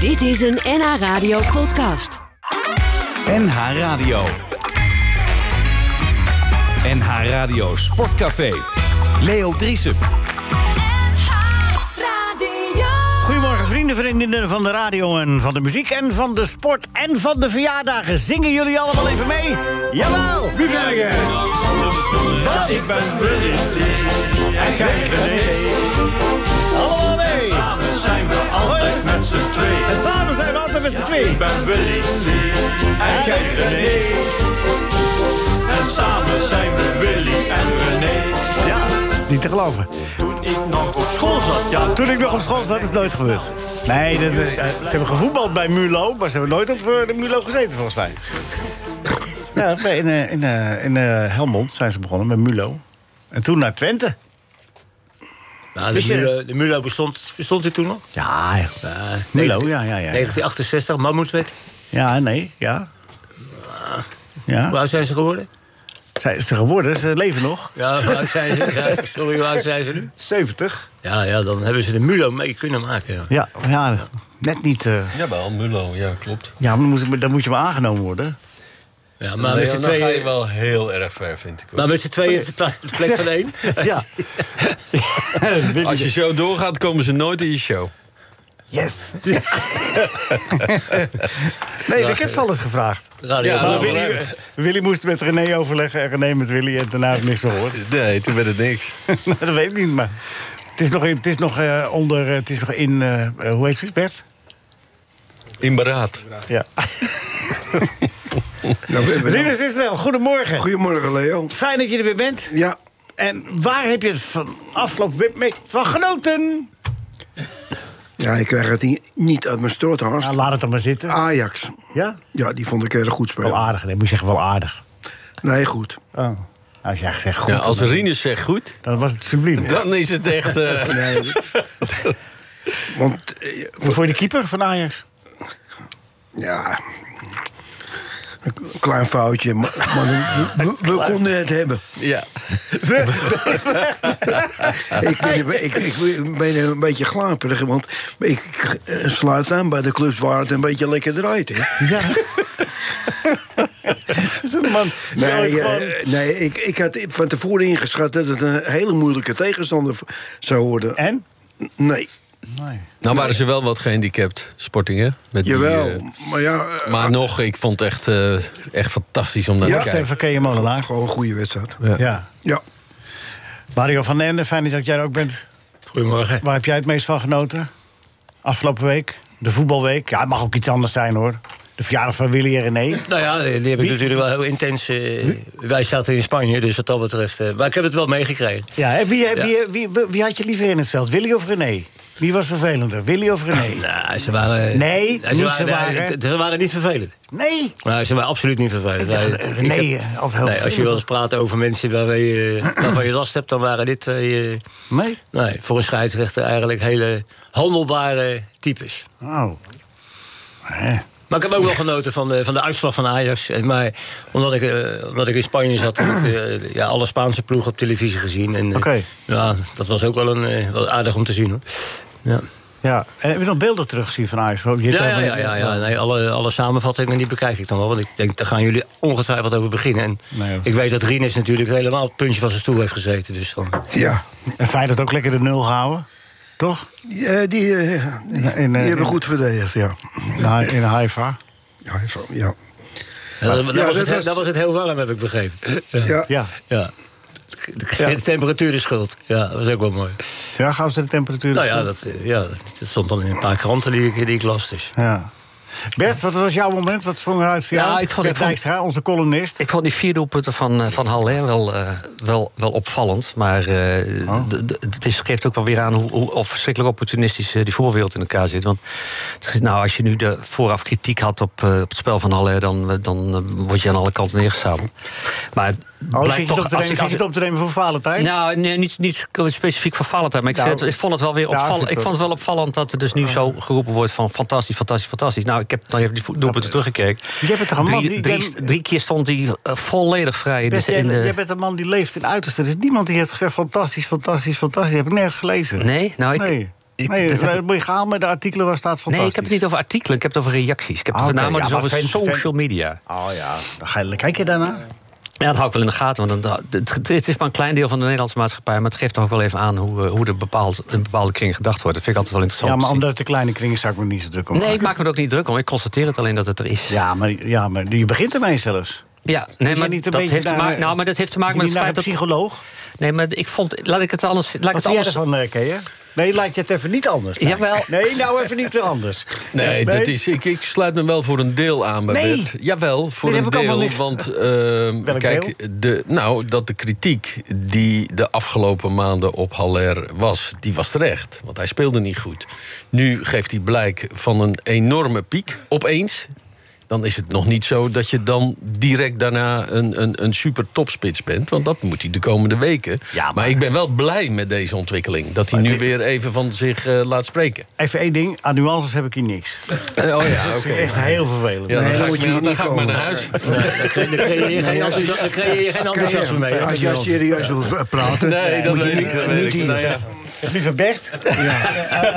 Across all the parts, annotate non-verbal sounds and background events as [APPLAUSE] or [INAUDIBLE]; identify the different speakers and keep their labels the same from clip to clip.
Speaker 1: Dit is een NH Radio podcast.
Speaker 2: NH Radio. NH Radio Sportcafé. Leo Driesen.
Speaker 3: Goedemorgen vrienden, vriendinnen van de radio en van de muziek en van de sport en van de verjaardagen. Zingen jullie allemaal even mee? Jawel!
Speaker 4: Wie ben jij?
Speaker 3: Wat?
Speaker 4: Ik ben Willy Lee en Gijs René.
Speaker 3: Allemaal mee!
Speaker 4: Samen zijn we altijd met z'n
Speaker 3: En
Speaker 4: tweeën.
Speaker 3: samen zijn we altijd met z'n
Speaker 4: Ik
Speaker 3: twee.
Speaker 4: ben Willy Lee en Gijs René. En samen zijn we Willy en René.
Speaker 3: Ja, dat is niet te geloven.
Speaker 4: Toen ik nog op school zat, ja.
Speaker 3: Toen ik nog op school zat, is het nooit gebeurd. Nee, dat, eh, eh, ze hebben gevoetbald bij Mulo, maar ze hebben nooit op eh, de Mulo gezeten, volgens
Speaker 4: [LAUGHS]
Speaker 3: mij. Ja, bij- in, eh, in, eh, in eh, Helmond zijn ze begonnen met Mulo. En toen naar Twente.
Speaker 5: Nou,
Speaker 3: Wist
Speaker 5: de,
Speaker 3: je-
Speaker 5: Mulo, de Mulo bestond, bestond dit toen nog?
Speaker 3: Ja,
Speaker 5: Ja,
Speaker 3: Eh, Mulo, ja, ja, ja.
Speaker 5: 1968, Mammoetswet.
Speaker 3: ja, nee, ja. Ja.
Speaker 5: Hoe oud zijn ze geworden?
Speaker 3: Zijn ze geworden? Ze leven nog.
Speaker 5: Ja, hoe oud zijn ze?
Speaker 3: [LAUGHS]
Speaker 5: Ja, sorry, hoe oud zijn ze nu?
Speaker 3: 70.
Speaker 5: Ja, ja, dan hebben ze de Mulo mee kunnen maken. Ja.
Speaker 3: Ja, ja net niet. eh,
Speaker 6: Jawel, Mulo, ja, klopt.
Speaker 3: ja, maar dan moet, dan moet je maar aangenomen worden.
Speaker 5: Ja,
Speaker 6: Maar
Speaker 5: maar
Speaker 6: nee,
Speaker 5: met z'n
Speaker 6: dan ga je
Speaker 5: tweeën...
Speaker 6: wel heel erg ver, vind ik. hoor.
Speaker 5: Maar met z'n tweeën te
Speaker 3: [LAUGHS]
Speaker 5: pla- de plek van één.
Speaker 6: [LAUGHS]
Speaker 3: Ja.
Speaker 6: Als je show doorgaat, komen ze nooit in je show.
Speaker 5: [LAUGHS]
Speaker 3: yes. nee, ik heb ze alles gevraagd.
Speaker 5: Radio.
Speaker 6: Ja,
Speaker 3: Maar
Speaker 6: nou,
Speaker 3: Willy,
Speaker 6: belangrijk.
Speaker 3: Willy moest met René overleggen en René met Willy. En daarna heb ik [LAUGHS] niks meer gehoord. [LAUGHS]
Speaker 6: Nee, toen werd het niks.
Speaker 3: Nou, dat weet ik niet, maar... Het is nog, in- het is nog eh, onder... eh, Het is nog in... eh, eh, hoe heet het, Bert?
Speaker 6: In beraad.
Speaker 3: Ja.
Speaker 7: Nou, we hebben wel-
Speaker 3: Rinus Israël, goedemorgen.
Speaker 7: Goedemorgen, Leo.
Speaker 3: Fijn dat je er weer bent.
Speaker 7: Ja,
Speaker 3: En waar heb je het van afgelopen week van genoten?
Speaker 7: ja, ik krijg het niet- niet uit mijn stroothars.
Speaker 3: Nou, laat het dan maar zitten.
Speaker 7: Ajax.
Speaker 3: Ja?
Speaker 7: Ja, die vond ik heel goed
Speaker 3: Wel
Speaker 7: spelen.
Speaker 3: aardig, nee, moet je zeggen wel aardig.
Speaker 7: Nee, goed.
Speaker 3: Oh. Als jij zegt goed,
Speaker 6: Ja, als
Speaker 3: dan,
Speaker 6: Rinus zegt goed,
Speaker 3: dan was het subliem.
Speaker 6: dan is het echt...
Speaker 7: [LAUGHS]
Speaker 6: eh,
Speaker 7: Want, eh,
Speaker 3: Voor voor de keeper van Ajax?
Speaker 7: [LAUGHS] ja... Een k- klein foutje, maar, maar we, we-
Speaker 3: [LAUGHS]
Speaker 7: we konden het hebben.
Speaker 6: ja.
Speaker 4: [LAUGHS]
Speaker 7: [LAUGHS] Ik ben, een be- ik, ik ben een beetje glaperig, want ik eh, sluit aan bij de clubs waar het een beetje lekker draait. Hè.
Speaker 3: [LAUGHS]
Speaker 7: [LAUGHS]
Speaker 3: Ja. is een man. die
Speaker 7: Nee,
Speaker 3: ooit
Speaker 7: eh,
Speaker 3: gewoon-
Speaker 7: nee ik, ik had van tevoren ingeschat dat het een hele moeilijke tegenstander v- zou worden.
Speaker 3: En?
Speaker 7: Nee,
Speaker 6: Nou waren ze wel wat gehandicapt, Sporting, hè? Met die,
Speaker 7: jawel.
Speaker 6: eh,
Speaker 7: maar ja, eh,
Speaker 6: maar nog, ik vond het echt, eh, echt fantastisch om naar
Speaker 7: Ja.
Speaker 6: te kijken.
Speaker 3: Stefan Keeën Molenaar.
Speaker 7: gewoon een goede wedstrijd.
Speaker 3: Ja.
Speaker 7: Ja.
Speaker 3: Mario van den Ende, fijn dat jij er ook bent.
Speaker 5: Goedemorgen.
Speaker 3: Waar heb jij het meest van genoten? Afgelopen week? De voetbalweek? Ja, het mag ook iets anders zijn hoor. De verjaardag van Willy en René.
Speaker 5: Nou ja, die die heb ik natuurlijk wel heel intens... eh, wij zaten in Spanje, dus wat dat betreft... eh, maar ik heb het wel meegekregen.
Speaker 3: Ja, en wie,
Speaker 5: Ja.
Speaker 3: Wie, wie, wie, wie had je liever in het veld? Willy of René? Wie was vervelender? Willy of René?
Speaker 5: Nou, ze waren... eh,
Speaker 3: Nee, niet
Speaker 5: ze
Speaker 3: ze
Speaker 5: waren,
Speaker 3: waren.
Speaker 5: het- Ze waren niet vervelend.
Speaker 3: Nee.
Speaker 5: Nou, ze waren absoluut niet vervelend.
Speaker 3: dacht,
Speaker 5: Nee,
Speaker 3: eh,
Speaker 5: ik
Speaker 3: nee,
Speaker 5: heb-
Speaker 3: eh,
Speaker 5: nee,
Speaker 3: altijd heel
Speaker 5: als je
Speaker 3: vervelend.
Speaker 5: wel eens praat over mensen waarvan je, waarvan je last hebt, dan waren dit twee, eh,
Speaker 3: Nee?
Speaker 5: nee, voor een scheidsrechter eigenlijk hele handelbare types.
Speaker 3: Oh. Hè.
Speaker 5: Maar ik heb ook wel genoten van de, van de uitslag van Ajax. En Maar omdat ik, eh, omdat ik in Spanje zat, heb ik eh, ja, alle Spaanse ploegen op televisie gezien. En eh,
Speaker 3: Oké.
Speaker 5: ja, dat was ook wel, een, eh, wel aardig om te zien hoor. Ja,
Speaker 3: Ja, en heb je nog beelden teruggezien van Ajax? Je hebt
Speaker 5: ja, ja,
Speaker 3: daar-
Speaker 5: ja, ja, ja. Nee, alle, alle samenvattingen die bekijk ik dan wel. Want ik denk, daar gaan jullie ongetwijfeld over beginnen. En
Speaker 3: Nee, hoor.
Speaker 5: ik weet dat Rinus natuurlijk helemaal op het puntje van zijn stoel heeft gezeten. Dus dan,
Speaker 7: Ja.
Speaker 3: En Feyenoord ook lekker de nul gehouden, toch?
Speaker 7: Die, eh, die, eh, die,
Speaker 3: En, eh,
Speaker 7: die
Speaker 3: en-
Speaker 7: hebben goed verdedigd, ja.
Speaker 3: In Hai- In Haifa.
Speaker 7: Ja, even- ja.
Speaker 5: Ja, dat, dat
Speaker 7: Ja,
Speaker 5: was
Speaker 7: dat
Speaker 5: het, he-
Speaker 7: was-
Speaker 5: dat was het heel warm, heb ik begrepen. Ja.
Speaker 7: ja.
Speaker 3: Ja.
Speaker 5: Ja. De temperatuur de schuld. Ja, dat was ook wel mooi.
Speaker 3: Ja, gaan ze de temperatuur.
Speaker 5: Nou ja, dat, eh, ja, dat stond dan in een paar kranten die ik, die ik las. Dus.
Speaker 3: Ja. Bert, wat was jouw moment? Wat sprong eruit voor
Speaker 8: Ja,
Speaker 3: jou?
Speaker 8: ik vond-
Speaker 3: Bert
Speaker 8: ik vond-
Speaker 3: Dijkstra, onze columnist.
Speaker 8: Ik vond die vier doelpunten van, eh, van Haller wel, eh, wel, wel opvallend. Maar eh,
Speaker 3: Oh.
Speaker 8: d- d- het is, geeft ook wel weer aan hoe, hoe of verschrikkelijk opportunistisch eh, die voorwereld in elkaar zit. Want het is- nou, als je nu de vooraf kritiek had op, eh, op het spel van Haller... dan, eh, dan eh, word je aan alle kanten neergezabeld. Maar het
Speaker 3: Oh,
Speaker 8: blijkt
Speaker 3: zit je
Speaker 8: toch...
Speaker 3: het op te
Speaker 8: als
Speaker 3: nemen-
Speaker 8: ik-
Speaker 3: zit je het op te nemen voor Valentijn?
Speaker 8: nou, nee, niet, niet specifiek van Valentijn. Maar ik,
Speaker 3: Nou,
Speaker 8: vind het- ik vond het wel weer
Speaker 3: ja,
Speaker 8: opvallend.
Speaker 3: vind ik
Speaker 8: Ik vond het wel opvallend dat er dus nu zo geroepen wordt van fantastisch, fantastisch, fantastisch. Nou, ik heb dan even die vo- doelpunten teruggekeken.
Speaker 3: Je bent toch een man
Speaker 8: drie,
Speaker 3: die-
Speaker 8: drie,
Speaker 3: die-
Speaker 8: drie keer stond hij eh, volledig vrij.
Speaker 3: Bert,
Speaker 8: Dus in
Speaker 3: jij,
Speaker 8: de-
Speaker 3: jij bent een man die leeft in uiterste. Er is niemand die heeft gezegd fantastisch, fantastisch, fantastisch. Dat heb ik nergens gelezen.
Speaker 8: Nee, nou ik,
Speaker 3: Nee.
Speaker 8: ik-
Speaker 3: Nee,
Speaker 8: dat heb
Speaker 3: dat
Speaker 8: ik-
Speaker 3: moet je gaan met de artikelen waar staat
Speaker 8: nee,
Speaker 3: fantastisch.
Speaker 8: ik heb het niet over artikelen, ik heb het over reacties. Ik heb het
Speaker 3: Ah, oké,
Speaker 8: voornamelijk
Speaker 3: ja,
Speaker 8: dus
Speaker 3: maar
Speaker 8: over
Speaker 3: fan- fan-
Speaker 8: social media.
Speaker 3: Oh ja, dan ga je, kijk je daarna.
Speaker 8: Ja, dat hou ik wel in de gaten. Want dan, het, het is maar een klein deel van de Nederlandse maatschappij. Maar het geeft toch ook wel even aan hoe, eh, hoe er bepaald, een bepaalde kring gedacht wordt. Dat vind ik altijd wel interessant.
Speaker 3: Ja, maar
Speaker 8: te zien.
Speaker 3: omdat het de kleine kring is, zou ik me niet zo druk om
Speaker 8: Nee, ik
Speaker 3: maken.
Speaker 8: maak me er ook niet druk om. Ik constateer het alleen dat het er is. Ja,
Speaker 3: Ja, maar, ja, maar je begint ermee zelfs.
Speaker 8: nee,
Speaker 3: jij
Speaker 8: maar
Speaker 3: niet een beetje
Speaker 8: dat
Speaker 3: eh,
Speaker 8: heeft te
Speaker 3: naar-
Speaker 8: maken. Nou, maar dat heeft te maken met
Speaker 3: Jullie
Speaker 8: het
Speaker 3: naar
Speaker 8: feit
Speaker 3: een
Speaker 8: dat.
Speaker 3: psycholoog.
Speaker 8: Nee, maar ik vond. Laat ik het anders. Laat ik
Speaker 3: Wat
Speaker 8: het
Speaker 3: vind jij
Speaker 8: anders.
Speaker 3: ervan, eh, Kees? Nee, lijkt je het even niet anders. Nee.
Speaker 8: Jawel.
Speaker 3: Nee, nou even niet anders.
Speaker 6: Nee, Dat is, ik, ik sluit me wel voor een deel aan bij
Speaker 3: Nee.
Speaker 6: Bert. Jawel, voor
Speaker 3: Nee,
Speaker 6: een
Speaker 3: daar heb ik
Speaker 6: deel.
Speaker 3: allemaal
Speaker 6: Want
Speaker 3: niks-
Speaker 6: eh,
Speaker 3: [LAUGHS] Welk
Speaker 6: kijk, De, nou, dat de kritiek die de afgelopen maanden op Haller was, die was terecht. Want hij speelde niet goed. Nu geeft hij blijk van een enorme piek, opeens. Dan is het nog niet zo dat je dan direct daarna een, een, een super topspits bent. Want dat moet hij de komende weken.
Speaker 3: Ja, maar-
Speaker 6: maar... ik ben wel blij met deze ontwikkeling. Dat hij nu weer even van zich eh, laat spreken.
Speaker 3: Even één ding, aan nuances heb ik hier niks.
Speaker 6: Eh, Oh [LAUGHS] ja, oké.
Speaker 3: Echt heel vervelend.
Speaker 6: Ja, dan,
Speaker 7: Nee,
Speaker 6: ga
Speaker 7: dan
Speaker 6: ik
Speaker 7: moet je
Speaker 6: maar-
Speaker 7: niet
Speaker 6: dan ga ik maar
Speaker 7: komen.
Speaker 6: naar huis.
Speaker 5: Daar creëer je geen enthousiasme- daar creëer je geen enthousiasme mee. hè?
Speaker 7: Als jij serieus wil praten,
Speaker 6: Nee, dat
Speaker 7: moet je
Speaker 6: weet
Speaker 7: niet,
Speaker 6: ik. Dat
Speaker 7: niet
Speaker 6: weet ik.
Speaker 7: hier.
Speaker 6: Nou ja.
Speaker 3: Lieve Dus Bert, [LAUGHS] aan-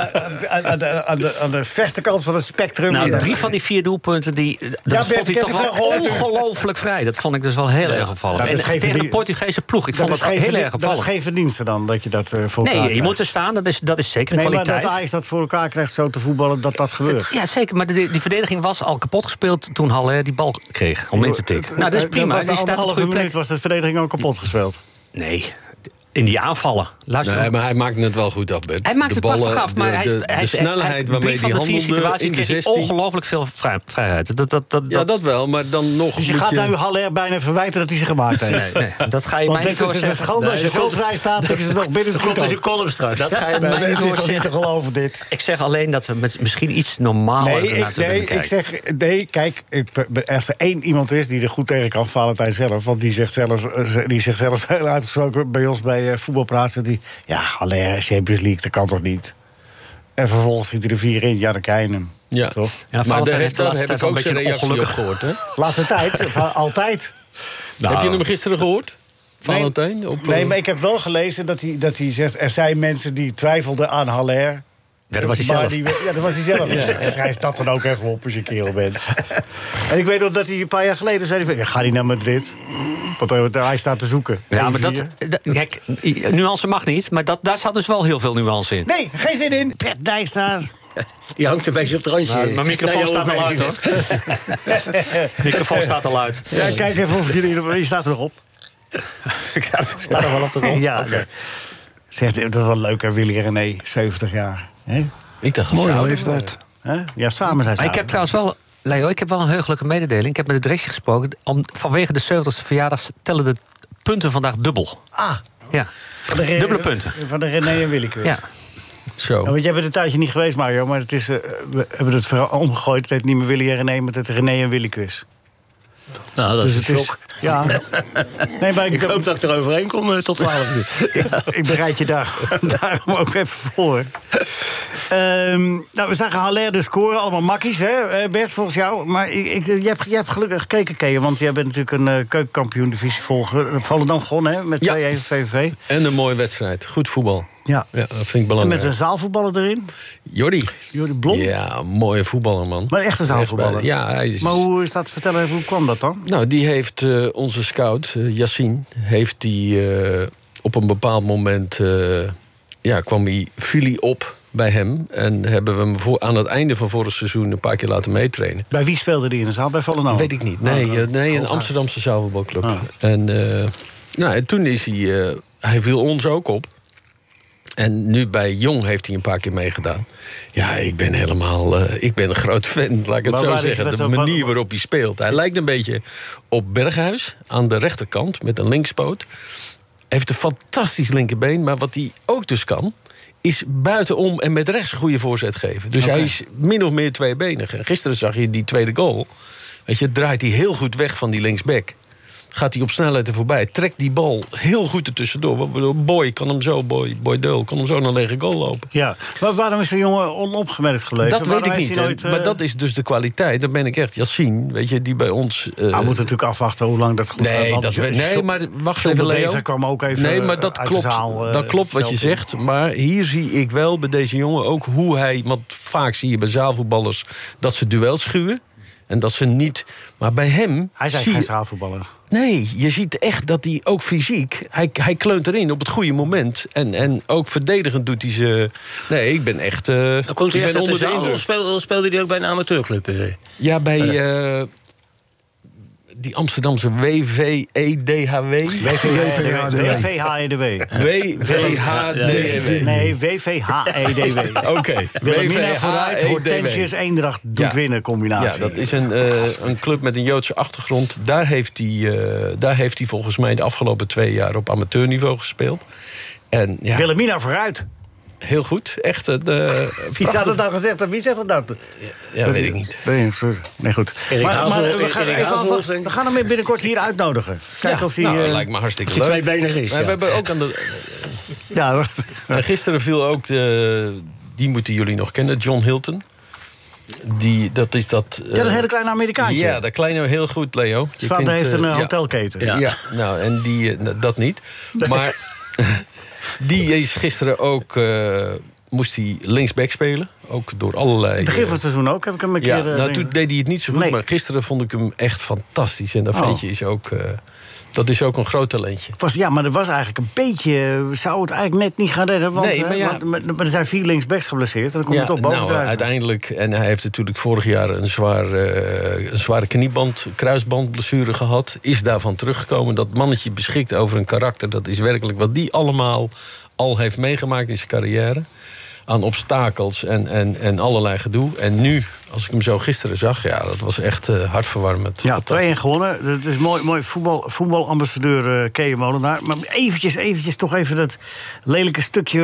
Speaker 3: aan- aan de- aan de- aan de verste kant van het spectrum.
Speaker 8: Nou,
Speaker 3: Ja.
Speaker 8: drie van die vier doelpunten, die, dat
Speaker 3: Bert, ik
Speaker 8: vond hij
Speaker 3: heb het wel
Speaker 8: toch wel
Speaker 3: gehoord.
Speaker 8: ongelooflijk vrij. Dat vond ik dus wel heel erg opvallend.
Speaker 3: dat is
Speaker 8: En
Speaker 3: geen
Speaker 8: tegen de
Speaker 3: verdien-
Speaker 8: Portugese ploeg, ik vond
Speaker 3: is
Speaker 8: dat
Speaker 3: geen
Speaker 8: heel
Speaker 3: verdien-
Speaker 8: erg
Speaker 3: dat is
Speaker 8: opvallend.
Speaker 3: geen verdienste dan, dat je dat eh, voor elkaar
Speaker 8: Nee, je
Speaker 3: krijgt.
Speaker 8: moet er staan, dat is, dat is zeker een
Speaker 3: Nee, maar dat
Speaker 8: kwaliteit.
Speaker 3: Ajax dat voor elkaar krijgt zo te voetballen, dat dat gebeurt.
Speaker 8: Ja, zeker. Maar die, die verdediging was al kapot gespeeld toen Haller die bal kreeg om in te tikken. Nou, dat is
Speaker 3: Eh,
Speaker 8: prima.
Speaker 3: was de
Speaker 8: Die staat op de
Speaker 3: anderhalve
Speaker 8: goede
Speaker 3: minuut
Speaker 8: plek.
Speaker 3: was de verdediging al kapot gespeeld.
Speaker 8: Nee, in die aanvallen. Luister.
Speaker 6: Nee, maar hij maakt het wel goed af, Bert.
Speaker 8: hij maakt
Speaker 6: De
Speaker 8: het pas
Speaker 6: ballen,
Speaker 8: toch af, maar
Speaker 6: de,
Speaker 8: hij is-
Speaker 6: de,
Speaker 8: hij
Speaker 6: de
Speaker 8: is- hij-
Speaker 6: snelheid waarmee
Speaker 8: drie van
Speaker 6: hij
Speaker 8: de vier
Speaker 6: handelde
Speaker 8: situaties
Speaker 6: in de
Speaker 8: kreeg hij
Speaker 6: 16.
Speaker 8: ongelooflijk veel vrij- vrijheid. Dat, dat, dat,
Speaker 6: Ja, dat wel, maar dan nog
Speaker 3: Dus je
Speaker 6: moet
Speaker 3: gaat
Speaker 6: je...
Speaker 3: nu Haller bijna verwijten dat hij ze gemaakt heeft.
Speaker 8: Nee, dat ga je
Speaker 3: Want
Speaker 8: mij
Speaker 3: dit
Speaker 8: niet
Speaker 3: het is een
Speaker 8: zeggen.
Speaker 3: schande. Als je
Speaker 5: Nee, dat
Speaker 3: zo
Speaker 5: komt-
Speaker 3: vrij staat, dat je ze nog binnen
Speaker 5: Dat komt
Speaker 3: schiet
Speaker 5: dus een
Speaker 3: ook.
Speaker 5: column straks.
Speaker 8: Dat
Speaker 3: [LAUGHS]
Speaker 8: ga je
Speaker 3: Nee,
Speaker 8: mij
Speaker 3: Het
Speaker 8: niet
Speaker 3: is toch niet te
Speaker 8: zeggen.
Speaker 3: geloven, dit.
Speaker 8: Ik zeg alleen dat we met misschien iets normaler
Speaker 3: Nee,
Speaker 8: naar
Speaker 3: ik,
Speaker 8: te willen
Speaker 3: nee, ik
Speaker 8: kijken.
Speaker 3: zeg, nee, kijk, ik, be- be- als er één iemand is die er goed tegen kan, Valentijn zelf. Want die zegt zelf, eh, die zegt zelf [LAUGHS] heel uitgesproken bij ons bij eh, voetbalpraat. zegt hij, ja, alleen Champions League, dat kan toch niet? En vervolgens schiet hij er vier in, ja, dan kan je hem.
Speaker 6: Ja,
Speaker 3: Toch?
Speaker 8: Ja,
Speaker 6: maar daar
Speaker 8: Valentijn heeft
Speaker 6: heb,
Speaker 8: de
Speaker 6: daar
Speaker 8: laatste
Speaker 6: heb
Speaker 8: tijd
Speaker 6: ik
Speaker 8: wel
Speaker 6: ook
Speaker 8: een
Speaker 6: zijn
Speaker 8: beetje een
Speaker 6: reactie op
Speaker 8: ongelukkige-
Speaker 6: gehoord. Hè?
Speaker 8: [LAUGHS]
Speaker 3: Laatste tijd, va- altijd.
Speaker 8: Nou.
Speaker 6: heb je hem gisteren gehoord? Valentijn?
Speaker 3: Nee,
Speaker 6: op,
Speaker 3: nee, maar ik heb wel gelezen dat hij, dat hij zegt, er zijn mensen die twijfelden aan Haller.
Speaker 8: Ja, dat was hij
Speaker 3: Maar
Speaker 8: zelf.
Speaker 3: die- ja, dat was hij
Speaker 8: [LAUGHS]
Speaker 3: zelf. En schrijf dat dan ook even op als je kerel bent. en ik weet nog dat hij een paar jaar geleden zei... Van, ja, ga niet naar Madrid, want eh, hij staat te zoeken.
Speaker 8: Ja, maar dat,
Speaker 3: Eén, vier.
Speaker 8: dat- kijk, nuance mag niet, maar dat, daar zat dus wel heel veel nuance in.
Speaker 3: Nee, geen zin in. Pet Dijkstra.
Speaker 5: Die hangt een beetje op het randje.
Speaker 8: Maar mijn microfoon
Speaker 5: Nou,
Speaker 8: staat
Speaker 5: jouw
Speaker 8: al uit, hoor. [LAUGHS] microfoon staat al uit.
Speaker 3: Ja, kijk even of jullie... Je staat er nog
Speaker 8: [LAUGHS]
Speaker 3: op.
Speaker 8: staat er wel op de rol.
Speaker 3: Ja, oké. Zegt, dat is wel leuk, hè, Willy René, 70 jaar. hè?
Speaker 6: ik dacht,
Speaker 7: Mooie
Speaker 6: nou,
Speaker 7: leeftijd.
Speaker 3: Hè? Ja, samen zijn ze
Speaker 8: Maar ik heb
Speaker 3: oud.
Speaker 8: trouwens wel, Leo, ik heb wel een heugelijke mededeling. Ik heb met de directie gesproken. Om, vanwege de 70ste verjaardag tellen de punten vandaag dubbel.
Speaker 3: Ah,
Speaker 8: Ja.
Speaker 3: van de Re-
Speaker 8: Dubbele punten.
Speaker 3: Van de René en Willy quiz.
Speaker 8: ja.
Speaker 3: Ja,
Speaker 6: Zo.
Speaker 3: want jij bent een tijdje niet geweest, Mario, maar het is, eh, we hebben het verhaal omgegooid. Het heet niet meer Willy en René, maar het heet René en Willy quiz.
Speaker 5: Nou, dat is een
Speaker 3: Dus Het is-
Speaker 5: shock.
Speaker 3: Ja.
Speaker 5: [LAUGHS]
Speaker 3: Nee, maar ik,
Speaker 5: Ik hoop dat ik eroverheen kom eh, tot 12
Speaker 3: [LAUGHS]
Speaker 5: uur.
Speaker 3: ik bereid je daar, [LAUGHS] daarom ook even voor. Ehm, nou, we zagen Haller dus scoren. Allemaal makkies, hè, eh, Bert, volgens jou. Maar ik, ik, jij, hebt, jij hebt gelukkig gekeken, Kees. Want jij bent natuurlijk een eh keukenkampioen divisievolger. Volendam gewonnen, hè, met
Speaker 6: Ja.
Speaker 3: 2-1 VVV.
Speaker 6: En een mooie wedstrijd. Goed voetbal.
Speaker 3: Ja.
Speaker 6: Ja, dat vind ik
Speaker 3: En met
Speaker 6: belangrijk.
Speaker 3: een zaalvoetballer erin.
Speaker 6: Jordi.
Speaker 3: Jordi Blom.
Speaker 6: Ja, mooie voetballer, man.
Speaker 3: Maar echt een zaalvoetballer.
Speaker 6: Ja, hij is...
Speaker 3: Maar hoe is dat? Vertel even, hoe kwam dat dan?
Speaker 6: Nou, die heeft eh, onze scout, eh, Yassine, heeft die eh, op een bepaald moment. eh, ja, kwam hij, viel hij op bij hem. En hebben we hem voor, aan het einde van vorig seizoen een paar keer laten meetrainen.
Speaker 3: Bij wie speelde die in de zaal? Bij Volendam? Oh,
Speaker 6: Weet ik niet. Nee, eh, nee een Amsterdamse zaalvoetbalclub.
Speaker 3: Ah.
Speaker 6: En, eh, nou, en toen is hij. eh, hij viel ons ook op. En nu bij Jong heeft hij een paar keer meegedaan. Ja, ik ben helemaal. eh, ik ben een groot fan, laat ik het
Speaker 3: Maar
Speaker 6: zo
Speaker 3: waar is
Speaker 6: zeggen.
Speaker 3: het
Speaker 6: De
Speaker 3: dan van-
Speaker 6: manier waarop hij speelt. Hij lijkt een beetje op Berghuis aan de rechterkant met een linkspoot. Hij heeft een fantastisch linkerbeen. Maar wat hij ook dus kan, is buitenom en met rechts een goede voorzet geven. Dus hij is min of meer tweebenig. En gisteren zag je die tweede goal. Weet je, draait hij heel goed weg van die linksback. Gaat hij op snelheid er voorbij. Trekt die bal heel goed ertussendoor. Waardoor Boy kan hem zo, Boy, Boy Deul, kan hem zo naar lege goal lopen.
Speaker 3: oh. Ja, maar waarom is zo'n jongen onopgemerkt gebleven?
Speaker 6: Dat
Speaker 3: Waarom
Speaker 6: weet ik
Speaker 3: is
Speaker 6: niet.
Speaker 3: hij
Speaker 6: hè.
Speaker 3: nooit, eh,
Speaker 6: Maar dat is dus de kwaliteit. Dat ben ik echt Yassine, weet je, die bij ons... eh,
Speaker 3: Hij moet natuurlijk afwachten hoe lang dat goed
Speaker 6: Nee,
Speaker 3: want
Speaker 6: dat
Speaker 3: Jo-
Speaker 6: we- nee
Speaker 3: Jo-
Speaker 6: maar wacht
Speaker 3: John
Speaker 6: even,
Speaker 3: de
Speaker 6: Leo.
Speaker 3: Bever kwam ook even
Speaker 6: nee, maar dat
Speaker 3: uit de
Speaker 6: klopt.
Speaker 3: zaal, eh,
Speaker 6: dat klopt wat je
Speaker 3: veld in.
Speaker 6: zegt. Maar hier zie ik wel bij deze jongen ook hoe hij... Want vaak zie je bij zaalvoetballers dat ze duels schuwen. En dat ze niet... Maar bij hem...
Speaker 3: Hij
Speaker 6: zie
Speaker 3: is eigenlijk
Speaker 6: je-
Speaker 3: geen zaalvoetballer.
Speaker 6: Nee, je ziet echt dat hij ook fysiek... Hij, hij kleunt erin op het goede moment. En, en ook verdedigend doet hij ze... Nee, ik ben echt... eh,
Speaker 5: Dan komt
Speaker 6: ik ben
Speaker 5: hij echt uit de
Speaker 6: onder de
Speaker 5: zaal.
Speaker 6: indruk.
Speaker 5: Of speel- of speelde hij ook bij een amateurclub? eh?
Speaker 6: Ja, bij eh, die Amsterdamse E WVEDHW.
Speaker 7: WVHDW.
Speaker 3: WVHEDW.
Speaker 6: WVHDW.
Speaker 3: E Nee, E WVHEDW.
Speaker 6: E [LAUGHS] Oké.
Speaker 3: Wilhelmina vooruit,
Speaker 6: WVHEDW.
Speaker 3: Hortensius Eendracht doet
Speaker 6: E Ja.
Speaker 3: winnen combinatie.
Speaker 6: Ja, dat is een, eh, een club met een Joodse achtergrond. Daar heeft, hij, eh, daar heeft hij volgens mij de afgelopen twee jaar op amateurniveau gespeeld. En ja,
Speaker 3: Wilhelmina vooruit.
Speaker 6: heel goed. Echt een. eh,
Speaker 3: Wie staat
Speaker 6: prachtig-
Speaker 3: het nou gezegd? Wie zegt dat nou?
Speaker 6: Ja, weet ik niet.
Speaker 3: Nee, sorry. nee goed.
Speaker 5: Erik
Speaker 3: Maar, maar
Speaker 5: Hazel-
Speaker 3: we, gaan
Speaker 5: Erik
Speaker 3: even
Speaker 5: Hazel,
Speaker 3: afwachten.
Speaker 5: denk ik.
Speaker 3: we gaan hem binnenkort hier uitnodigen. Kijken of hij...
Speaker 6: nou,
Speaker 3: eh,
Speaker 6: lijkt me hartstikke
Speaker 5: die
Speaker 6: leuk.
Speaker 5: tweebenig is,
Speaker 6: Maar
Speaker 5: ja.
Speaker 6: We hebben ook aan de,
Speaker 3: ja,
Speaker 6: Maar gisteren viel ook, de, die moeten jullie nog kennen, John Hilton. Die, dat is dat...
Speaker 3: ja, dat
Speaker 6: eh,
Speaker 3: hele kleine Amerikaantje.
Speaker 6: Ja, dat kleine heel goed, Leo. Je
Speaker 3: Zwaar,
Speaker 6: kent,
Speaker 3: heeft een
Speaker 6: eh,
Speaker 3: eh,
Speaker 6: ja.
Speaker 3: hotelketen.
Speaker 6: Ja.
Speaker 5: Ja.
Speaker 6: nou, en die, eh, n- dat niet. Maar [LAUGHS] die is gisteren ook... eh, moest hij linksback spelen. Ook door allerlei...
Speaker 3: Begin van
Speaker 6: eh,
Speaker 3: het seizoen ook heb ik hem een
Speaker 6: ja,
Speaker 3: keer... eh,
Speaker 6: nou,
Speaker 3: dingen-
Speaker 6: toen deed hij het niet zo goed,
Speaker 3: Nee.
Speaker 6: maar gisteren vond ik hem echt fantastisch. En dat
Speaker 3: Oh.
Speaker 6: ventje is ook... eh, dat is ook een groot talentje.
Speaker 3: was, ja, maar er was eigenlijk een beetje... Zou het eigenlijk net niet gaan redden. Want,
Speaker 6: Nee,
Speaker 3: eh,
Speaker 6: maar ja.
Speaker 3: want- maar, maar er zijn vier linksbacks geblesseerd. En dan kom je toch boven
Speaker 6: nou,
Speaker 3: drijven.
Speaker 6: uiteindelijk. En hij heeft natuurlijk vorig jaar een, zwaar, eh, een zware knieband, kruisbandblessure gehad. Is daarvan teruggekomen. Dat mannetje beschikt over een karakter. Dat is werkelijk wat die allemaal al heeft meegemaakt in zijn carrière. Aan obstakels en, en, en allerlei gedoe. En nu, als ik hem zo gisteren zag, ja, dat was echt eh, hartverwarmend.
Speaker 3: Ja,
Speaker 6: Fantastisch.
Speaker 3: 2-1 gewonnen. Dat is mooi, mooi voetbal, voetbalambassadeur eh Kee Molenaar. Maar eventjes, eventjes toch even dat lelijke stukje...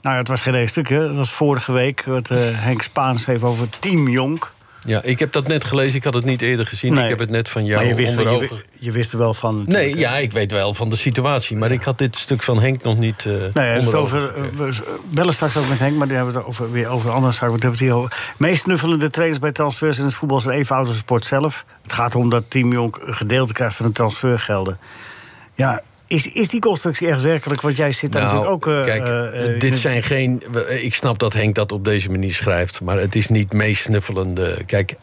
Speaker 3: Nou ja, het was geen lelijk stukje. Het was vorige week wat eh, Henk Spaans heeft over Team Jonk.
Speaker 6: ja, ik heb dat net gelezen. Ik had het niet eerder gezien.
Speaker 3: Nee.
Speaker 6: Ik heb het net van jou
Speaker 3: Maar je wist,
Speaker 6: onder
Speaker 3: je,
Speaker 6: ogen
Speaker 3: wi- je wist er wel van. natuurlijk,
Speaker 6: Nee,
Speaker 3: hè?
Speaker 6: ja, ik weet wel van de situatie. Maar ik had dit stuk van Henk nog niet. eh
Speaker 3: Nee, het is
Speaker 6: onder
Speaker 3: over,
Speaker 6: ogen gekregen.
Speaker 3: eh, we bellen straks ook met Henk, maar die hebben we het over, weer over een andere zaak. Want we hebben het hier over. Meest snuffelende trainers bij transfers in het voetbal zijn even oud als de sport zelf. Het gaat erom dat Team Jonk een gedeelte krijgt van de transfergelden. Ja, is, is die constructie echt werkelijk? Want jij zit daar
Speaker 6: Nou,
Speaker 3: natuurlijk ook... eh,
Speaker 6: kijk,
Speaker 3: eh, eh, in
Speaker 6: dit
Speaker 3: het-
Speaker 6: zijn geen. we- eh, Ik snap dat Henk dat op deze manier schrijft, maar het is niet meesnuffelende. Kijk,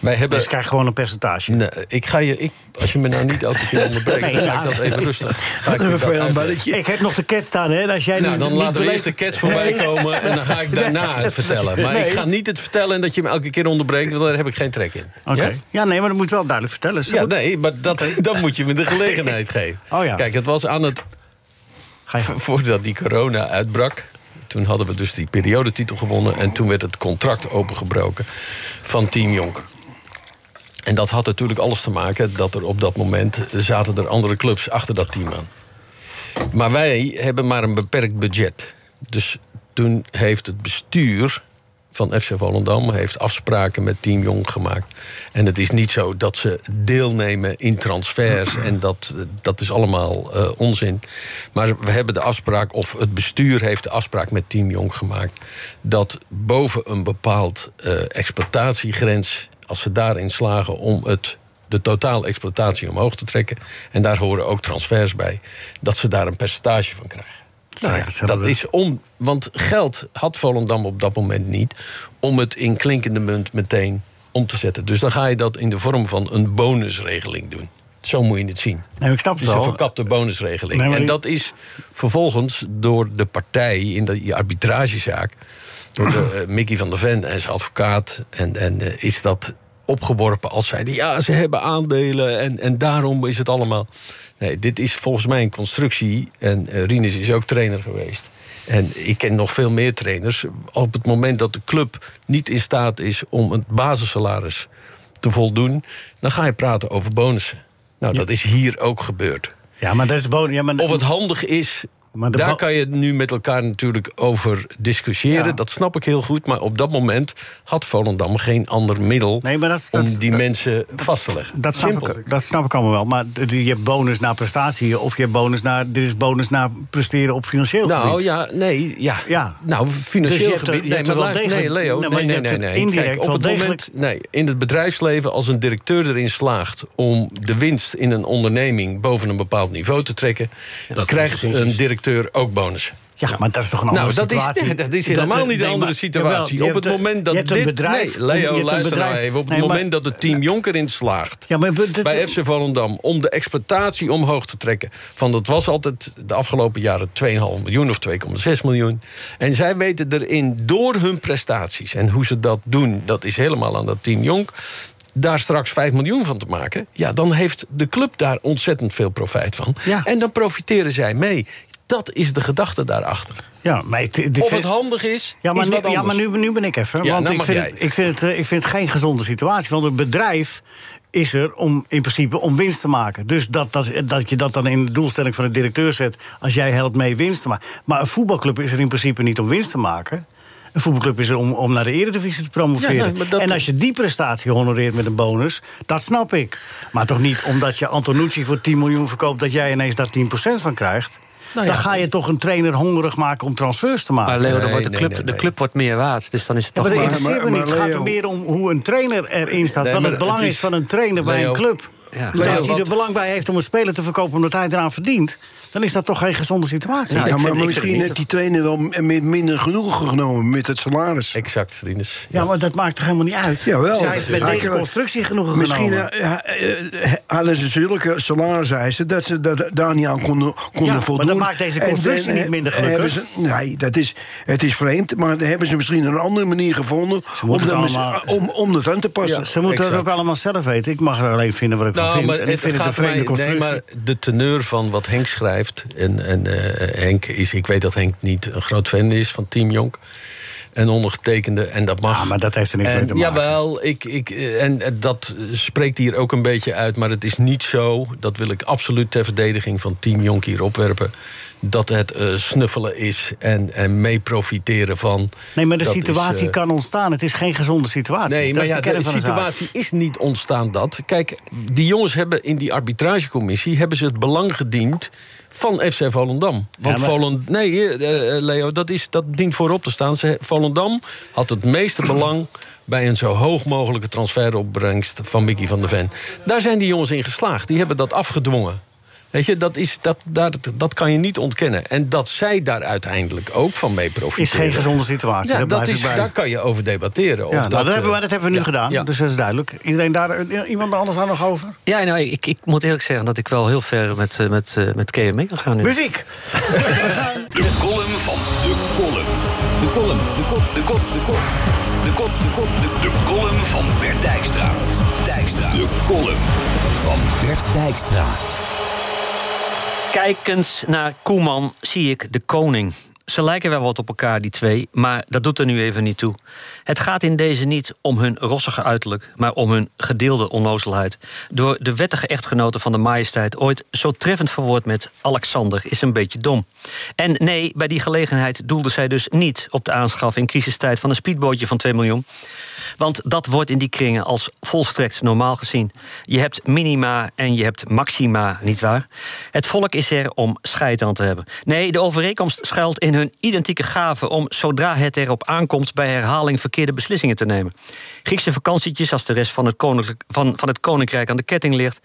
Speaker 6: wij hebben.
Speaker 3: Dus krijg gewoon een percentage.
Speaker 6: Nee, ik ga je, ik, als je me nou niet elke keer onderbreekt,
Speaker 3: Nee,
Speaker 6: dan ga
Speaker 3: ja.
Speaker 6: ik dat even
Speaker 3: [LAUGHS]
Speaker 6: rustig. ga ik
Speaker 7: Wat een
Speaker 6: dat
Speaker 7: vervelend
Speaker 6: uitleggen.
Speaker 7: balletje.
Speaker 3: Ik heb nog de cat staan, hè? Als jij
Speaker 6: Nou,
Speaker 3: nu
Speaker 6: dan
Speaker 3: niet
Speaker 6: laten we
Speaker 3: beleeft-
Speaker 6: eerst de cats voorbij komen en dan ga ik daarna het vertellen. Maar ik
Speaker 3: Nee.
Speaker 6: ga niet het vertellen en dat je me elke keer onderbreekt, want daar heb ik geen trek in.
Speaker 3: Oké.
Speaker 6: Ja?
Speaker 3: Ja? nee, maar dat moet je wel duidelijk vertellen. Is dat
Speaker 6: Ja,
Speaker 3: goed?
Speaker 6: nee, maar dat, dan moet je me de gelegenheid geven.
Speaker 3: [LAUGHS] Oh ja.
Speaker 6: Kijk, het was aan het
Speaker 3: Ga je
Speaker 6: V- [LAUGHS] Voordat die corona uitbrak, toen hadden we dus die periodetitel gewonnen... en toen werd het contract opengebroken van Team Jonker. En dat had natuurlijk alles te maken dat er op dat moment... eh, zaten er andere clubs achter dat team aan. Maar wij hebben maar een beperkt budget. Dus toen heeft het bestuur van FC Volendam heeft afspraken met Team Jong gemaakt. En het is niet zo dat ze deelnemen in transfers. En dat, dat is allemaal eh, onzin. Maar we hebben de afspraak, of het bestuur heeft de afspraak met Team Jong gemaakt... dat boven een bepaald eh, exploitatiegrens... als ze daarin slagen om het de totale exploitatie omhoog te trekken. En daar horen ook transfers bij. Dat ze daar een percentage van krijgen. Nou
Speaker 3: dat
Speaker 6: ja,
Speaker 3: zouden
Speaker 6: dat
Speaker 3: we-
Speaker 6: is om. Want geld had Volendam op dat moment niet. om het in klinkende munt meteen om te zetten. Dus dan ga je dat in de vorm van een bonusregeling doen. Zo moet je het zien.
Speaker 3: Nee, ik snap
Speaker 6: Het
Speaker 3: het
Speaker 6: is een
Speaker 3: wel.
Speaker 6: verkapte bonusregeling.
Speaker 3: Nee, maar
Speaker 6: en
Speaker 3: die-
Speaker 6: dat is vervolgens door de partij in die arbitragezaak... door de,
Speaker 3: [CLEARS THROAT]
Speaker 6: eh, Mickey van der Ven en zijn advocaat... En, en, eh, is dat opgeworpen als zeiden... ja, ze hebben aandelen en, en daarom is het allemaal... Nee, dit is volgens mij een constructie. En eh, Rinus is ook trainer geweest. En ik ken nog veel meer trainers. Op het moment dat de club niet in staat is om het basissalaris te voldoen... dan ga je praten over bonussen. Nou, dat is hier ook gebeurd.
Speaker 3: Ja, maar dat is bon- ja, maar
Speaker 6: Of het handig is
Speaker 3: Maar de
Speaker 6: Daar
Speaker 3: bal-
Speaker 6: kan je nu met elkaar natuurlijk over discussiëren.
Speaker 3: Ja.
Speaker 6: Dat snap ik heel goed. Maar op dat moment had Volendam geen ander middel
Speaker 3: Nee, maar dat is-
Speaker 6: om
Speaker 3: dat-
Speaker 6: die mensen vast te leggen.
Speaker 3: Dat snap,
Speaker 6: Simpel.
Speaker 3: ik, dat snap ik allemaal wel. Maar d- je hebt bonus na prestatie. Of je hebt bonus na. Dit is bonus na presteren op financieel gebied.
Speaker 6: Nou ja, nee, ja.
Speaker 3: Ja.
Speaker 6: Nou,
Speaker 3: Dus je
Speaker 6: financieel
Speaker 3: hebt er-
Speaker 6: gebied.
Speaker 3: je
Speaker 6: Nee,
Speaker 3: hebt
Speaker 6: maar
Speaker 3: er wel
Speaker 6: luister, nee,
Speaker 3: degelijk-
Speaker 6: Leo.
Speaker 3: Nee, maar
Speaker 6: Nee,
Speaker 3: je
Speaker 6: nee,
Speaker 3: hebt
Speaker 6: nee.
Speaker 3: het
Speaker 6: nee.
Speaker 3: indirect
Speaker 6: Kijk, op
Speaker 3: wel
Speaker 6: het moment,
Speaker 3: degelijk-
Speaker 6: nee, in het bedrijfsleven, als een directeur erin slaagt om de winst in een onderneming boven een bepaald niveau te trekken, dan krijgt een directeur ook bonussen.
Speaker 3: Ja, maar dat is toch een andere
Speaker 6: Nou, dat is,
Speaker 3: situatie?
Speaker 6: nee, [LAUGHS] dat is helemaal niet een
Speaker 3: nee,
Speaker 6: andere
Speaker 3: maar-
Speaker 6: situatie.
Speaker 3: jawel, je
Speaker 6: op het
Speaker 3: hebt een-
Speaker 6: moment dat
Speaker 3: je hebt
Speaker 6: dit...
Speaker 3: een bedrijf,
Speaker 6: nee,
Speaker 3: je hebt
Speaker 6: Leo,
Speaker 3: een
Speaker 6: luister nou
Speaker 3: bedrijf-
Speaker 6: even. Op het
Speaker 3: Nee, maar-
Speaker 6: moment dat het team Jonker in slaagt...
Speaker 3: Ja, maar dat-
Speaker 6: bij FC Volendam om de exploitatie omhoog te trekken... van dat was altijd de afgelopen jaren 2,5 miljoen of 2,6 miljoen. En zij weten erin door hun prestaties... en hoe ze dat doen, dat is helemaal aan dat team Jonk... daar straks 5 miljoen van te maken... ja, dan heeft de club daar ontzettend veel profijt van.
Speaker 3: Ja.
Speaker 6: En dan profiteren zij mee... Dat is de gedachte daarachter.
Speaker 3: Ja, maar het, het-
Speaker 6: Of het handig is,
Speaker 3: Ja, maar,
Speaker 6: is
Speaker 3: nu,
Speaker 6: wat
Speaker 3: ja, maar
Speaker 6: anders.
Speaker 3: nu, nu ben ik even.
Speaker 6: Ja,
Speaker 3: want
Speaker 6: nou
Speaker 3: ik
Speaker 6: mag
Speaker 3: vind,
Speaker 6: jij.
Speaker 3: het- ik, vind het, eh, ik vind het geen gezonde situatie. Want een bedrijf is er om, in principe om winst te maken. Dus dat, dat, dat je dat dan in de doelstelling van de directeur zet... als jij helpt mee winst te maken. Maar een voetbalclub is er in principe niet om winst te maken... Een voetbalclub is er om, om naar de eredivisie te promoveren.
Speaker 6: Ja, nee, maar dat-
Speaker 3: En als je die prestatie honoreert met een bonus, dat snap ik. Maar toch niet omdat je Antonucci voor 10 miljoen verkoopt... dat jij ineens daar 10% van krijgt.
Speaker 6: Nou ja.
Speaker 3: Dan ga je toch een trainer hongerig maken om transfers te maken.
Speaker 8: Maar Leo, dan wordt de,
Speaker 6: nee,
Speaker 8: club,
Speaker 6: nee, nee.
Speaker 8: de club wordt meer waard. Dus dan is het
Speaker 3: Ja,
Speaker 8: toch
Speaker 3: maar dat
Speaker 8: maar-
Speaker 3: interesseert me
Speaker 7: maar-
Speaker 3: niet. Het gaat er
Speaker 7: Leo-
Speaker 3: meer om hoe een trainer erin staat.
Speaker 6: Nee,
Speaker 3: wat
Speaker 6: maar
Speaker 3: het belang
Speaker 6: het
Speaker 3: is
Speaker 6: is-
Speaker 3: van een trainer bij
Speaker 6: Leo-
Speaker 3: een club.
Speaker 8: Ja.
Speaker 3: Dat
Speaker 6: Leo,
Speaker 3: als hij er
Speaker 6: wat-
Speaker 3: belang bij heeft om een speler te verkopen omdat hij eraan verdient... dan is dat toch geen gezonde situatie.
Speaker 8: Nou,
Speaker 7: Ja,
Speaker 8: ik
Speaker 7: maar
Speaker 8: vind- ik vind
Speaker 7: misschien
Speaker 8: niet
Speaker 7: heeft die trainer wel m- met minder genoegen genomen met het salaris.
Speaker 6: Exact, Rinus.
Speaker 3: ja, maar dat maakt toch helemaal niet uit?
Speaker 7: Jawel.
Speaker 3: Zij heeft met
Speaker 7: Hij
Speaker 3: deze
Speaker 7: kan-
Speaker 3: constructie genoegen
Speaker 7: Misschien
Speaker 3: genomen.
Speaker 7: eh, eh, eh, hadden ze zulke salariseisen dat ze dat, eh, daar niet aan konden, konden
Speaker 3: Ja, maar
Speaker 7: voldoen.
Speaker 3: dat maakt deze
Speaker 7: En dan,
Speaker 3: constructie
Speaker 7: eh,
Speaker 3: niet minder gelukkig.
Speaker 7: hebben Ze, nee, dat is, het is vreemd, maar dan hebben ze misschien een andere manier gevonden om
Speaker 3: moeten
Speaker 7: dat,
Speaker 3: het
Speaker 7: mis-
Speaker 3: allemaal-
Speaker 7: om, om dat aan te passen.
Speaker 3: Ze moeten dat
Speaker 6: Exact. Nou,
Speaker 3: ook allemaal zelf weten. Ik mag er alleen vinden wat ik van vind. En ik vind het een
Speaker 6: mij-
Speaker 3: vreemde constructie.
Speaker 6: Nee, maar de teneur van wat Henk schrijft. En, en eh, Henk is, ik weet dat Henk niet een groot fan is van Team Jonk. En ondergetekende, en dat mag.
Speaker 3: Ja, Ah, maar dat heeft er niks
Speaker 6: En
Speaker 3: mee te maken.
Speaker 6: Jawel, ik, ik, eh, en eh, dat eh, spreekt hier ook een beetje uit. Maar het is niet zo, dat wil ik absoluut ter verdediging van Team Jonk hier opwerpen. Dat het eh, snuffelen is en, en mee profiteren van.
Speaker 3: Nee, maar de
Speaker 6: Dat is,
Speaker 3: situatie
Speaker 6: eh,
Speaker 3: kan ontstaan. Het is geen gezonde situatie.
Speaker 6: Nee,
Speaker 3: Dat
Speaker 6: maar
Speaker 3: is
Speaker 6: ja,
Speaker 3: de, kern
Speaker 6: de
Speaker 3: van zaak.
Speaker 6: situatie is niet ontstaan dat. Kijk, die jongens hebben in die arbitragecommissie... hebben ze het belang gediend van FC Volendam. Want
Speaker 3: maar-
Speaker 6: Volend- Nee, eh, eh, Leo, dat, is, dat dient voorop te staan. Ze, Volendam had het meeste belang... bij een zo hoog mogelijke transferopbrengst van Mickey van der Ven. Daar zijn die jongens in geslaagd. Die hebben dat afgedwongen. Weet je, dat, is, dat, daar, dat kan je niet ontkennen. En dat zij daar uiteindelijk ook van mee profiteren.
Speaker 3: Is geen gezonde situatie.
Speaker 6: Ja,
Speaker 3: daar
Speaker 6: dat
Speaker 3: blijf
Speaker 6: is,
Speaker 3: ik bij.
Speaker 6: daar kan je over debatteren. of
Speaker 3: Ja, nou, dat,
Speaker 6: eh,
Speaker 3: hebben we, dat hebben we nu
Speaker 6: ja,
Speaker 3: gedaan,
Speaker 6: ja.
Speaker 3: dus dat is duidelijk. Iedereen daar, eh, iemand anders aan nog over?
Speaker 8: Ja, nou, ik, ik moet eerlijk zeggen dat ik wel heel ver met, eh, met, eh, met KME kan gaan nu.
Speaker 3: Muziek!
Speaker 2: De column van de column. De column, de kop, de kop, de kop. De kop, de kop, de De column van Bert Dijkstra. Dijkstra. De column van Bert Dijkstra.
Speaker 8: Kijkend naar Koeman zie ik de koning. Ze lijken wel wat op elkaar, die twee, maar dat doet er nu even niet toe. Het gaat in deze niet om hun rossige uiterlijk, maar om hun gedeelde onnozelheid. Door de wettige echtgenote van de majesteit ooit zo treffend verwoord met Alexander is een beetje dom. En nee, bij die gelegenheid doelde zij dus niet op de aanschaf in crisistijd van een speedbootje van 2 miljoen. Want dat wordt in die kringen als volstrekt normaal gezien. Je hebt minima en je hebt maxima, nietwaar? Het volk is er om scheid aan te hebben. Nee, de overeenkomst schuilt in hun identieke gave om zodra het erop aankomt bij herhaling verkeerde beslissingen te nemen. Griekse vakantietjes, als de rest van het koninklijk- van, van het koninkrijk aan de ketting ligt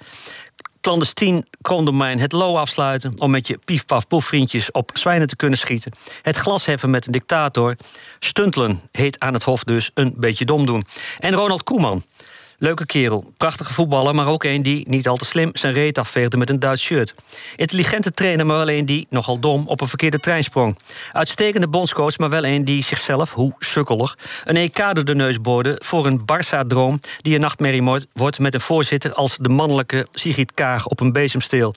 Speaker 8: clandestien kroondomein het low afsluiten... om met je pief-paf-poef vriendjes op zwijnen te kunnen schieten... het glas heffen met een dictator... stuntelen heet aan het hof dus een beetje dom doen. En Ronald Koeman... Leuke kerel, prachtige voetballer, maar ook een die, niet al te slim, zijn reet afveegde met een Duits shirt. Intelligente trainer, maar wel een die, nogal dom, op een verkeerde trein sprong. Uitstekende bondscoach, maar wel een die zichzelf, hoe sukkelig, een EK door de neus boorde voor een Barça-droom die een nachtmerrie mo- wordt met een voorzitter als de mannelijke Sigrid Kaag op een bezemsteel.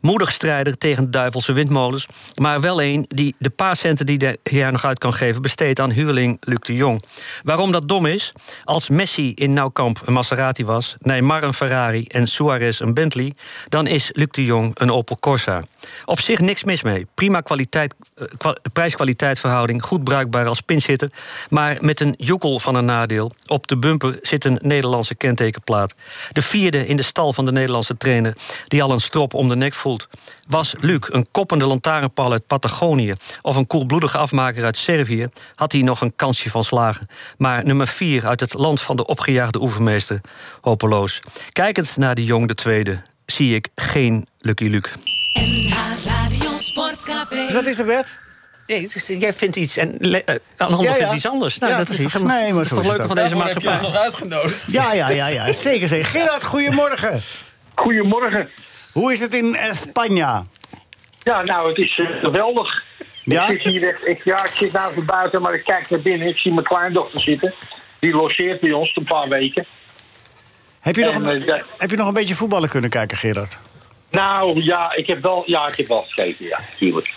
Speaker 8: Moedig strijder tegen duivelse windmolens, maar wel een die de paar centen die de- hij er nog uit kan geven besteedt aan huurling Luc de Jong. Waarom dat dom is? Als Messi in Noukamp een Maserati was, Neymar een Ferrari en Suarez een Bentley, dan is Luc de Jong een Opel Corsa. Op zich niks mis mee. Prima kwaliteit, eh, kwa- prijs-kwaliteit verhouding, goed bruikbaar als pinchitter, maar met een joekel van een nadeel. Op de bumper zit een Nederlandse kentekenplaat. De vierde in de stal van de Nederlandse trainer, die al een strop om de nek voelt. Was Luc een koppende lantaarnpaal uit Patagonië of een koelbloedige afmaker uit Servië, had hij nog een kansje van slagen. Maar nummer 4 uit het land van de opgejaagde oefenmeester, hopeloos. Kijkend naar de Jong de Tweede, zie ik geen Lucky Luke.
Speaker 9: NH Radio Sportcafé.
Speaker 3: Wat is er, Bert?
Speaker 8: Nee, het is- jij vindt iets en le- eh, een ander
Speaker 3: Ja, ja.
Speaker 8: vindt iets anders. Nou,
Speaker 3: Ja,
Speaker 8: dat is toch
Speaker 3: precies.
Speaker 8: helemaal-
Speaker 3: Nee, maar
Speaker 8: dat is
Speaker 3: zo
Speaker 8: toch
Speaker 3: is het
Speaker 8: leuker
Speaker 3: ook.
Speaker 8: van deze
Speaker 6: Daarvoor heb je ons
Speaker 8: maatschappij.
Speaker 6: nog uitgenodigd.
Speaker 3: Ja, ja, ja, ja. Zeker, zeker. Gerard, goedemorgen.
Speaker 10: Goedemorgen.
Speaker 3: Hoe is het in eh, Spanje?
Speaker 10: Ja, nou, het is eh, geweldig.
Speaker 3: Ja?
Speaker 10: Ik zit hier echt, ik, ja, ik zit nou van buiten, maar ik kijk naar binnen. Ik zie mijn kleindochter zitten. Die logeert bij ons een paar weken.
Speaker 3: Heb je, nog
Speaker 10: En,
Speaker 3: een,
Speaker 10: eh, ja.
Speaker 3: heb je nog een beetje voetballen kunnen kijken, Gerard?
Speaker 10: Nou, ja, ik heb wel, ja, ik heb wel gekeken, ja, natuurlijk.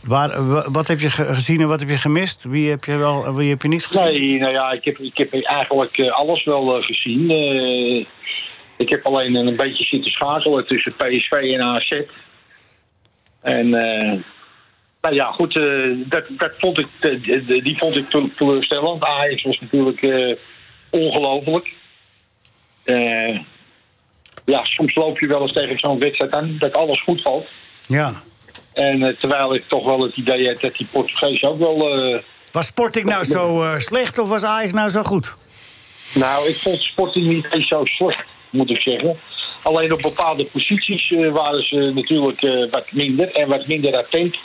Speaker 3: Waar, wa- wat heb je ge- gezien en wat heb je gemist? Wie heb je wel en wie heb je niet gezien?
Speaker 10: Nee, nou ja, ik heb, ik heb eigenlijk eh, alles wel eh, gezien. Eh, ik heb alleen een beetje zitten schakelen tussen PSV en AZ. En eh, nou ja, goed, eh, dat, dat vond ik, eh, d- d- die vond ik te- teleurstellend. Ajax was natuurlijk eh, ongelooflijk. Eh, ja, soms loop je wel eens tegen zo'n wedstrijd aan dat alles goed valt.
Speaker 3: Ja.
Speaker 10: En eh, terwijl ik toch wel het idee had dat die Portugees ook wel... eh,
Speaker 3: Was Sporting nou zo eh, slecht of was Ajax nou zo goed?
Speaker 10: Nou, ik vond Sporting niet eens zo slecht, moet ik zeggen. Alleen op bepaalde posities eh, waren ze natuurlijk eh, wat minder. En wat minder attent,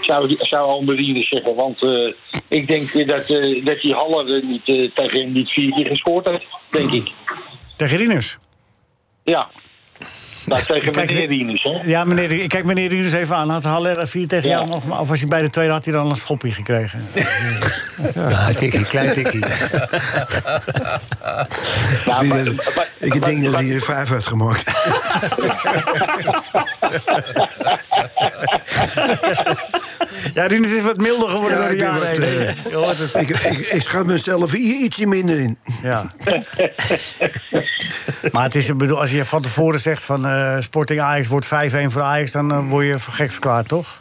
Speaker 10: zou, die- zou Almerine zeggen. Want eh, ik denk dat, eh, dat die Haller eh, niet, eh, tegen hem niet vier keer gescoord had, denk ik.
Speaker 3: Tegen Rieners.
Speaker 10: Ja. Nou, tegen
Speaker 3: Kijk,
Speaker 10: meneer Rienus, hè.
Speaker 3: Ja, meneer, Rie- kijk meneer Rieners even aan. Had Haller 4 tegen
Speaker 10: Ja.
Speaker 3: jou nog? maar- Of was hij bij de tweede, had hij dan een schopje gekregen?
Speaker 5: Ja, een tikkie, klein
Speaker 3: [LAUGHS]
Speaker 5: tikkie.
Speaker 10: Nou, maar-
Speaker 7: Ik
Speaker 10: maar-
Speaker 7: ik
Speaker 10: maar-
Speaker 7: denk dat
Speaker 10: maar-
Speaker 7: hij er vijf heeft gemaakt.
Speaker 3: [LAUGHS] Ja, Rieners is wat milder geworden
Speaker 7: Ja,
Speaker 3: door de
Speaker 7: ik ben
Speaker 3: jaren
Speaker 7: wat,
Speaker 3: heen.
Speaker 7: eh, ik, ik, ik schat mezelf i- ietsje minder in.
Speaker 3: Ja. [LAUGHS] maar het is, ik bedoel, als je van tevoren zegt van eh, Sporting Ajax wordt 5-1 voor Ajax, dan eh, word je voor gek verklaard, toch?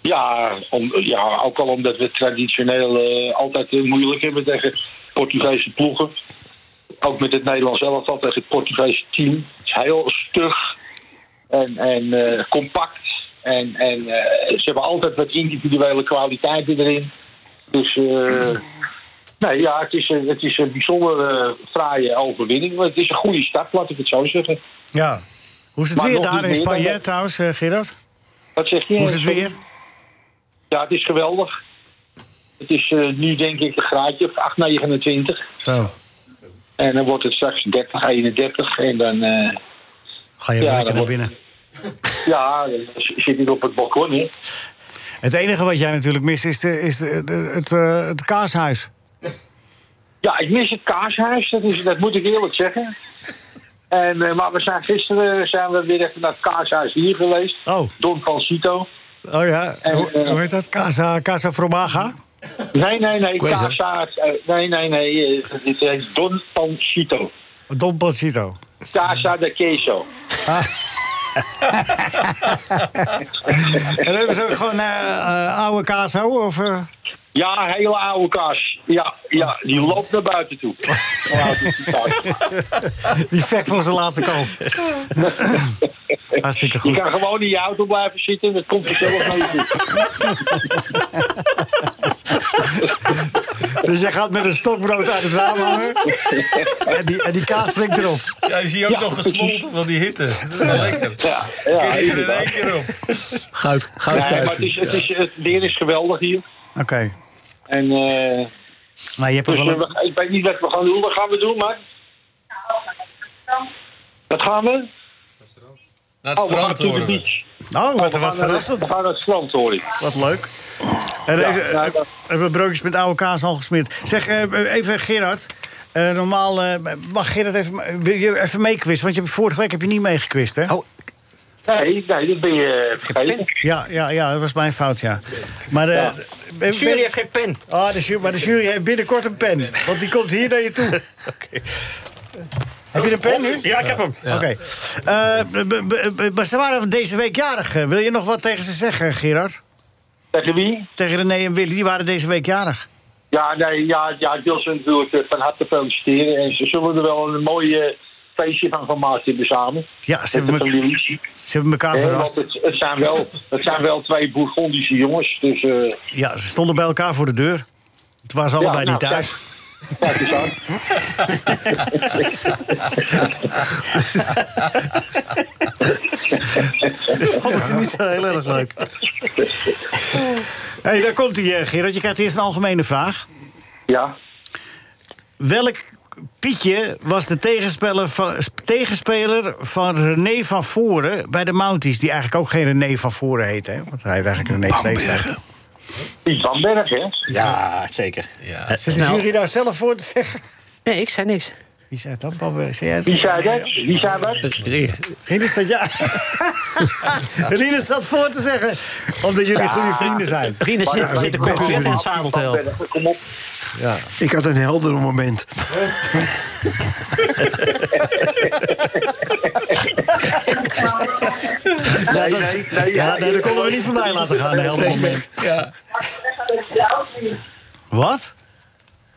Speaker 10: Ja, om, ja, ook al omdat we traditioneel eh, altijd heel moeilijk hebben tegen Portugese ploegen. Ook met het Nederlands elftal tegen het Portugese team. Het is heel stug en, en eh, compact. En, en eh, ze hebben altijd wat individuele kwaliteiten erin. Dus eh, nee, ja, het is, een- het is een bijzonder eh, fraaie overwinning. Maar het is een goede start, laat ik het zo zeggen.
Speaker 3: Ja. Hoe is het
Speaker 10: Maar
Speaker 3: weer
Speaker 10: nog
Speaker 3: daar
Speaker 10: niet
Speaker 3: in
Speaker 10: meer dan
Speaker 3: Spanje
Speaker 10: dat.
Speaker 3: trouwens, eh, Gerard?
Speaker 10: Wat zeg je?
Speaker 3: Hoe is het weer?
Speaker 10: Ja, het is geweldig. Het is eh, nu denk ik een graadje of 8, 29.
Speaker 3: Zo.
Speaker 10: En dan wordt het straks 30, 31. En dan, eh,
Speaker 3: Ga je
Speaker 10: Ja,
Speaker 3: wel
Speaker 10: dat
Speaker 3: lekker naar
Speaker 10: wordt-
Speaker 3: binnen.
Speaker 10: ja, dan zit ik op het balkon. Hè.
Speaker 3: Het enige wat jij natuurlijk mist is, de, is de, de- het, eh, het kaashuis.
Speaker 10: Ja, ik mis het kaashuis, dat, is, dat moet ik eerlijk zeggen. En, eh, maar we zijn gisteren zijn we weer even naar het kaashuis hier geweest.
Speaker 3: Oh.
Speaker 10: Don Calcito.
Speaker 3: Oh ja,
Speaker 10: En,
Speaker 3: hoe,
Speaker 10: eh,
Speaker 3: hoe heet dat? Casa, Casa Fromaga?
Speaker 10: Nee, nee, nee,
Speaker 6: Quasar.
Speaker 10: kaashuis. eh, nee, nee, nee, eh, dit heet Don Calcito.
Speaker 3: Don Ah. Pancito.
Speaker 10: Casa de Queso.
Speaker 3: [LAUGHS] En dan hebben ze ook gewoon eh, eh, oude kaas houden? Of, eh?
Speaker 10: Ja, hele oude kaas. Ja, ja die
Speaker 6: Oh.
Speaker 10: loopt naar buiten
Speaker 6: [LAUGHS]
Speaker 10: toe. Ja, dat is die kaas.
Speaker 3: die vekt voor zijn laatste kans. [LAUGHS] Hartstikke
Speaker 10: Je
Speaker 3: goed.
Speaker 10: kan gewoon in je auto blijven zitten, dat komt vanzelf naar je toe.
Speaker 6: [LAUGHS]
Speaker 3: Dus jij gaat met een stokbrood uit het raam
Speaker 10: [LAUGHS]
Speaker 3: hangen. En die, en die kaas springt erop.
Speaker 6: Ja, je ziet ook nog gesmolten van die hitte. Dat is wel lekker.
Speaker 10: Ja,
Speaker 6: Kijk
Speaker 10: ja,
Speaker 6: er in
Speaker 10: inderdaad.
Speaker 6: één keer op.
Speaker 5: Goud, goud
Speaker 10: Nee, maar het,
Speaker 5: schuifje.
Speaker 10: is, het, is, het weer is geweldig hier.
Speaker 3: Oké.
Speaker 10: En, eh,
Speaker 3: Maar je hebt ook
Speaker 10: dus
Speaker 3: wel een-
Speaker 10: we- ik weet niet wat we gaan doen. Wat gaan we doen, maar... Wat gaan we?
Speaker 6: Naar het
Speaker 10: Oh, we
Speaker 6: strand
Speaker 10: gaan to the
Speaker 6: horen. we.
Speaker 10: beach.
Speaker 3: Oh, wat,
Speaker 10: We gaan
Speaker 3: wat
Speaker 10: naar het- we
Speaker 3: verrassend.
Speaker 10: gaan naar het strand, hoor ik.
Speaker 3: Wat leuk. En
Speaker 10: Ja,
Speaker 3: even,
Speaker 10: ja,
Speaker 3: eh,
Speaker 10: dat-
Speaker 3: hebben we broodjes met oude kaas al gesmeerd. Zeg, eh, even Gerard. eh, normaal eh, mag Gerard even, wil je even meequisten. Want je hebt, vorige week heb je niet meegekwist, hè?
Speaker 8: Oh,
Speaker 10: Nee, nee, dat ben je eh, vergeten.
Speaker 3: Ja, ja, ja, dat was mijn fout, ja. Maar eh, de,
Speaker 8: de jury heeft geen pen. [LAUGHS]
Speaker 3: Ah, de jury, maar de jury heeft binnenkort een pen. Want die komt hier naar je toe. Heb je een pen nu?
Speaker 11: Ja, ik heb hem.
Speaker 3: Oké. Eh, b- b- b- maar ze waren deze week jarig. eh. Wil je nog wat tegen ze zeggen, Gerard?
Speaker 10: Tegen wie?
Speaker 3: Tegen René en Willy. Die waren deze week jarig.
Speaker 10: Ja, nee, ja, ja, ik wil ze natuurlijk eh, van harte feliciteren. En ze zullen er wel een mooi eh, feestje van gemaakt hebben samen.
Speaker 3: Ja, ze hebben,
Speaker 10: Met de
Speaker 3: elkaar-
Speaker 10: familie.
Speaker 3: ze hebben elkaar
Speaker 10: Eh, want
Speaker 3: verrast.
Speaker 10: het, het, zijn wel, het zijn wel twee Bourgondische jongens. Dus, eh,
Speaker 3: Ja, ze stonden bij elkaar voor de deur. Het waren ze
Speaker 10: Ja,
Speaker 3: allebei
Speaker 10: nou,
Speaker 3: niet thuis.
Speaker 10: kijk eens aan.
Speaker 3: [LAUGHS] Dat [LAUGHS] vonden ze niet zo heel erg leuk. hey, daar komt hij, eh, Gerard. Je krijgt eerst een algemene vraag.
Speaker 10: Ja.
Speaker 3: Welk Pietje was de tegenspeler van, tegenspeler van René van Voren bij de Mounties? Die eigenlijk ook geen René van Voren heet, hè? Want hij heeft eigenlijk René Sleesberg.
Speaker 10: Piet van Berg, hè?
Speaker 11: Ja, zeker.
Speaker 3: Ja, Zit de jury daar zelf voor te zeggen?
Speaker 8: Nee, ik zei niks.
Speaker 3: Wie zei dat, Bamberg? Zei jij het?
Speaker 10: Wie zei dat? Wie zei dat?
Speaker 3: Rinus staat ja. [LAUGHS] Rinus staat voor te zeggen, omdat jullie goede vrienden zijn.
Speaker 8: Rinus zit,
Speaker 3: Ja,
Speaker 8: zit de
Speaker 3: beste
Speaker 8: concurrent
Speaker 3: vrienden.
Speaker 8: in het zadel te helpen.
Speaker 10: Kom op.
Speaker 3: [LAUGHS] Ja.
Speaker 7: Ik had een helder
Speaker 3: [LAUGHS]
Speaker 7: moment.
Speaker 10: Nee, nee, nee.
Speaker 3: Ja, nee, dat konden we niet voorbij laten gaan, een helder
Speaker 5: [LAUGHS]
Speaker 3: moment. Wat?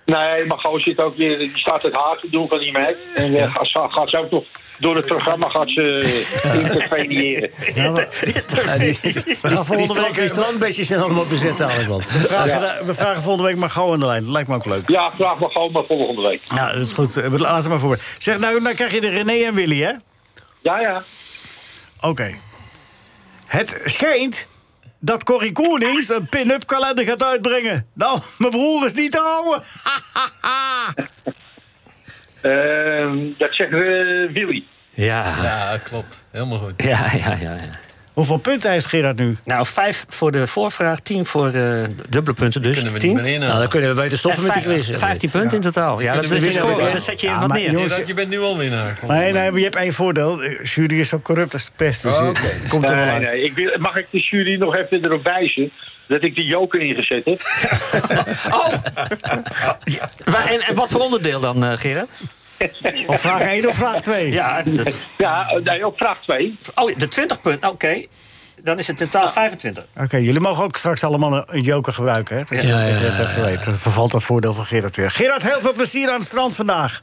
Speaker 10: Nee, maar gewoon zit ook weer, die staat het haar te doen van die meid. En eh, gaat, ze- gaat ze ook nog door het programma gaat ze eh, interveneren.
Speaker 3: Ja, maar- we gaan
Speaker 5: Die
Speaker 3: volgende
Speaker 5: strand-
Speaker 3: week...
Speaker 5: die strandbeestjes zijn allemaal bezet, Aleman.
Speaker 3: We vragen, we vragen volgende week maar gauw aan de lijn. Dat lijkt me ook leuk.
Speaker 10: Ja, vraag me gewoon maar volgende week.
Speaker 3: Ja, dat is goed. We Laten we maar voor. Zeg, nou, dan krijg je de René en Willy, hè?
Speaker 10: Ja, ja.
Speaker 3: Oké. Het schijnt dat Corrie Konings een pin-up kalender gaat uitbrengen. Nou, [LAUGHS] mijn broer is niet te houden.
Speaker 10: [LAUGHS]
Speaker 3: [LAUGHS]
Speaker 10: Ehm, dat zegt eh, Willy.
Speaker 8: Ja,
Speaker 6: Ja, klopt. Helemaal goed.
Speaker 8: ja, ja, ja. ja.
Speaker 3: Hoeveel punten heeft Gerard nu?
Speaker 8: Nou, vijf voor de voorvraag, tien voor eh dubbele punten dus.
Speaker 6: Kunnen we
Speaker 8: tien.
Speaker 6: niet meer inhalen.
Speaker 5: Nou, dan kunnen we beter stoppen
Speaker 8: Ja,
Speaker 5: met die
Speaker 8: vijf-
Speaker 5: quiz.
Speaker 8: Vijftien punten in totaal. Ja, dat
Speaker 6: Kunnen we
Speaker 8: is een
Speaker 6: winnen
Speaker 8: score.
Speaker 6: weer, hè?
Speaker 8: Dan zet je
Speaker 3: Ja,
Speaker 8: wat
Speaker 3: maar
Speaker 8: neer.
Speaker 3: jongens,
Speaker 6: Gerard, je bent nu al winnaar. Kom.
Speaker 3: Nee, nee, maar je hebt één voordeel. De jury is zo corrupt als de pest. Dus
Speaker 6: Oh,
Speaker 3: eh,
Speaker 6: oké.
Speaker 3: komt er wel
Speaker 10: Nee,
Speaker 3: uit.
Speaker 10: nee. Ik wil, mag ik de jury nog even erop wijzen dat ik de joker ingezet
Speaker 3: [LAUGHS]
Speaker 10: heb?
Speaker 8: Oh! Ja. Waar- En, en wat voor onderdeel dan, eh, Gerard?
Speaker 3: Of vraag 1 of vraag 2?
Speaker 8: Ja, dat,
Speaker 10: Ja, eh, nee, op vraag 2.
Speaker 8: oh, de 20 punten, oké. Dan is het in totaal 25.
Speaker 3: Oké, jullie mogen ook straks allemaal een- een joker gebruiken. Hè? Dus
Speaker 5: Ja,
Speaker 3: dat
Speaker 5: ja,
Speaker 3: je dat even weet. Dan vervalt dat voordeel van Gerard weer. Gerard, heel veel plezier aan het strand vandaag.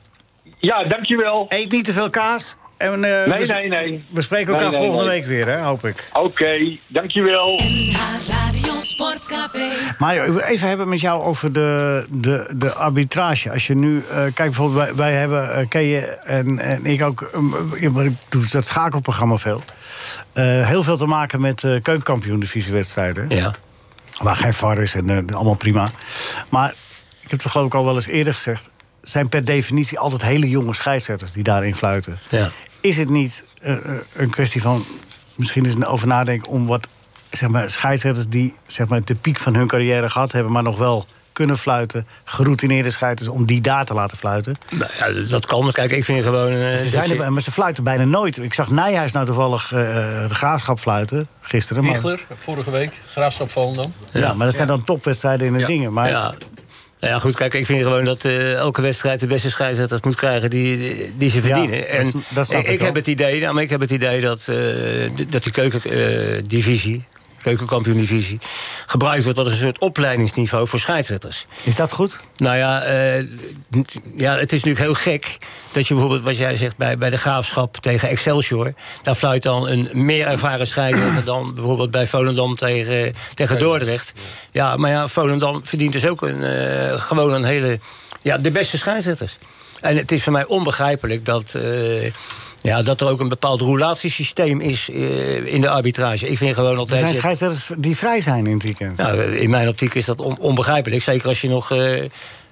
Speaker 10: Ja, dankjewel.
Speaker 3: Eet niet te veel kaas. En, eh,
Speaker 10: Nee,
Speaker 3: we,
Speaker 10: nee, nee.
Speaker 3: we spreken elkaar
Speaker 10: Nee, nee,
Speaker 3: volgende
Speaker 10: nee.
Speaker 3: week weer, hè, hoop ik.
Speaker 10: Oké, dankjewel.
Speaker 9: NH Radio Sportcafé.
Speaker 3: Mario, ik wil even hebben met jou over de, de, de arbitrage. Als je nu, eh kijk bijvoorbeeld, wij, wij hebben, eh, ken je en, en ik ook, eh, maar ik doe dat schakelprogramma veel. Eh, heel veel te maken met eh keukenkampioen-divisiewedstrijden.
Speaker 5: Ja.
Speaker 3: Waar geen VAR is en eh, allemaal prima. Maar ik heb het geloof ik al wel eens eerder gezegd. zijn per definitie altijd hele jonge scheidsrechters die daarin fluiten.
Speaker 5: Ja.
Speaker 3: Is het niet eh, eh, een kwestie van misschien eens over nadenken om wat zeg maar, scheidsrechters die zeg maar, de piek van hun carrière gehad hebben, maar nog wel kunnen fluiten, geroutineerde scheidsrechters, om die daar te laten fluiten?
Speaker 5: Nou, ja, dat kan. Kijk, ik vind gewoon... eh,
Speaker 3: Ze
Speaker 5: dat
Speaker 3: zijn
Speaker 5: je-
Speaker 3: er, maar ze fluiten bijna nooit. Ik zag Nijhuis nou toevallig eh, de graafschap fluiten gisteren. Maar,
Speaker 6: Wiegler, vorige week, graafschap Volendam.
Speaker 3: ja, maar dat zijn dan topwedstrijden in de
Speaker 6: Ja.
Speaker 3: dingen. Maar
Speaker 5: ja. Nou ja, goed, kijk, ik vind gewoon dat eh, elke wedstrijd de beste scheidsrechters moet krijgen die, die, die ze verdienen.
Speaker 3: dat
Speaker 5: en
Speaker 3: is- dat snap
Speaker 5: ik,
Speaker 3: ik wel.
Speaker 5: heb het idee, nou, maar ik heb het idee dat, eh, d- dat die eh, keukendivisie, keukenkampioen-divisie, gebruikt wordt als een soort opleidingsniveau voor scheidsrechters.
Speaker 3: is dat goed?
Speaker 5: Nou ja, eh, niet- ja, het is natuurlijk heel gek dat je bijvoorbeeld, wat jij zegt, bij, bij de graafschap tegen Excelsior. daar fluit dan een meer ervaren scheidsrechter dan bijvoorbeeld bij Volendam tegen, tegen Dordrecht. Ja, maar ja, Volendam verdient dus ook een, eh, gewoon een hele. ja, de beste scheidsrechters. En het is voor mij onbegrijpelijk dat, eh, ja, dat er ook een bepaald roulatiesysteem is eh, in de arbitrage. Ik vind gewoon
Speaker 3: Er
Speaker 5: altijd.
Speaker 3: zijn
Speaker 5: je-
Speaker 3: scheidsrechters die vrij zijn in het weekend.
Speaker 5: nou, in mijn optiek is dat on- onbegrijpelijk. Zeker als je nog eh,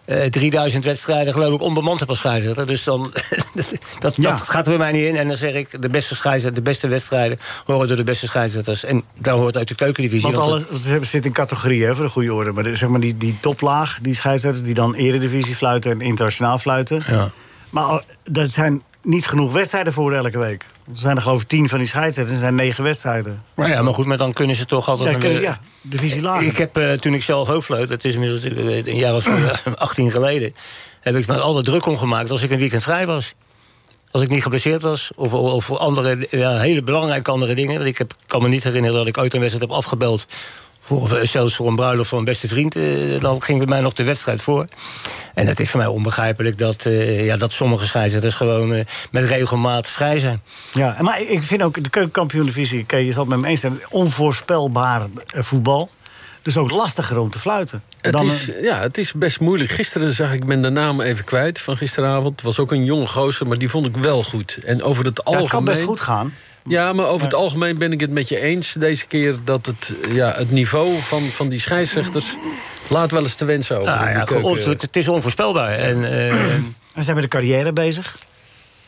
Speaker 5: eh, 3000 wedstrijden, geloof ik, onbemand hebt als scheidsrechter. Dus dan, [LAUGHS] dat, dat
Speaker 3: Ja.
Speaker 5: gaat er bij mij niet in. En dan zeg ik, de beste, scheidsrechter- de beste wedstrijden horen door de beste scheidsrechters. En daar hoort uit de keukendivisie.
Speaker 3: Want
Speaker 5: want
Speaker 3: alles, want ze hebben- zitten in categorieën, hè, voor de goede orde. Maar de- zeg maar die, die toplaag, die scheidsrechters die dan eredivisie fluiten en internationaal fluiten.
Speaker 5: Ja.
Speaker 3: Maar al- er zijn niet genoeg wedstrijden voor elke week. Er zijn er geloof ik tien van die scheidsrechters en er zijn negen wedstrijden.
Speaker 5: dat- Nou ja, maar goed, maar dan kunnen ze toch altijd...
Speaker 3: Ja,
Speaker 5: een- eh,
Speaker 3: kun- ja divisie laag.
Speaker 5: Ik heb eh, toen ik zelf ook floot, dat is inmiddels eh,
Speaker 3: [CLEARS THROAT]
Speaker 5: een jaar of eh, 18 geleden, heb ik me altijd druk om gemaakt als ik een weekend vrij was. Als ik niet geblesseerd was, of, of, of andere ja, hele belangrijke andere dingen. Want ik heb, kan me niet herinneren dat ik ooit een wedstrijd heb afgebeld. Voor, of, eh, zelfs voor een bruiloft van een beste vriend. eh, dan ging bij mij nog de wedstrijd voor. En het is voor mij onbegrijpelijk dat, eh, ja, dat sommige scheidsrechters gewoon eh, met regelmaat vrij zijn.
Speaker 3: Ja, en maar ik vind ook de keukenkampioen-divisie... oké, je zal het met me eens zijn, onvoorspelbaar eh, voetbal. Dus ook lastiger om te fluiten.
Speaker 6: Het
Speaker 3: dan eh,
Speaker 6: is, ja, het is best moeilijk. Gisteren zag ik ben de naam even kwijt van gisteravond. Het was ook een jonge gozer, maar die vond ik wel goed. En over het
Speaker 3: Ja,
Speaker 6: algemeen...
Speaker 3: het kan best goed gaan.
Speaker 6: Ja, maar over het algemeen ben ik het met je eens deze keer... dat het, ja, het niveau van, van die scheidsrechters laat wel eens te wensen over.
Speaker 3: Ah,
Speaker 5: Nou
Speaker 6: in die
Speaker 5: ja,
Speaker 6: keuken.
Speaker 5: goed, het, het is onvoorspelbaar. En,
Speaker 3: eh,
Speaker 5: eh,
Speaker 3: [CLEARS THROAT] we zijn met de carrière bezig.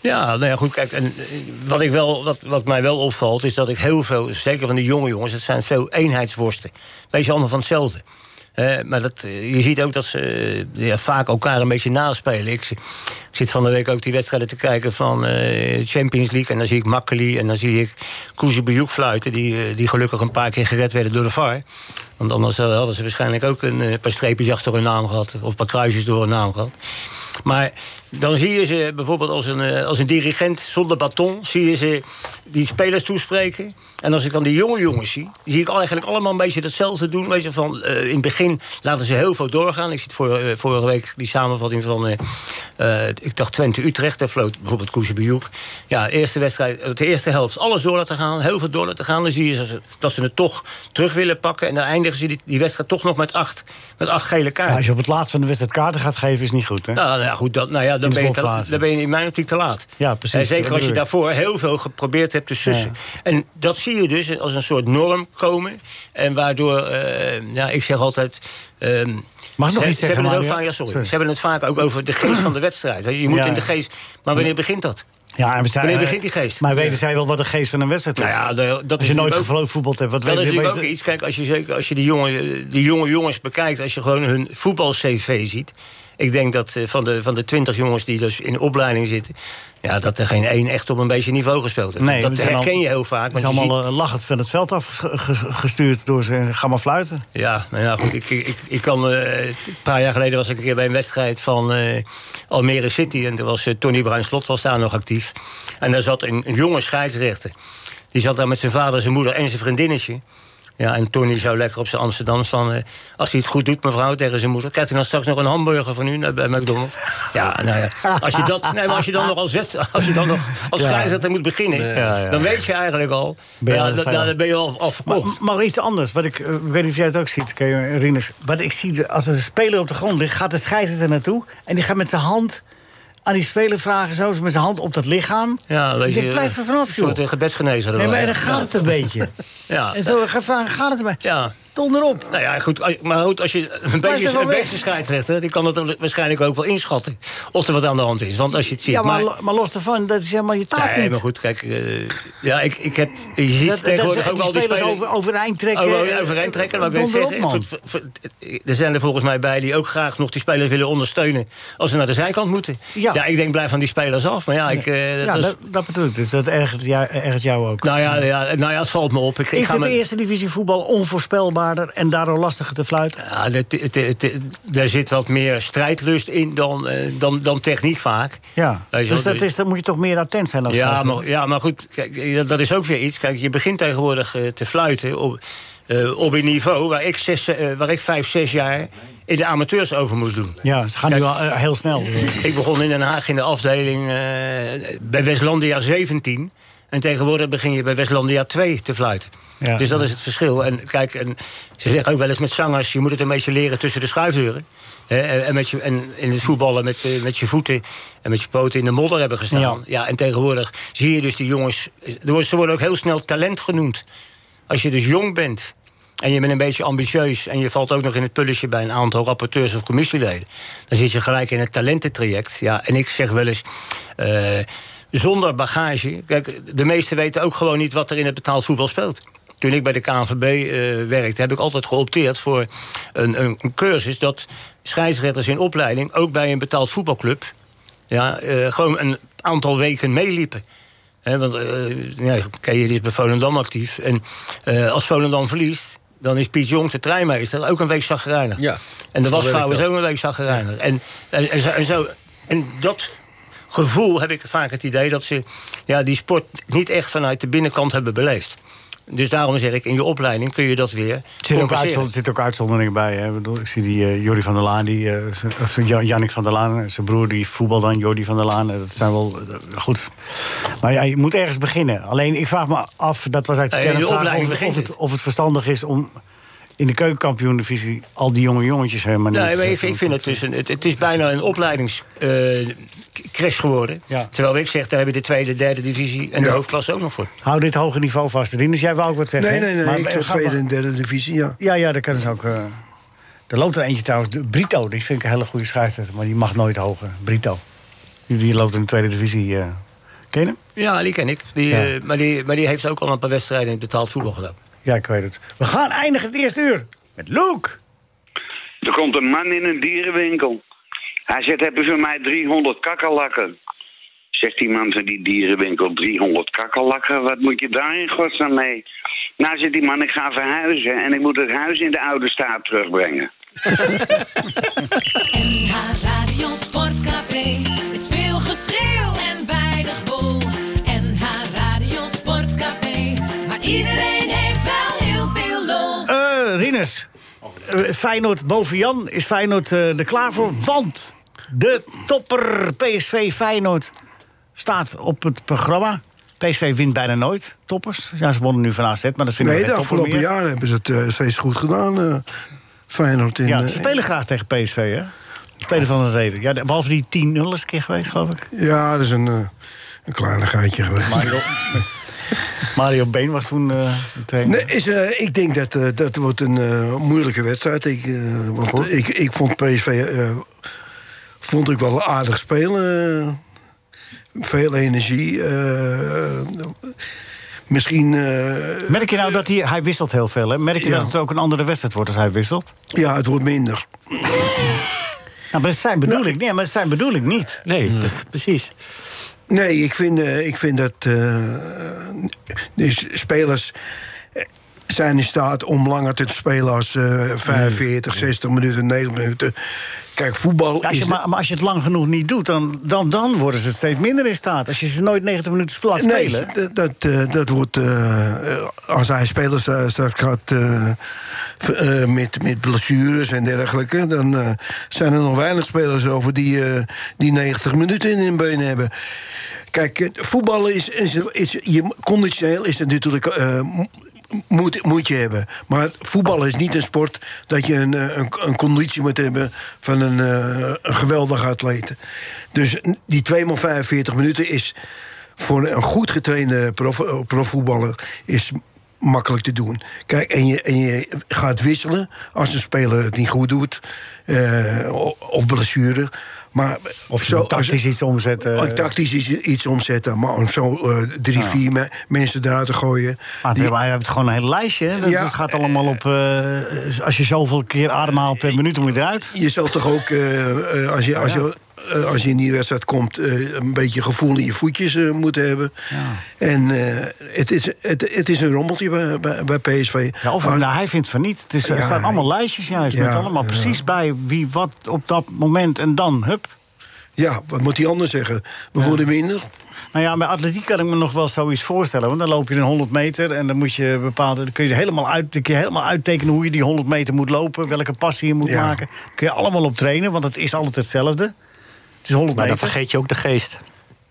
Speaker 5: Ja, nou ja, goed, kijk, en eh, wat, ik wel, wat, wat mij wel opvalt... is dat ik heel veel, zeker van de jonge jongens... het zijn veel eenheidsworsten. Wees allemaal van hetzelfde. Eh, maar dat, eh, je ziet ook dat ze eh, ja, vaak elkaar een beetje naspelen. Ik, zi- ik zit van de week ook die wedstrijden te kijken van eh Champions League... en dan zie ik Makkeli en dan zie ik Kouzebioek fluiten... Die, eh, die gelukkig een paar keer gered werden door de VAR. Want anders eh, hadden ze waarschijnlijk ook een eh, paar streepjes achter hun naam gehad... of een paar kruisjes door hun naam gehad. Maar dan zie je ze bijvoorbeeld als een, eh, als een dirigent zonder baton... zie je ze die spelers toespreken. En als ik dan die jonge jongens zie... zie ik eigenlijk allemaal een beetje hetzelfde doen. Weet je, van, eh, in het begin laten ze heel veel doorgaan. Ik zit voor, eh, vorige week die samenvatting van... eh, eh, ik dacht Twente-Utrecht, daar floot bijvoorbeeld Koesjebejoek. Ja, eerste wedstrijd, eh, de eerste helft alles door laten gaan. Heel veel door laten gaan. Dan zie je ze- dat ze het toch terug willen pakken. En dan eindigen ze die, die wedstrijd toch nog met acht, met acht gele kaarten.
Speaker 3: Ja, als je op het laatst van de wedstrijd kaarten gaat geven, is niet goed, hè?
Speaker 5: Nou, nou ja, goed, dat, nou ja,
Speaker 3: In
Speaker 5: dan,
Speaker 3: de
Speaker 5: ben je te,
Speaker 3: slotfase.
Speaker 5: dan ben je in mijn optiek te laat.
Speaker 3: Ja, precies,
Speaker 5: En
Speaker 3: dat
Speaker 5: zeker als
Speaker 3: bedoel
Speaker 5: je
Speaker 3: ik.
Speaker 5: daarvoor heel veel geprobeerd hebt te sussen. En dat zie je dus als een soort norm komen. En waardoor, eh, ja, ik zeg altijd... ehm,
Speaker 3: Mag ik nog
Speaker 5: ze,
Speaker 3: iets
Speaker 5: ze
Speaker 3: zeggen,
Speaker 5: hebben het ook
Speaker 3: Mario?
Speaker 5: vaak, ja, sorry.
Speaker 3: Sorry.
Speaker 5: Ze hebben het vaak ook over de geest van de wedstrijd. Weet je, je moet
Speaker 3: Ja.
Speaker 5: in de geest... Maar wanneer begint dat?
Speaker 3: Ja, en we zijn,
Speaker 5: Wanneer begint die geest?
Speaker 3: Maar weten
Speaker 5: Ja.
Speaker 3: zij wel wat de geest van een wedstrijd is?
Speaker 5: Nou ja, de- dat
Speaker 3: als
Speaker 5: is
Speaker 3: je nooit
Speaker 5: natuurlijk ook-
Speaker 3: gevoeld voetbal hebt, wat
Speaker 5: dat
Speaker 3: weet
Speaker 5: is
Speaker 3: je?
Speaker 5: natuurlijk ook
Speaker 3: weet-
Speaker 5: iets. Kijk, als je, zeker, als je die, jonge, die jonge jongens bekijkt, als je gewoon hun voetbal-CV ziet. Ik denk dat eh, van de, van de 20 jongens die dus in opleiding zitten. Ja, dat er geen één echt op een beetje niveau gespeeld heeft.
Speaker 3: Nee,
Speaker 5: dat
Speaker 3: het zijn al-
Speaker 5: herken je heel vaak.
Speaker 3: Het is
Speaker 5: want je
Speaker 3: allemaal
Speaker 5: ziet-
Speaker 3: eh, lachend van het veld afgestuurd door ze. Ga maar fluiten.
Speaker 5: Ja, nou ja, goed. Ik, ik, ik- ik kan, eh, een paar jaar geleden was ik een keer bij een wedstrijd van eh, Almere City. En toen was eh, Tony Bruin Slot was daar nog actief. En daar zat een, een jonge scheidsrechter. Die zat daar met zijn vader, zijn moeder en zijn vriendinnetje. Ja, en Tony zou lekker op zijn Amsterdam staan. eh, als hij het goed doet, mevrouw, tegen zijn moeder. Krijgt hij dan straks nog een hamburger van u naar- bij McDonald's? Ja, nou ja. Als je, dat, nee, maar als je dan nog als, wet- als, je dan nog als
Speaker 3: Ja.
Speaker 5: scheidsrechter moet beginnen...
Speaker 3: Ja, ja.
Speaker 5: dan weet je eigenlijk al...
Speaker 3: Ben je
Speaker 5: ja,
Speaker 3: al-
Speaker 5: dat- daar ben je al, al
Speaker 3: Maar,
Speaker 5: verkocht.
Speaker 3: maar iets anders, wat ik, eh, ik weet niet of jij het ook ziet, Ke- Rinus. Wat ik zie, als er een speler op de grond ligt, gaat de scheidsrechter er naartoe. En die gaat met zijn hand aan die speler vragen, zo, met zijn hand op dat lichaam.
Speaker 5: Ja, weet
Speaker 3: Ik denk,
Speaker 5: je, eh,
Speaker 3: blijf er vanaf, joh.
Speaker 5: Een soort gebedsgenezer.
Speaker 3: Nee, maar en
Speaker 5: dan
Speaker 3: dan gaat het een beetje.
Speaker 5: [LAUGHS] Ja.
Speaker 3: En zo gaat vragen, gaat het een beetje?
Speaker 5: Ja.
Speaker 3: Donderop.
Speaker 5: Nou ja, goed, als- maar goed, als je een
Speaker 3: Blijf er
Speaker 5: beetje
Speaker 3: wel
Speaker 5: een
Speaker 3: weg.
Speaker 5: beste scheidsrechter... die kan dat waarschijnlijk ook wel inschatten of er wat aan de hand is. Want als je het ziet...
Speaker 3: Ja, maar, lo- maar los daarvan, dat is helemaal je taak
Speaker 5: nee,
Speaker 3: niet.
Speaker 5: maar goed, kijk, eh, ja, ik, ik heb, je ziet
Speaker 3: Dat- dat
Speaker 5: tegenwoordig
Speaker 3: ze-
Speaker 5: ook
Speaker 3: die
Speaker 5: al die
Speaker 3: spelers
Speaker 5: spelers... Oh,
Speaker 3: over- overeind trekken,
Speaker 5: Over,
Speaker 3: eh,
Speaker 5: overeind trekken, wat ik
Speaker 3: donder
Speaker 5: wil
Speaker 3: op,
Speaker 5: zeggen.
Speaker 3: man.
Speaker 5: Voor- voor- voor- Er zijn er volgens mij bij die ook graag nog die spelers willen ondersteunen... als ze naar de zijkant moeten.
Speaker 3: Ja.
Speaker 5: Ja, ik denk, blijf van die spelers af. Maar ja, ik, eh,
Speaker 3: ja,
Speaker 5: dat is-
Speaker 3: dat, dat bedoel ik. Dus dat ergert jou, ergert jou ook.
Speaker 5: nou, ja, ja, nou ja, het valt me op. Ik, ik
Speaker 3: is
Speaker 5: ga
Speaker 3: het de
Speaker 5: me-
Speaker 3: eerste divisie voetbal onvoorspelbaarder en daardoor lastiger te fluiten?
Speaker 5: Ja, dat- het- het- het- daar zit wat meer strijdlust in dan, eh, dan, dan techniek vaak.
Speaker 3: Ja.
Speaker 5: Weet je
Speaker 3: Dus
Speaker 5: wel,
Speaker 3: dat is, dan moet je toch meer attent zijn als
Speaker 5: ja,
Speaker 3: scheidsrechter.
Speaker 5: maar, ja, maar goed, kijk, dat, dat is ook weer iets. Kijk, je begint tegenwoordig eh, te fluiten op, eh, op een niveau waar ik, zes, eh, waar ik vijf, zes jaar in de amateurs over moest doen.
Speaker 3: Ja, ze gaan nu al eh, heel snel.
Speaker 5: Ik begon in Den Haag in de afdeling eh, bij Westlandia 17. En tegenwoordig begin je bij Westlandia 2 te fluiten.
Speaker 3: Ja.
Speaker 5: dus dat is het verschil. En kijk, en ze zeggen ook wel eens met zangers... je moet het een beetje leren tussen de schuifdeuren. Hè, en, en met je, en in het voetballen met, eh, met je voeten en met je poten in de modder hebben gestaan.
Speaker 3: Ja.
Speaker 5: Ja. en tegenwoordig zie je dus die jongens... er wordt- Ze worden ook heel snel talent genoemd. Als je dus jong bent en je bent een beetje ambitieus... en je valt ook nog in het pulletje bij een aantal rapporteurs of commissieleden... dan zit je gelijk in het talententraject. Ja, en ik zeg wel eens... eh, zonder bagage... Kijk, de meesten weten ook gewoon niet wat er in het betaald voetbal speelt. Toen ik bij de KNVB eh, werkte, heb ik altijd geopteerd voor een, een, een cursus... dat scheidsrechters in opleiding ook bij een betaald voetbalclub... Ja, eh, gewoon een aantal weken meeliepen. Hè, want eh ja, Keijer is bij Volendam actief. En eh, als Volendam verliest, dan is Piet Jong, de treinmeester, ook een week zagrijnig.
Speaker 6: Ja,
Speaker 5: en
Speaker 6: zo
Speaker 5: de
Speaker 6: werkt
Speaker 5: Waschouw is
Speaker 6: dat.
Speaker 5: ook een week zagrijnig. En, en, en zo, en, zo, en dat gevoel heb ik vaak het idee dat ze ja, die sport niet echt vanuit de binnenkant hebben beleefd. Dus daarom zeg ik, in je opleiding kun je dat weer
Speaker 3: Er zitten ook,
Speaker 5: compenseren.
Speaker 3: uitzonder- er zitten ook uitzonderingen bij. Hè. Ik, bedoel, ik zie die eh Jordi van der Laan, die, eh, z- of Jan- Jannik van der Laan, eh, zijn broer die voetbal dan, Jordi van der Laan. eh, Dat zijn wel eh, goed. Maar ja, je moet ergens beginnen. Alleen ik vraag me af, dat was
Speaker 5: Eh,
Speaker 3: eigenlijk
Speaker 5: in de
Speaker 3: kernvraag,
Speaker 5: opleiding
Speaker 3: of, het- of,
Speaker 5: begint
Speaker 3: het, of het verstandig is om in de keukenkampioen-divisie al die jonge jongetjes helemaal niet.
Speaker 5: Nee, maar
Speaker 3: eh,
Speaker 5: ik, ik vind het dus een, het, het is bijna een opleidingscrash geworden. Terwijl ik zeg, daar hebben de tweede, derde divisie en de hoofdklasse ook nog voor.
Speaker 3: Hou dit hoge niveau vast. Rinus, jij wou ook wat zeggen?
Speaker 7: Nee,
Speaker 3: hè?
Speaker 7: nee, nee.
Speaker 3: Maar-
Speaker 7: ik zat
Speaker 3: ga maar-
Speaker 7: tweede en derde divisie, ja.
Speaker 3: Ja, ja, dat kan dus ook. eh er loopt er eentje trouwens, de Brito, die vind ik een hele goede scheidsrechter, maar die mag nooit hoger. Brito. Die, die loopt in de tweede divisie. eh. ken je hem?
Speaker 5: Ja, die ken ik. Die,
Speaker 3: Ja.
Speaker 5: eh, maar, die, maar die heeft ook al een paar wedstrijden in het betaald voetbal gedaan.
Speaker 3: Ja, ik weet het. We gaan eindigen het eerste uur met Luke.
Speaker 11: Er komt een man in een dierenwinkel. Hij zegt, hebben voor mij 300 kakkerlakken? Zegt die man van die dierenwinkel, 300 kakkerlakken? Wat moet je daar in godsnaam mee? Nou, zegt die man, ik ga verhuizen en ik moet het huis in de oude staat terugbrengen.
Speaker 9: NH Radio Sportcafé is veel geschreeuw en weinig wol. NH Radio Sportcafé, maar iedereen heeft wel heel veel lol.
Speaker 3: Eh Rinus, Eh, Feyenoord boven Jan. Is Feyenoord eh, er klaar voor? Want de topper PSV Feyenoord staat op het programma. PSV wint bijna nooit, toppers. Ja, ze wonnen nu van AZ, maar dat vinden
Speaker 7: Nee,
Speaker 3: we
Speaker 7: de
Speaker 3: geen topper
Speaker 7: afgelopen
Speaker 3: meer.
Speaker 7: jaren hebben ze het eh, steeds goed gedaan. eh Feyenoord in...
Speaker 3: Ja,
Speaker 7: eh,
Speaker 3: ze spelen graag tegen PSV, hè? Om een of andere reden. Ja, de- behalve die 10-0 is een keer geweest, geloof ik.
Speaker 7: ja, dat is een, eh, een kleinigheidje geweest.
Speaker 3: Mario, [LAUGHS] Mario Been was toen eh de trainer.
Speaker 7: Nee, is, eh, ik denk dat eh, dat wordt een eh, moeilijke wedstrijd. Ik, eh, want ik, ik vond PSV eh, vond ik wel aardig spelen. veel energie. eh, misschien. eh,
Speaker 3: Merk je nou dat hij, hij wisselt heel veel, hè? Merk je
Speaker 7: Ja.
Speaker 3: dat het ook een andere wedstrijd wordt als hij wisselt?
Speaker 7: ja, het wordt minder.
Speaker 3: Nou, maar dat zijn bedoel ik, nee, maar dat zijn bedoel ik niet.
Speaker 8: Nee, precies.
Speaker 7: Nee, ik vind, eh, ik vind dat eh, dus spelers eh, zijn in staat om langer te spelen als eh 45, 60 minuten, 90 minuten. Kijk, voetbal
Speaker 3: Als
Speaker 7: is...
Speaker 3: je, maar, maar als je het lang genoeg niet doet, dan, dan, dan worden ze steeds minder in staat. Als je ze nooit 90 minuten laat
Speaker 7: Nee,
Speaker 3: spelen.
Speaker 7: dat, dat, eh, dat wordt. eh, eh, als hij spelers eh, straks gaat. eh, v- eh, met, met blessures en dergelijke. dan eh, zijn er nog weinig spelers over die, eh, die 90 minuten in hun been hebben. Kijk, eh, voetballen is. is, is je, conditioneel is het natuurlijk. eh, mo- moet, moet je hebben. Maar voetballen is niet een sport dat je een, eh, een, een conditie moet hebben van een, eh, een geweldige atleet. Dus die 2 x 45 minuten is voor een goed getrainde prof- eh, profvoetballer is makkelijk te doen. Kijk, en je, en je gaat wisselen als een speler het niet goed doet. eh, o- of blessure. Maar
Speaker 3: Of zo, tactisch iets omzetten. Ah.
Speaker 7: Oh, tactisch is iets omzetten. Maar om zo eh, drie, vier me- mensen eruit te gooien.
Speaker 3: Maar
Speaker 7: die-
Speaker 3: hij heeft gewoon een hele lijstje. hè? Dat,
Speaker 7: Ja.
Speaker 3: dat gaat allemaal op. eh, als je zoveel keer ademhaalt per minuut, dan moet je eruit.
Speaker 7: Eh, Je zal toch ook, eh, eh, als, je, als, je, eh, als je in die wedstrijd komt, eh, een beetje gevoel in je voetjes eh, moeten hebben. En eh, het, is, het, het is een rommeltje bij, bij, bij PSV.
Speaker 3: Ja, of,
Speaker 7: Maar-
Speaker 3: nou, hij vindt van niet. Het is, er
Speaker 7: Ja,
Speaker 3: staan allemaal lijstjes. Ja, hij is
Speaker 7: ja,
Speaker 3: met allemaal
Speaker 7: ja.
Speaker 3: precies bij wie wat op dat moment en dan. Hup.
Speaker 7: ja, wat moet hij anders zeggen? We worden minder.
Speaker 3: Nou ja, bij atletiek kan ik me nog wel zoiets voorstellen. Want dan loop je een 100 meter en dan moet je bepaalde. Dan kun je helemaal, uit, dan kun je helemaal uittekenen hoe je die 100 meter moet lopen. Welke passie je moet
Speaker 7: Ja.
Speaker 3: maken. kun je allemaal op trainen, want het is altijd hetzelfde. Het is 100
Speaker 8: Maar dan
Speaker 3: meter.
Speaker 8: vergeet je ook de geest.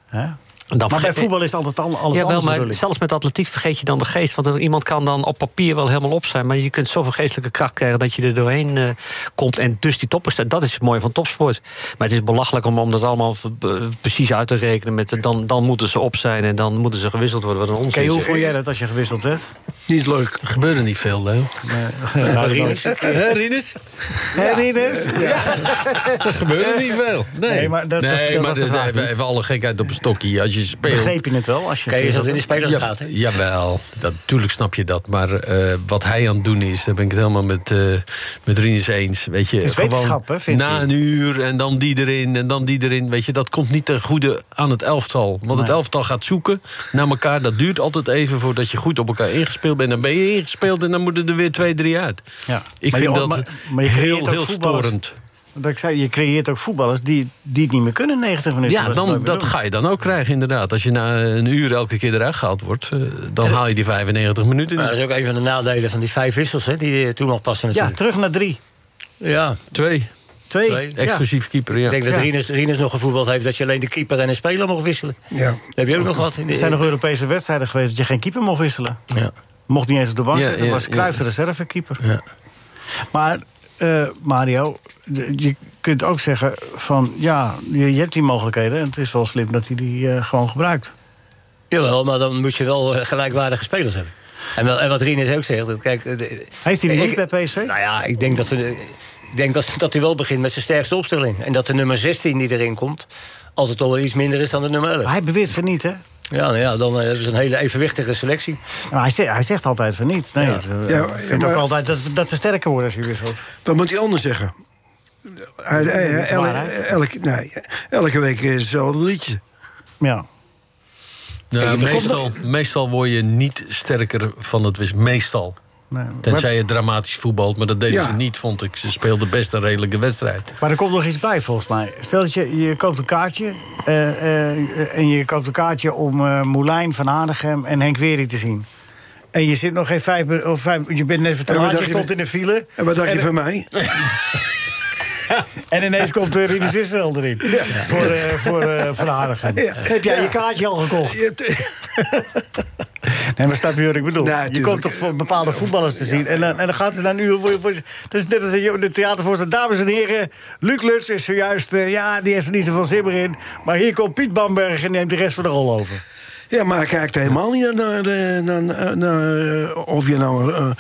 Speaker 3: Hè?
Speaker 8: Dan
Speaker 3: maar bij
Speaker 8: vergeet-
Speaker 3: voetbal is altijd al, alles
Speaker 8: ja, wel,
Speaker 3: anders.
Speaker 8: maar
Speaker 3: natuurlijk.
Speaker 8: zelfs met atletiek vergeet je dan de geest. Want iemand kan dan op papier wel helemaal op zijn. Maar je kunt zoveel geestelijke kracht krijgen dat je er doorheen eh, komt. En dus die toppers, dat is het mooie van topsport. Maar het is belachelijk om, om dat allemaal eh, precies uit te rekenen. Met, eh, dan, dan moeten ze op zijn en dan moeten ze gewisseld worden. Wat een onzin.
Speaker 3: Oké, hoe
Speaker 8: zeg.
Speaker 3: vond jij dat als je gewisseld werd?
Speaker 7: Niet leuk.
Speaker 6: Er gebeurde niet veel, Leo.
Speaker 3: [LAUGHS] Ja,
Speaker 6: Rinus? Hè, Rinus?
Speaker 3: Hé, Rinus?
Speaker 6: Er gebeurde niet veel. Nee,
Speaker 3: Nee, maar dat- dat-
Speaker 6: nee,
Speaker 3: dat
Speaker 6: maar
Speaker 3: was de
Speaker 6: de-
Speaker 3: vraag,
Speaker 6: de-
Speaker 3: niet?
Speaker 6: even alle gekheid op een stokje. Als je speelt...
Speaker 3: Begreep je het wel? Als je
Speaker 5: Kijk, je zat in de
Speaker 3: gewisseld werd?
Speaker 5: spelers gaat, hè?
Speaker 6: jawel, dat, natuurlijk snap je dat. Maar eh, wat hij aan het doen is, daar ben ik het helemaal met, eh met Rinus eens. Weet je,
Speaker 3: Het is wetenschap, hè, vindt
Speaker 6: na
Speaker 3: hij?
Speaker 6: een uur en dan die erin en dan die erin. Weet je, dat komt niet ten goede aan het elftal. Want het elftal gaat zoeken naar elkaar. Dat duurt altijd even voordat je goed op elkaar ingespeeld bent. Dan ben je ingespeeld en dan moeten er weer twee, drie uit.
Speaker 3: Ja.
Speaker 6: Ik
Speaker 3: Maar
Speaker 6: vind
Speaker 3: je-
Speaker 6: dat
Speaker 3: maar- maar je creëert
Speaker 6: heel,
Speaker 3: ook
Speaker 6: heel
Speaker 3: voetballers-
Speaker 6: storend.
Speaker 3: Dat ik zei, je creëert ook voetballers die, die het niet meer kunnen, 90 minuten.
Speaker 6: Ja,
Speaker 3: ze het
Speaker 6: dan,
Speaker 3: nooit meer
Speaker 6: dat
Speaker 3: doen.
Speaker 6: ga je dan ook krijgen, inderdaad. Als je na een uur elke keer eruit gehaald wordt, eh, dan haal je die 95 minuten niet.
Speaker 5: Maar dat is ook een van de nadelen van die vijf wissels hè, die eh, toen nog passen
Speaker 3: Ja,
Speaker 5: natuurlijk.
Speaker 3: terug naar drie.
Speaker 5: Ja,
Speaker 6: twee.
Speaker 3: Twee.
Speaker 6: Exclusief keeper, ja.
Speaker 5: Ik denk dat
Speaker 3: Ja.
Speaker 5: Rinus, Rinus nog gevoetbald heeft dat je alleen de keeper en een speler mocht wisselen.
Speaker 7: Ja.
Speaker 5: Dat heb je ook nog wat. In de,
Speaker 3: Er zijn nog Europese wedstrijden geweest dat je geen keeper mocht wisselen.
Speaker 5: Ja.
Speaker 3: Mocht niet eens op de bank
Speaker 6: Ja,
Speaker 3: zitten,
Speaker 6: ja,
Speaker 3: was
Speaker 6: ja.
Speaker 3: Cruijff de reservekeeper.
Speaker 6: Ja.
Speaker 3: Maar eh, Mario, d- je kunt ook zeggen van... ja, je, je hebt die mogelijkheden en het is wel slim dat hij die eh, gewoon gebruikt.
Speaker 5: Jawel, maar dan moet je wel eh, gelijkwaardige spelers hebben. En, wel, en wat Rinus ook zegt, dat kijk... eh, de-
Speaker 3: Heeft hij die
Speaker 5: ik-
Speaker 3: niet bij PSV?
Speaker 5: Nou ja, ik denk dat we- ik denk dat, dat hij wel begint met zijn sterkste opstelling. En dat de nummer 16 die erin komt... altijd al wel iets minder is dan de nummer 11.
Speaker 3: Maar Hij beweert van niet, hè?
Speaker 5: Ja, nou ja, dan eh, hebben ze een hele evenwichtige selectie.
Speaker 3: Maar hij, zegt, hij zegt altijd van niet. Nee,
Speaker 5: Ja.
Speaker 3: het, eh,
Speaker 7: Ja,
Speaker 3: ik vind
Speaker 7: maar-
Speaker 3: ook altijd dat, dat ze sterker worden als je wisselt.
Speaker 7: Wat moet hij anders zeggen? Hij, hij- hij- el-
Speaker 3: Waarheid.
Speaker 7: elke, nee, elke week is hetzelfde liedje.
Speaker 3: Ja.
Speaker 6: Nou,
Speaker 5: Ik begrijp
Speaker 6: meestal, meestal word je niet sterker van het wisselen. Meestal.
Speaker 3: Nee,
Speaker 6: Tenzij je dramatisch voetbalt, maar dat deden
Speaker 7: Ja.
Speaker 6: ze niet, vond ik. Ze speelden best een redelijke wedstrijd.
Speaker 3: Maar er komt nog iets bij volgens mij. Stel dat je, je koopt een kaartje. eh, eh, en je koopt een kaartje om eh Moulijn, Van Hanegem en Henk Wery te zien. En je zit nog geen vijf, mi- of vijf Je bent net
Speaker 7: En
Speaker 3: vertrouwd.
Speaker 7: wat
Speaker 3: Je
Speaker 7: dacht je-
Speaker 3: stond in de file.
Speaker 7: En wat dacht je van mij?
Speaker 3: En ineens komt de Rinus Israël erin. Voor, eh, voor eh, Van Hanegem.
Speaker 7: Ja.
Speaker 3: Heb jij je kaartje al gekocht?
Speaker 7: Je hebt-
Speaker 3: Nee, maar snap je wat ik bedoel?
Speaker 7: Nee,
Speaker 3: je
Speaker 7: tuurlijk.
Speaker 3: komt toch voor bepaalde voetballers te zien. En dan, en dan gaat het dan nu... Dat is net als een jo- de theatervoorzitter. Dames en heren, Luc Lutz is zojuist... eh, ja, die heeft er niet zoveel zin meer in. Maar hier komt Piet Bamberg en neemt de rest van de rol over.
Speaker 7: Ja, maar hij kijkt helemaal niet naar, de- naar, naar, naar, eh, of je nou een,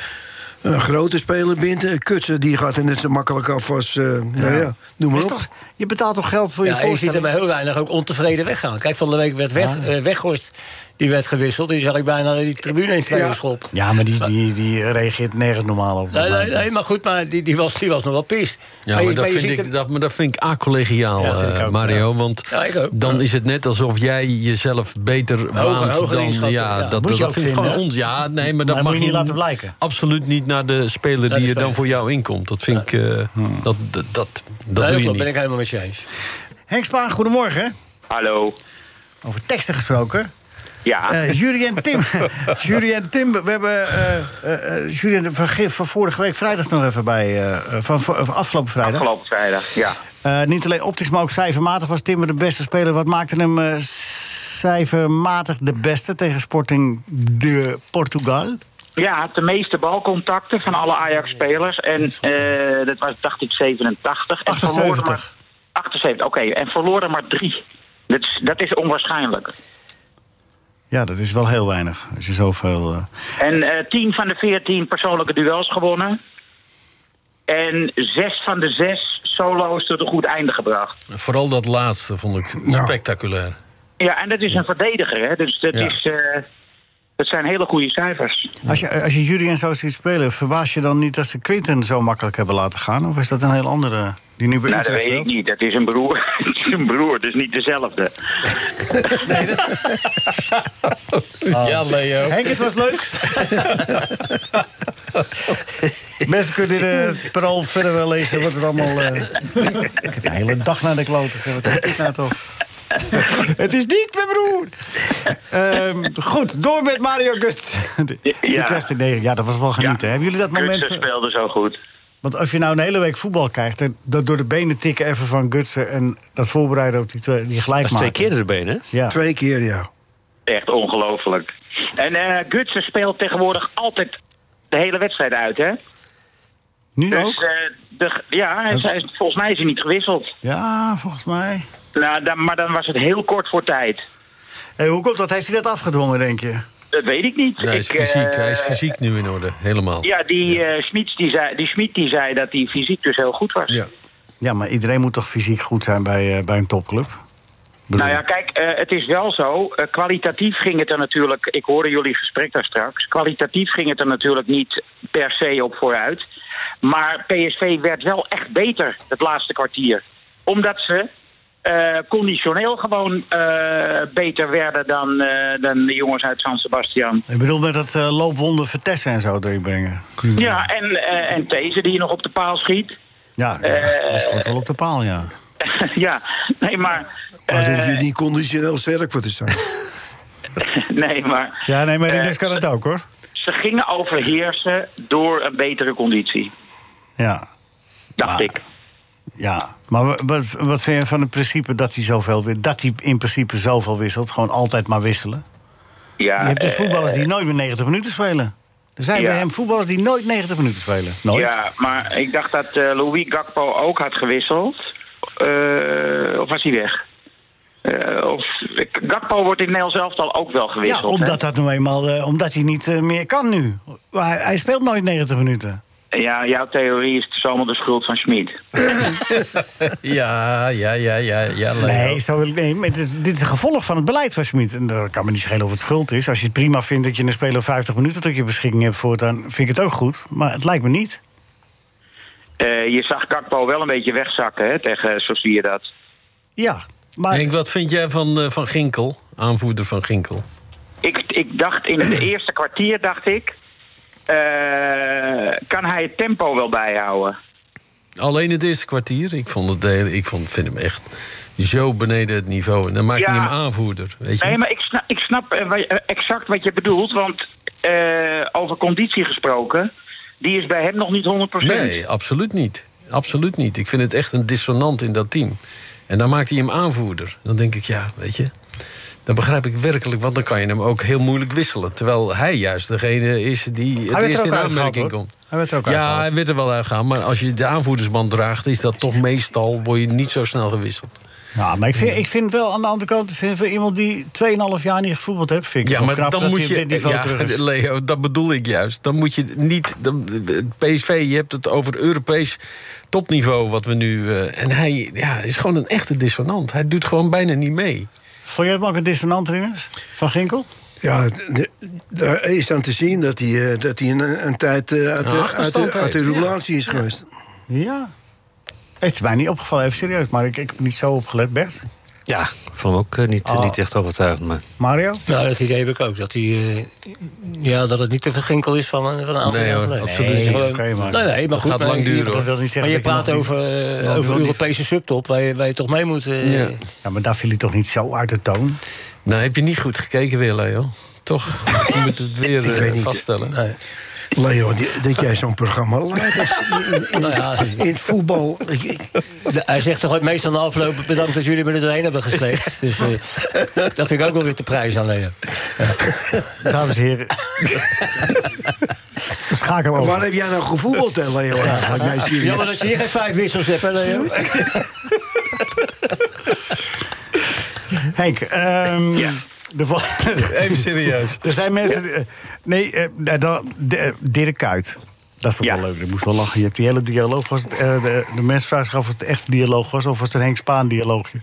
Speaker 7: een grote speler bent. Een kutser die gaat er net zo makkelijk af als... eh, nou [LAUGHS] ja, noem maar
Speaker 3: Is
Speaker 7: op.
Speaker 3: toch, je betaalt toch geld voor je
Speaker 5: Ja, je ziet er
Speaker 3: voorstelling?
Speaker 5: bij heel weinig ook ontevreden weggaan. Kijk, van de week werd weg, eh, Weghorst die werd gewisseld. Die zag ik bijna die tribune in tweeën
Speaker 7: Ja.
Speaker 5: schop.
Speaker 3: Ja, maar die, die, die reageert nergens normaal op.
Speaker 5: Nee, nee, nee, maar goed, maar die, die, was, die was nog wel pist.
Speaker 6: Ja, maar, dat vind ik, dat, maar dat vind ik acollegiaal,
Speaker 3: Ja, vind ik
Speaker 6: eh,
Speaker 3: ook,
Speaker 6: Mario. Want
Speaker 5: Ja, ik ook.
Speaker 6: dan
Speaker 5: Ja.
Speaker 6: is het net alsof jij jezelf beter waant
Speaker 5: hoger
Speaker 6: dan...
Speaker 5: inschatten, ja.
Speaker 6: ja, dat,
Speaker 5: Moet
Speaker 6: dat,
Speaker 3: je
Speaker 6: dat
Speaker 3: ook
Speaker 6: vind ik
Speaker 3: vinden,
Speaker 6: gewoon ons. Ja, nee, maar dat
Speaker 3: Maar
Speaker 6: mag
Speaker 3: moet je niet laten blijken.
Speaker 6: Absoluut niet naar de speler
Speaker 5: de
Speaker 6: die er
Speaker 5: speler.
Speaker 6: dan voor jou inkomt. Dat vind ik... eh, dat, dat, dat, dat doe je
Speaker 5: Hmm. dat
Speaker 6: niet.
Speaker 5: ben ik helemaal met je eens.
Speaker 3: Henk Spaan, goedemorgen.
Speaker 12: Hallo.
Speaker 3: Over teksten gesproken.
Speaker 12: Ja,
Speaker 3: Eh jury en
Speaker 12: [LAUGHS]
Speaker 3: Tim. jury en Tim, we hebben eh eh, eh, jury en- van, ge- van vorige week vrijdag nog even bij. eh, van, van- van afgelopen vrijdag.
Speaker 12: afgelopen vrijdag. Ja.
Speaker 3: Eh, niet alleen optisch, maar ook cijfermatig was Timmer de beste speler. Wat maakte hem eh, cijfermatig de beste tegen Sporting de Portugal?
Speaker 12: Ja, de meeste balcontacten van alle Ajax-spelers. En eh, dat was, dacht ik, 87. En verloor er
Speaker 3: 78.
Speaker 12: maar- 78, oké. En verloor er maar drie. Dat is, dat is onwaarschijnlijk.
Speaker 3: Ja, dat is wel heel weinig. Als je zoveel. eh,
Speaker 12: En eh 10 van de 14 persoonlijke duels gewonnen. En 6 van de 6 solo's tot een goed einde gebracht.
Speaker 6: Vooral dat laatste vond ik spectaculair.
Speaker 12: Ja, en dat is een verdediger, hè. Dus dat,
Speaker 6: Ja.
Speaker 12: is, eh, dat zijn hele goede cijfers.
Speaker 3: Als je, als je Jury en zo ziet spelen, verbaas je dan niet dat ze Quinten zo makkelijk hebben laten gaan? Of is dat een heel andere die nu bij
Speaker 12: Nou, dat
Speaker 3: Utrecht
Speaker 12: weet ik
Speaker 3: speelt?
Speaker 12: niet. Dat is een broer. [LAUGHS] Het is een broer, dus niet
Speaker 3: [LAUGHS]
Speaker 12: dezelfde.
Speaker 6: Ja, Leo.
Speaker 3: Ah. Henk, het was
Speaker 12: [LAUGHS]
Speaker 3: leuk. Mensen kunnen in het parool verder wel lezen wat er allemaal... eh, de hele dag naar de kloten. zeg, Wat is dit nou toch? het is niet mijn broer! Ehm, goed, door met Mario Gut. Je
Speaker 12: Ja.
Speaker 3: krijgt een negen. Ja, dat was wel
Speaker 12: Ja.
Speaker 3: genieten. Hebben jullie dat moment... eh,
Speaker 12: Kutsen speelde zo goed.
Speaker 3: Want als je nou een hele week voetbal krijgt... en dat door de benen tikken even van Gutsen... en dat voorbereiden op die, twee, die gelijk
Speaker 8: Dat
Speaker 3: maken.
Speaker 8: is twee keer door de benen. hè?
Speaker 3: Ja.
Speaker 7: Twee keer, ja.
Speaker 12: Echt ongelooflijk. En eh Gutsen speelt tegenwoordig altijd de hele wedstrijd uit, hè?
Speaker 3: Nu
Speaker 12: Dus,
Speaker 3: ook?
Speaker 12: eh, de, ja, hij is- hij is- volgens mij is hij niet gewisseld.
Speaker 3: Ja, volgens mij.
Speaker 12: Nou, dan, maar dan was het heel kort voor tijd.
Speaker 3: Hey, hoe komt dat? Heeft hij dat afgedwongen, denk je?
Speaker 12: Dat weet ik niet.
Speaker 6: Hij is,
Speaker 12: Ik, eh,
Speaker 6: fysiek, hij is fysiek nu in orde, helemaal.
Speaker 12: Ja, die eh Schmid die zei, die Schmid die zei dat hij fysiek dus heel goed was.
Speaker 6: Ja.
Speaker 3: Ja, maar iedereen moet toch fysiek goed zijn bij, eh, bij een topclub? Bedoel-
Speaker 12: Nou ja, kijk, eh, het is wel zo. eh, kwalitatief ging het er natuurlijk. Ik hoorde jullie gesprek daar straks. Kwalitatief ging het er natuurlijk niet per se op vooruit. Maar PSV werd wel echt beter het laatste kwartier. Omdat ze eh, conditioneel gewoon eh, beter werden dan, eh, dan de jongens uit San Sebastian.
Speaker 3: Ik bedoel met dat eh, loopwonden Vertessen en zo erin brengen.
Speaker 12: Ja, en, eh en These die je nog op de paal schiet.
Speaker 3: Ja,
Speaker 12: Eh,
Speaker 3: dat stond wel op de paal, ja.
Speaker 12: [LAUGHS] ja, nee, maar. eh,
Speaker 7: Maar daar hoef je niet conditioneel sterk voor
Speaker 12: [LAUGHS]
Speaker 7: te zijn.
Speaker 12: Nee, maar.
Speaker 3: Ja, nee,
Speaker 12: Eh,
Speaker 3: maar Rinus kan het ook, hoor.
Speaker 12: Ze gingen overheersen door een betere conditie,
Speaker 3: Ja,
Speaker 12: dacht ik.
Speaker 3: ja. Maar wa- wat, wat vind je van het principe dat hij zoveel wi- dat hij in principe zoveel wisselt? Gewoon altijd maar wisselen.
Speaker 12: Ja,
Speaker 3: je hebt dus
Speaker 12: eh,
Speaker 3: voetballers die nooit meer 90 minuten spelen. Er zijn
Speaker 12: Ja.
Speaker 3: bij hem voetballers die nooit 90 minuten spelen. Nooit.
Speaker 12: Ja, maar ik dacht dat eh, Louis Gakpo ook had gewisseld. Eh, of was hij weg? Eh, of, Gakpo wordt in Nederland zelf al ook wel gewisseld.
Speaker 3: Ja, omdat, dat nou eenmaal, eh, omdat hij niet eh, meer kan nu. Maar hij, hij speelt nooit 90 minuten.
Speaker 12: hè? Ja, jouw theorie is dus allemaal de schuld van Schmid.
Speaker 6: [LAUGHS] Ja, ja, ja, ja, ja. Leo.
Speaker 3: Nee, zo wil ik, nee maar het is, dit is een gevolg van het beleid van Schmid. En dat kan me niet schelen of het schuld is. Als je het prima vindt dat je een speler 50 minuten tot je beschikking hebt voortaan, vind ik het ook goed. Maar het lijkt me niet.
Speaker 12: Eh, je zag Gakpo wel een beetje wegzakken hè, tegen eh, Sociedad.
Speaker 3: Ja.
Speaker 6: Henk, wat vind jij van, eh, van Ginkel, aanvoerder van Ginkel?
Speaker 12: Ik, ik dacht in het eerste kwartier, dacht ik... eh, kan hij het tempo wel bijhouden?
Speaker 6: Alleen het eerste kwartier. Ik, vond het de hele- ik vond, vind hem echt zo beneden het niveau. En dan maakt hij
Speaker 12: Ja.
Speaker 6: hem aanvoerder. Weet je?
Speaker 12: Nee, maar ik snap, ik snap eh, wa- eh, exact wat je bedoelt. Want eh, over conditie gesproken, die is bij hem nog niet 100%.
Speaker 6: Nee, absoluut niet. Absoluut niet. Ik vind het echt een dissonant in dat team. En dan maakt hij hem aanvoerder. Dan denk ik, ja, weet je. Dan begrijp ik werkelijk, want dan kan je hem ook heel moeilijk wisselen. Terwijl hij juist degene is die het
Speaker 3: werd er
Speaker 6: eerst
Speaker 3: ook
Speaker 6: in
Speaker 3: uitgehaald,
Speaker 6: aanmerking
Speaker 3: hoor.
Speaker 6: komt.
Speaker 3: Hij werd er ook
Speaker 6: ja,
Speaker 3: uitgehaald.
Speaker 6: hij werd er wel uitgehaald. Maar als je de aanvoerdersband draagt, is dat toch meestal... word je niet zo snel gewisseld.
Speaker 3: Ja, Nou, maar ik vind, ik vind wel aan de andere kant, ik vind voor iemand die 2,5 jaar niet gevoetbald heeft, vind ik
Speaker 6: Ja,
Speaker 3: het wel
Speaker 6: maar
Speaker 3: knap
Speaker 6: dan moet
Speaker 3: dat hij op
Speaker 6: je.
Speaker 3: dit niveau
Speaker 6: ja,
Speaker 3: terug
Speaker 6: [LAUGHS]
Speaker 3: is.
Speaker 6: Leo, dat bedoel ik juist. Dan moet je niet. Dan, PSV, je hebt het over Europees topniveau wat we nu. eh, en hij ja, is gewoon een echte dissonant. Hij doet gewoon bijna niet mee.
Speaker 3: Vond jij hem ook een dissonant, Rinus? Van Ginkel?
Speaker 7: Ja, d- d- daar is aan te zien dat hij, eh, dat hij een, een tijd eh, uit,
Speaker 3: Een
Speaker 7: de, uit,
Speaker 3: achterstand
Speaker 7: de, uit de
Speaker 3: heeft, ja.
Speaker 7: roulatie is geweest.
Speaker 3: Ja. Het is mij niet opgevallen, even serieus. Maar ik, ik heb niet zo opgelet, Bert.
Speaker 8: Ja, ik vond hem ook eh, niet,
Speaker 3: Oh.
Speaker 8: niet echt overtuigend. Maar...
Speaker 3: Mario?
Speaker 5: Nou, dat idee heb ik ook. Dat, die, eh, ja, dat het niet te verginkel is van, een- van een aantal
Speaker 6: Nee,
Speaker 5: jaar
Speaker 6: hoor,
Speaker 5: geleden.
Speaker 6: absoluut niet.
Speaker 5: gewoon-
Speaker 6: Oké, maar-
Speaker 5: nee, nee, maar
Speaker 6: Dat
Speaker 5: goed.
Speaker 6: gaat
Speaker 5: maar
Speaker 6: lang
Speaker 5: je-
Speaker 6: duren, hoor.
Speaker 5: dat wil niet zeggen
Speaker 6: Maar je
Speaker 5: dat
Speaker 6: praat
Speaker 5: nog niet-
Speaker 6: over,
Speaker 5: eh,
Speaker 6: dat wil
Speaker 5: over
Speaker 6: niet-
Speaker 5: Europese subtop, waar je, waar je toch mee moet. eh,
Speaker 6: Ja.
Speaker 3: Ja, maar daar viel hij toch niet zo uit de toon?
Speaker 6: Nou, heb je niet goed gekeken weer, Leo? Toch? Je moet het weer
Speaker 7: Ik
Speaker 6: eh,
Speaker 7: weet niet.
Speaker 6: vaststellen.
Speaker 7: Leo, die- dat jij zo'n programma leidt.
Speaker 5: Nou ja,
Speaker 7: In
Speaker 3: [LAUGHS]
Speaker 7: het voetbal. ik- ik-
Speaker 5: de- hij zegt toch ooit meestal na afloop bedankt dat jullie me er doorheen hebben gesleept. Dus eh, dat vind ik ook wel weer te prijs aan Leo.
Speaker 3: Dames en heren. Schakel over.
Speaker 7: Waar heb jij nou gevoetbald, hè, Leo? Eigenlijk? Nee, serieus.
Speaker 5: Jammer dat je hier geen vijf wissels hebt, hè, Leo?
Speaker 3: Henk, [LAUGHS] ehm, de vol- [LAUGHS]
Speaker 6: Even serieus.
Speaker 3: er zijn mensen... die- eh, nee, eh, da- da- de- eh, Dirk Kuyt. Dat vond ik wel leuk. Ik moest wel lachen. Je hebt die hele dialoog. Was het, eh, de, de mensen vragen zich af of het echt een dialoog was... of was het een Henk Spaan dialoogje.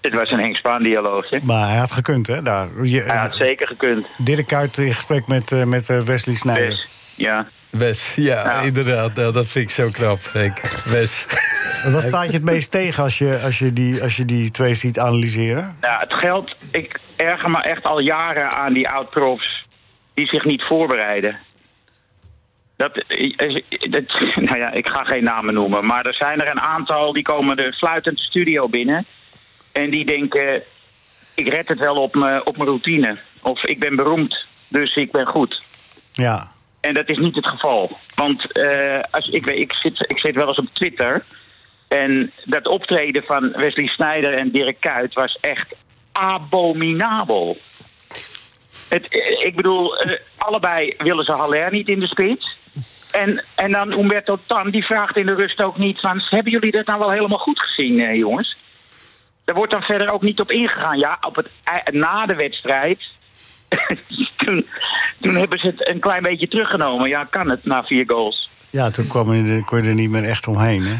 Speaker 12: Het was een Henk Spaan dialoogje.
Speaker 3: Maar hij had gekund, hè? Daar. Je,
Speaker 12: Hij had zeker gekund.
Speaker 3: Dirk Kuyt in gesprek met, eh, met eh, Wesley Snijder.
Speaker 12: Ja.
Speaker 6: Wes, ja, inderdaad. Nou, dat vind ik zo knap, Henk. Wes.
Speaker 3: Wat staat je het meest tegen als je, als je, die, als je die twee ziet analyseren?
Speaker 12: Nou, het geldt, ik erger me echt al jaren aan die oud-profs die zich niet voorbereiden. Dat, eh, is- dat, [LAUGHS] nou ja, ik ga geen namen noemen, maar er zijn er een aantal die komen de fluitend studio binnen. En die denken, ik red het wel op mijn op mijn routine. Of ik ben beroemd, dus ik ben goed.
Speaker 3: Ja.
Speaker 12: En dat is niet het geval. Want eh, als, ik, weet- ik, zit, ik zit wel eens op Twitter. En dat optreden van Wesley Snijder en Dirk Kuyt was echt abominabel. Het, eh, ik bedoel, eh, allebei willen ze Haller niet in de spits. En, en dan Umberto Tan, die vraagt in de rust ook niet van... hebben jullie dat nou wel helemaal goed gezien, eh, jongens? Daar wordt dan verder ook niet op ingegaan. Ja, op het, ei- na de wedstrijd [LAUGHS] toen, toen hebben ze het een klein beetje teruggenomen. Ja, kan het na vier goals.
Speaker 3: Ja, toen kwam je, er- kon je er niet meer echt omheen, hè?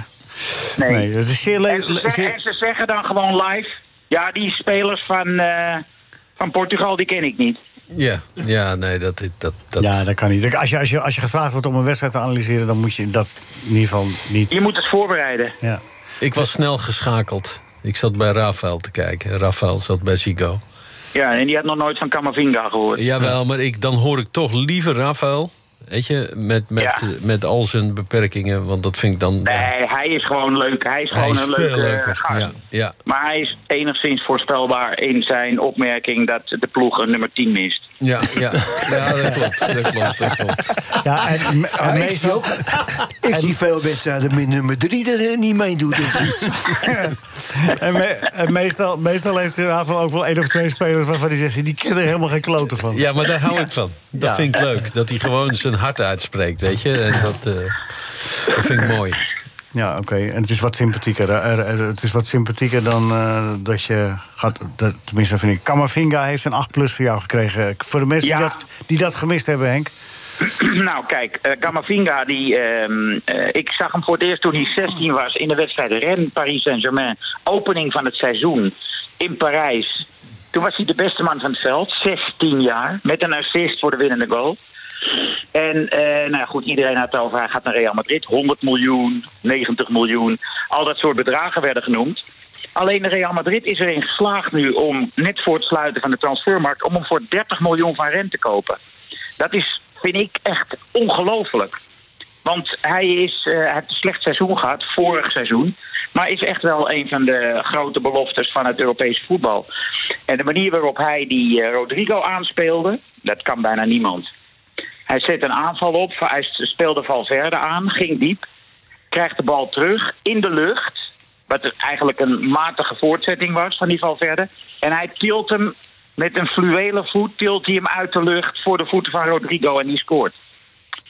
Speaker 3: Nee. dat is zeer
Speaker 12: En ze,
Speaker 3: leuk.
Speaker 12: zeggen, en ze zeggen dan gewoon live... Ja, die spelers van, eh, van Portugal, die ken ik niet.
Speaker 6: Ja, ja nee, dat, dat, dat...
Speaker 3: Ja, dat kan niet. Als je, als, je, als je gevraagd wordt om een wedstrijd te analyseren, dan moet je dat in ieder geval niet.
Speaker 12: Je moet het voorbereiden.
Speaker 3: Ja.
Speaker 6: Ik was snel geschakeld. Ik zat bij Rafael te kijken. Rafael zat bij Zico.
Speaker 12: Ja, en die had nog nooit van Camavinga gehoord.
Speaker 6: Jawel, maar ik, dan hoor ik toch liever Rafael. Weet je, met, met, eh, met al zijn beperkingen. Want dat vind ik dan.
Speaker 12: Nee, hij is gewoon leuk. Hij is
Speaker 6: hij
Speaker 12: gewoon
Speaker 6: is
Speaker 12: een
Speaker 6: veel
Speaker 12: leuke
Speaker 6: leuker.
Speaker 12: gast.
Speaker 6: Ja, ja.
Speaker 12: Maar hij is enigszins voorspelbaar in zijn opmerking dat de ploeg een nummer 10 mist.
Speaker 6: Ja, ja. ja dat klopt. Dat klopt, dat klopt.
Speaker 3: Ja, en,
Speaker 7: Ja, ik zie, ook, ik zie veel wedstrijden met nummer drie dat hij niet meedoet.
Speaker 3: en, me- en meestal, meestal heeft de AVO ook wel één of twee spelers waarvan die zegt... die kennen er helemaal geen kloten van.
Speaker 6: Ja, maar daar hou ik van. Dat
Speaker 3: Ja.
Speaker 6: vind ik leuk. Dat hij gewoon zijn hart uitspreekt, weet je. En dat, eh, dat vind ik mooi.
Speaker 3: Ja, oké. En het is wat sympathieker. eh, er- er- Het is wat sympathieker dan eh, dat je gaat... Dat, tenminste, dat vind ik. Kamavinga heeft een 8 plus voor jou gekregen. Voor de mensen
Speaker 12: Ja.
Speaker 3: die, dat, die dat gemist hebben, Henk.
Speaker 12: [CLEARS THROAT] nou, kijk, eh, Camavinga, die, ehm, eh, ik zag hem voor het eerst toen hij 16 was in de wedstrijd Rennes Paris Saint-Germain. Opening van het seizoen in Parijs. Toen was hij de beste man van het veld, 16 jaar, met een assist voor de winnende goal. En eh, nou ja, goed, iedereen had het over, hij gaat naar Real Madrid. 100 miljoen, 90 miljoen, al dat soort bedragen werden genoemd. Alleen Real Madrid is erin geslaagd nu om, net voor het sluiten van de transfermarkt... om hem voor 30 miljoen van rente te kopen. Dat is, vind ik, echt ongelooflijk. Want hij, is, eh, hij heeft een slecht seizoen gehad, vorig seizoen. Maar is echt wel een van de grote beloftes van het Europese voetbal. En de manier waarop hij die eh, Rodrigo aanspeelde, dat kan bijna niemand. Hij zet een aanval op, hij speelde Valverde aan, ging diep. Krijgt de bal terug in de lucht. Wat er eigenlijk een matige voortzetting was van die Valverde. En hij tilt hem met een fluwelen voet, tilt hij hem uit de lucht voor de voeten van Rodrigo en die scoort.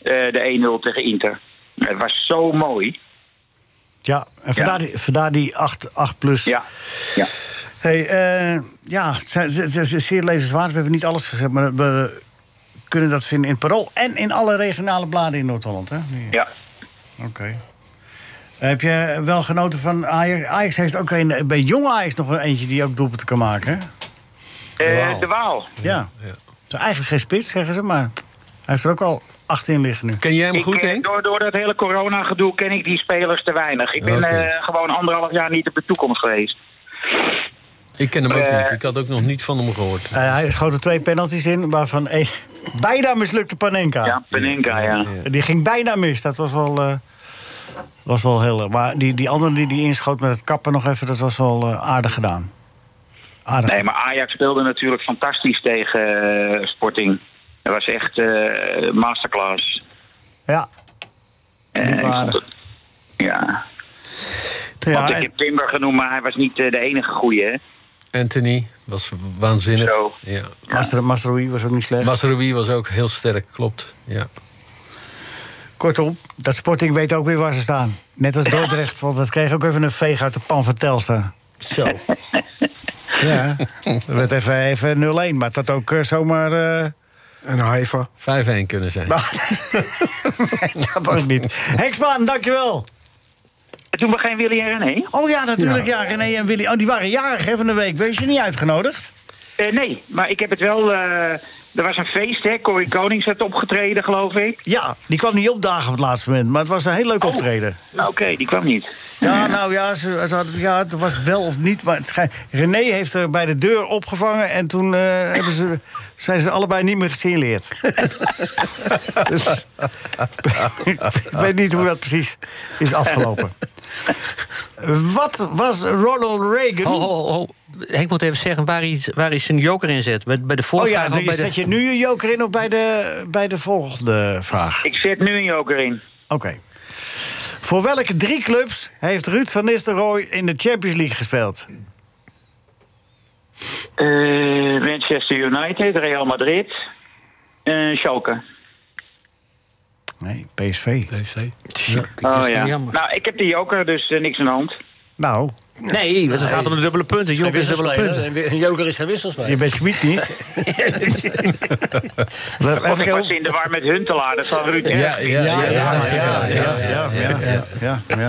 Speaker 12: Eh, de 1-0 tegen Inter. Het was zo mooi.
Speaker 3: Ja, en vandaar die, vandaar die 8, 8 plus. Ja.
Speaker 12: ja.
Speaker 3: Hey, eh, ja, het zijn- ze- ze- ze- zeer lezerswaard. We hebben niet alles gezegd, maar we kunnen dat vinden in het Parool... en in alle regionale bladen in Noord-Holland, hè? Nu-
Speaker 12: Ja.
Speaker 3: Oké. Heb je wel genoten van Ajax? Ajax heeft ook een, bij jong Ajax nog een eentje die ook doelpunten kan maken, hè?
Speaker 12: Eh, de Waal.
Speaker 3: Ja. Het is eigenlijk geen spits, zeggen ze, maar hij heeft er ook al acht in liggen nu.
Speaker 6: Ken jij
Speaker 12: Ik, eh, Door, door dat hele corona-gedoe ken ik die spelers te weinig. Ik ben
Speaker 6: Oké.
Speaker 12: eh, gewoon anderhalf jaar niet op de toekomst geweest.
Speaker 6: Ik ken hem ook
Speaker 12: Eh.
Speaker 6: niet. Ik had ook nog niet van hem gehoord.
Speaker 3: Eh, hij schoot er twee penalties in, waarvan één [LAUGHS] bijna mislukte Panenka.
Speaker 12: Ja, Penenka, ja.
Speaker 3: Die ging bijna mis, dat was wel, eh, was wel heel... eh, Maar die, die andere die die inschoot met het kappen nog even, dat was wel eh, aardig gedaan. Aardig.
Speaker 12: Nee, maar Ajax speelde natuurlijk fantastisch tegen eh, Sporting. Dat was echt eh, masterclass.
Speaker 3: Ja.
Speaker 12: Eh, ik vond het- ja. Want ik heb Timber genoemd, maar hij was niet eh, de enige goeie, hè?
Speaker 6: Anthony was waanzinnig. Ja.
Speaker 3: Master, Masrowi was ook niet slecht.
Speaker 6: Masrowi was ook heel sterk, klopt. Ja.
Speaker 3: Kortom, dat Sporting weet ook weer waar ze staan. Net als Dordrecht, want dat kreeg ook even een veeg uit de pan van Telstra.
Speaker 6: Zo.
Speaker 3: [LAUGHS] Ja, dat werd even, even 0-1, maar het had ook eh, zomaar...
Speaker 7: Een haifa.
Speaker 6: 5-1 kunnen zijn.
Speaker 3: [LAUGHS] nee, dat ook niet. Heksbaan, dankjewel.
Speaker 12: Toen we geen Willy en René?
Speaker 3: Oh ja, natuurlijk. Ja. René en Willy. Oh, die waren jarig hè, van de week. Ben je ze niet uitgenodigd?
Speaker 12: Eh, nee, maar ik heb het wel... eh, er was een feest, hè? Corrie Konings had opgetreden, geloof ik.
Speaker 3: Ja, die kwam niet opdagen op het laatste moment. Maar het was een heel
Speaker 12: Oh.
Speaker 3: leuk optreden.
Speaker 12: Nou, Oké, die kwam niet.
Speaker 3: Ja, nou ja, ze, ze hadden- ja, het was wel of niet. Maar het schijnt- René heeft er bij de deur opgevangen. En toen eh, hebben ze, zijn ze allebei niet meer gesignaleerd. [LAUGHS] dus, ik weet niet hoe dat precies is
Speaker 8: Oh,
Speaker 3: afgelopen. Wat was Ronald Reagan?
Speaker 8: Ho, ho, ho. Ik oh, moet even zeggen waar hij, waar hij zijn joker in zet. Bij, bij de
Speaker 3: Oh
Speaker 8: vorige
Speaker 3: ja, dan zet je nu je joker in of bij de, bij de volgende vraag?
Speaker 12: Ik zet nu een joker in.
Speaker 3: Oké. Voor welke drie clubs heeft Ruud van Nistelrooy in de Champions League gespeeld?
Speaker 12: Eh, Manchester United, Real Madrid, eh Schalke.
Speaker 3: Nee, PSV.
Speaker 6: PSV.
Speaker 12: Oh ja. Nou, ik heb de joker, dus eh, niks aan de hand.
Speaker 3: Nou.
Speaker 8: Nee, want het gaat om de dubbele punten.
Speaker 5: Geen
Speaker 8: Joker is dubbele
Speaker 5: wisselspeler.
Speaker 8: punten.
Speaker 5: Een wi- Een joker is geen wisselspeler.
Speaker 3: Je bent Schmid niet. Even
Speaker 12: Want ik
Speaker 3: kijken.
Speaker 12: was in de war met Huntelaar, dat zal Ruud
Speaker 6: Ja, ja,
Speaker 12: erg vinden.
Speaker 6: ja, ja, ja, ja, ja, ja.
Speaker 3: Ja, ja.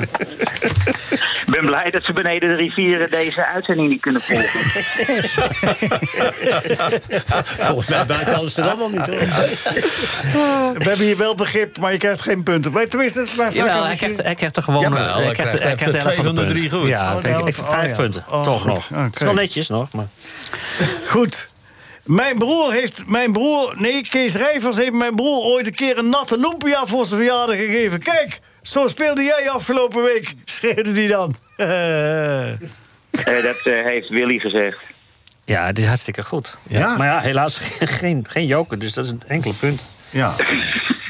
Speaker 12: Ik ben blij dat ze beneden de rivieren deze uitzending niet kunnen volgen.
Speaker 5: Volgens mij buiten Amsterdam al niet hoor.
Speaker 3: We hebben hier wel begrip, maar je krijgt geen punten. Maar Tenminste, het was
Speaker 8: Jawel, hij krijgt, hij krijgt er gewoon...
Speaker 6: Jawel,
Speaker 8: eh,
Speaker 6: hij
Speaker 8: hij
Speaker 6: krijgt-
Speaker 8: krijgt,
Speaker 6: hij heeft
Speaker 8: hij krijgt
Speaker 6: er
Speaker 8: de helft
Speaker 6: twee
Speaker 8: van de
Speaker 6: van de
Speaker 8: punten.
Speaker 6: drie goed.
Speaker 8: Ja,
Speaker 3: Oh,
Speaker 8: ik
Speaker 3: de
Speaker 8: ik-
Speaker 3: helft-
Speaker 8: vijf
Speaker 3: oh ja.
Speaker 8: punten.
Speaker 3: Oh,
Speaker 8: toch
Speaker 3: goed.
Speaker 8: nog.
Speaker 3: Oké.
Speaker 8: Het is wel netjes nog, maar...
Speaker 3: Goed. Mijn broer heeft, mijn broer, nee, Kees Rijvers heeft mijn broer ooit een keer een natte lumpia voor zijn verjaardag gegeven. Kijk, zo speelde jij afgelopen week, [LAUGHS] schreeuwde die dan. [LAUGHS]
Speaker 12: Eh, dat eh, heeft Willy gezegd.
Speaker 8: Ja, het is hartstikke goed.
Speaker 3: Ja.
Speaker 8: Maar ja, helaas geen, geen joker, dus dat is een enkele punt.
Speaker 3: Ja.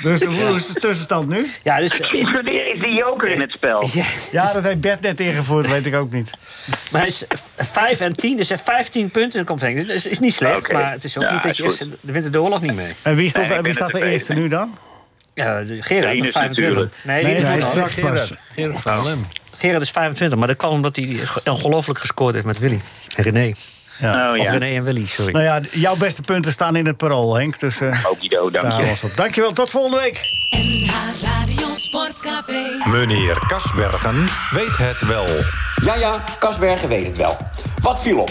Speaker 3: Dus hoe is de tussenstand nu?
Speaker 8: Ja, dus...
Speaker 12: Is er [LAUGHS] weer is die joker in het spel?
Speaker 3: Ja, dat heeft Bert net ingevoerd, weet ik ook niet.
Speaker 8: Maar hij is eh, 5 en 10, dus hij heeft 15 punten. Dan komt Henk. Dus het is, is niet slecht,
Speaker 3: Oké.
Speaker 8: maar het is ook
Speaker 3: Ja,
Speaker 8: niet dat
Speaker 3: is
Speaker 8: je
Speaker 3: goed.
Speaker 8: eerst, de wint de oorlog niet mee.
Speaker 3: En wie, stond, en wie staat de eerste nu dan?
Speaker 8: Ja, de- Gerard met
Speaker 3: Rinus
Speaker 8: 25.
Speaker 3: natuurlijk. Oh. Nee,
Speaker 8: Rinus
Speaker 3: hij is
Speaker 8: moet
Speaker 3: straks
Speaker 8: nog.
Speaker 3: pas.
Speaker 8: Gerard van Lem. Gerard is 25, maar dat kwam omdat hij ongelooflijk gescoord heeft met Willy. En René.
Speaker 3: Oh, Ja.
Speaker 8: Of René en Willy, sorry.
Speaker 3: Nou ja, jouw beste punten staan in het parool, Henk. Dus, eh
Speaker 12: Guido,
Speaker 3: dank daar
Speaker 12: je.
Speaker 3: was op. Dankjewel, tot volgende week.
Speaker 9: NH Radio Sportcafé.
Speaker 13: Meneer Kasbergen weet het wel.
Speaker 14: Ja, ja, Kasbergen weet het wel. Wat viel op?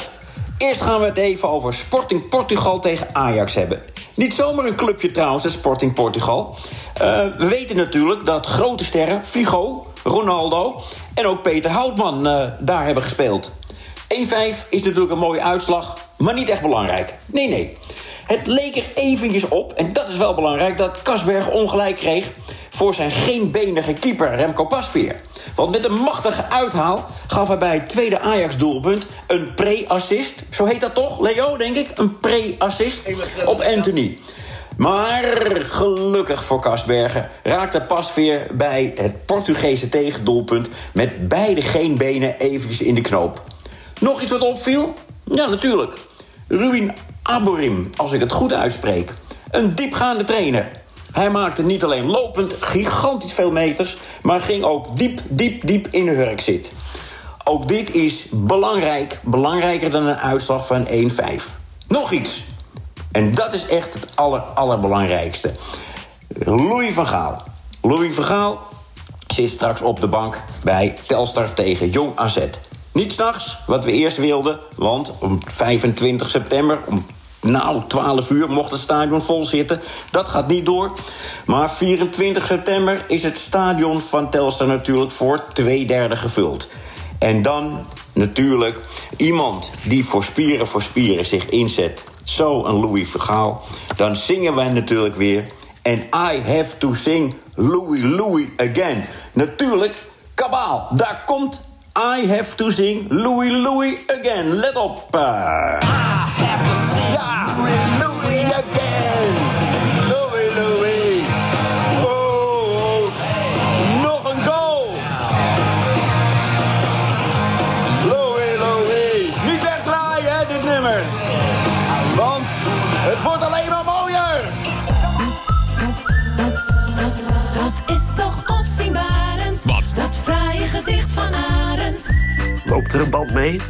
Speaker 14: Eerst gaan we het even over Sporting Portugal tegen Ajax hebben. Niet zomaar een clubje trouwens, hè, Sporting Portugal. Eh, we weten natuurlijk dat grote sterren Figo, Ronaldo en ook Peter Houtman eh, daar hebben gespeeld. 1-5 is natuurlijk een mooie uitslag, maar niet echt belangrijk. Nee, nee. Het leek er eventjes op, en dat is wel belangrijk, dat Kasberg ongelijk kreeg voor zijn geenbenige keeper Remco Pasveer. Want met een machtige uithaal gaf hij bij het tweede Ajax-doelpunt een pre-assist. Zo heet dat toch, Leo, denk ik? Een pre-assist op Anthony. Maar gelukkig voor Kasbergen raakte Pasveer bij het Portugese tegendoelpunt... met beide geenbenen eventjes in de knoop. Nog iets wat opviel? Ja, natuurlijk. Ruin Aborim, als ik het goed uitspreek. Een diepgaande trainer. Hij maakte niet alleen lopend gigantisch veel meters... maar ging ook diep, diep, diep in de hurk zitten. Ook dit is belangrijk, belangrijker dan een uitslag van 1-5. Nog iets. En dat is echt het aller, allerbelangrijkste. Louis van Gaal. Louis van Gaal zit straks op de bank bij Telstar tegen Jong AZ. Niet s'nachts, wat we eerst wilden, want om 25 september... om nou, 12 uur mocht het stadion vol zitten. Dat gaat niet door. Maar 24 september is het stadion van Telstar natuurlijk voor twee derde gevuld. En dan natuurlijk iemand die voor spieren voor spieren zich inzet. Zo een Louis Vergaal. Dan zingen wij natuurlijk weer. En I have to sing Louis Louis again. Natuurlijk, kabaal. Daar komt I have to sing Louis Louis again. Let op. eh. Ja, Louis again. Louis Louis. Oh, nog een goal. Louis, Louis. Niet wegdraaien, hè, dit nummer. Want het wordt alleen maar mooier.
Speaker 9: Dat is toch opzienbarend? Wat? Dat fraaie gedicht van Arend.
Speaker 15: Loopt er een band mee?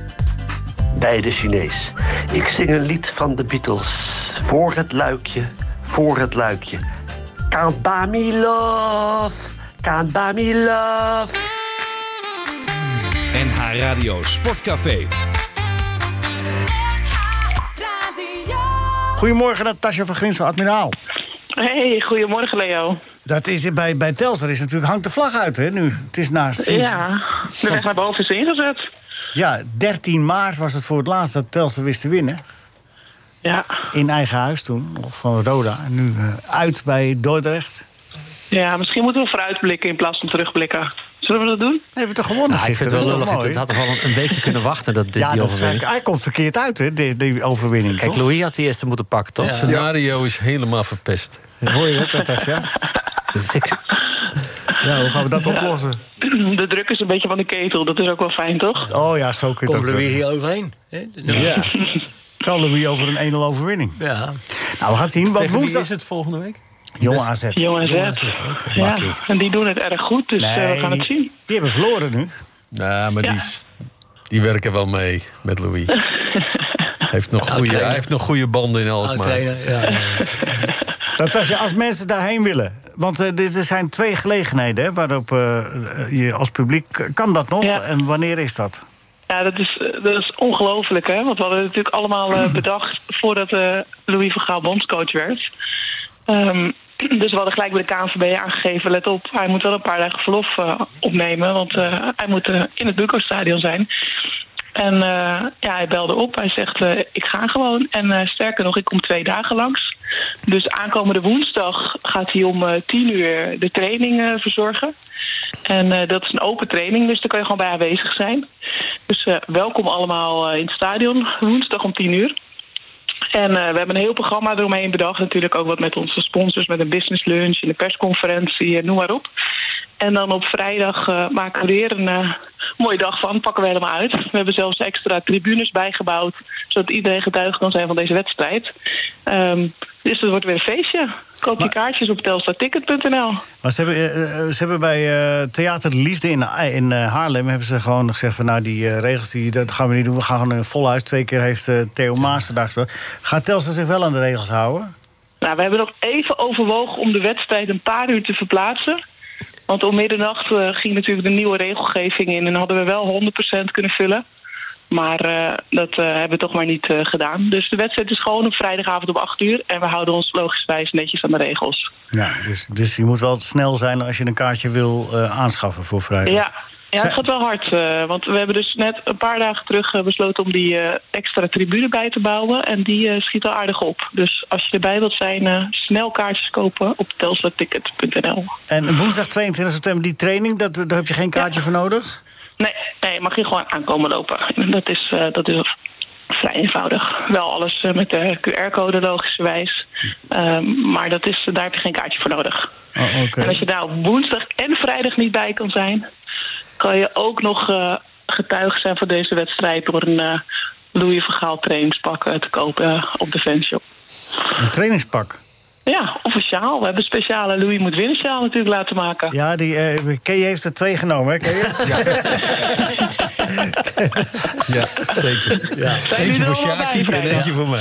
Speaker 15: Bij de Chinees. Ik zing een lied van de Beatles. Voor het luikje, voor het luikje. Can't buy me love, can't buy me love.
Speaker 13: NH Radio Sportcafé.
Speaker 3: Goedemorgen, Natasja van Grinsel, admiraal.
Speaker 16: Hey, goedemorgen Leo.
Speaker 3: Dat is bij, bij Telstar is natuurlijk hangt de vlag uit hè, nu. Het is naast.
Speaker 16: Ja, de weg naar boven is ingezet.
Speaker 3: Ja, 13 maart was het voor het laatst dat Telstar wist te winnen.
Speaker 16: Ja.
Speaker 3: In eigen huis toen, of van Roda. En nu eh, uit bij Dordrecht.
Speaker 16: Ja, misschien moeten we vooruitblikken in plaats van terugblikken. Zullen we dat doen?
Speaker 3: Hebben we toch gewonnen
Speaker 8: Nou, ik vind het wel lullig. Het, het had toch wel een, een beetje kunnen wachten, dat, dit
Speaker 3: ja,
Speaker 8: die
Speaker 3: dat is
Speaker 8: overwinning.
Speaker 3: eigenlijk- hij komt verkeerd uit, hè, die, die overwinning.
Speaker 8: Kijk, Louis had die eerste moeten pakken, toch?
Speaker 3: Ja.
Speaker 6: scenario is helemaal verpest.
Speaker 3: Ja, Hoor je dat, [LAUGHS] Natasja?
Speaker 6: Dus
Speaker 3: Ja, hoe gaan we dat oplossen?
Speaker 16: [CLEARS THROAT] De druk is een beetje van de ketel, dat is ook wel fijn, toch?
Speaker 3: Oh ja, zo kun je
Speaker 16: Komt
Speaker 3: het ook
Speaker 16: Louis
Speaker 5: hier overheen? Dus-
Speaker 3: Ja. Kan Louis over een 1-0 overwinning.
Speaker 5: Ja. Nou,
Speaker 3: we gaan het zien. Want
Speaker 5: Tegen wie
Speaker 3: woensdag...
Speaker 5: is het volgende week?
Speaker 3: Jong AZ.
Speaker 16: Jong AZ.
Speaker 3: oké.
Speaker 16: Ja,
Speaker 3: Makkie.
Speaker 16: en die doen het erg goed, dus eh, we gaan het zien.
Speaker 3: Die hebben verloren nu.
Speaker 6: Nou, maar die, is- die werken wel mee met
Speaker 3: [LAUGHS]
Speaker 6: Louis. heeft nog goede, hij heeft nog goede banden in Alkmaar.
Speaker 3: Natasja, als mensen daarheen willen. Want eh, dit, er zijn twee gelegenheden hè, waarop eh, je als publiek... eh, Kan dat nog? En wanneer is dat?
Speaker 16: Ja, dat is, eh, dat is ongelooflijk, hè? Want we hadden het natuurlijk allemaal
Speaker 3: [CLEARS THROAT]
Speaker 16: eh, bedacht voordat eh, Louis van Gaal bondscoach werd. Ehm, [CLEARS THROAT] dus we hadden gelijk bij de KNVB aangegeven, let op, hij moet wel een paar dagen verlof eh, opnemen. Want eh, hij moet eh, in het Buco-stadion zijn. En eh, ja, hij belde op. Hij zegt, eh, ik ga gewoon. En eh, sterker nog, ik kom twee dagen langs. Dus aankomende woensdag gaat hij om eh, tien uur de training eh, verzorgen. En eh, dat is een open training, dus daar kan je gewoon bij aanwezig zijn. Dus eh, welkom allemaal eh, in het stadion, woensdag om tien uur. En eh, we hebben een heel programma eromheen bedacht. Natuurlijk ook wat met onze sponsors, met een business lunch, en een persconferentie, eh, noem maar op. En dan op vrijdag eh, maken we er weer een eh, mooie dag van. Pakken we helemaal uit. We hebben zelfs extra tribunes bijgebouwd. Zodat iedereen getuige kan zijn van deze wedstrijd. Ehm, dus het wordt weer een feestje. Koop je kaartjes op telstaticket.nl.
Speaker 3: Maar ze hebben, eh, eh, ze hebben bij eh, Theater de Liefde in, in eh, Haarlem... hebben ze gewoon gezegd van nou, die eh, regels die, dat gaan we niet doen. We gaan gewoon een vol huis. Twee keer heeft eh, Theo Maas daar gesproken. Gaat Telstra zich wel aan de regels houden?
Speaker 16: Nou, we hebben nog even overwogen om de wedstrijd een paar uur te verplaatsen. Want om middernacht eh, ging natuurlijk de nieuwe regelgeving in... en hadden we wel 100% kunnen vullen. Maar eh, dat eh, hebben we toch maar niet eh, gedaan. Dus de wedstrijd is gewoon op vrijdagavond om 8 uur... en we houden ons logischwijs netjes aan de regels.
Speaker 3: Ja, dus, dus je moet wel snel zijn als je een kaartje wil eh, aanschaffen voor vrijdag.
Speaker 16: Ja, ja het gaat wel hard. eh, want we hebben dus net een paar dagen terug eh, besloten om die eh, extra tribune bij te bouwen. En die eh, schiet al aardig op. Dus als je erbij wilt zijn, eh, snel kaartjes kopen op telstaticket.nl.
Speaker 3: En woensdag 22 september, die training, dat, daar heb je geen kaartje voor nodig?
Speaker 16: Nee, nee, mag je gewoon aankomen lopen. Dat is, eh, dat is vrij eenvoudig. Wel alles eh, met de QR-code logischerwijs. Ehm, maar dat is, daar heb je geen kaartje voor nodig.
Speaker 3: Oh,
Speaker 16: En als je daar op woensdag en vrijdag niet bij kan zijn, kan je ook nog eh, getuige zijn van deze wedstrijd door een eh Louis Vergaal trainingspak eh, te kopen eh, op de fanshop.
Speaker 3: Een trainingspak.
Speaker 16: Ja, officiaal. We hebben een speciale Louis moet winnen sjaal natuurlijk laten maken.
Speaker 3: Ja, die, eh Kay heeft er twee genomen, hè? Kay? [LAUGHS]
Speaker 6: Ja, zeker. Ja.
Speaker 3: Zijn jullie
Speaker 6: Eentje voor
Speaker 3: er allemaal
Speaker 6: Sjaki
Speaker 3: bij,
Speaker 6: en eentje voor mij.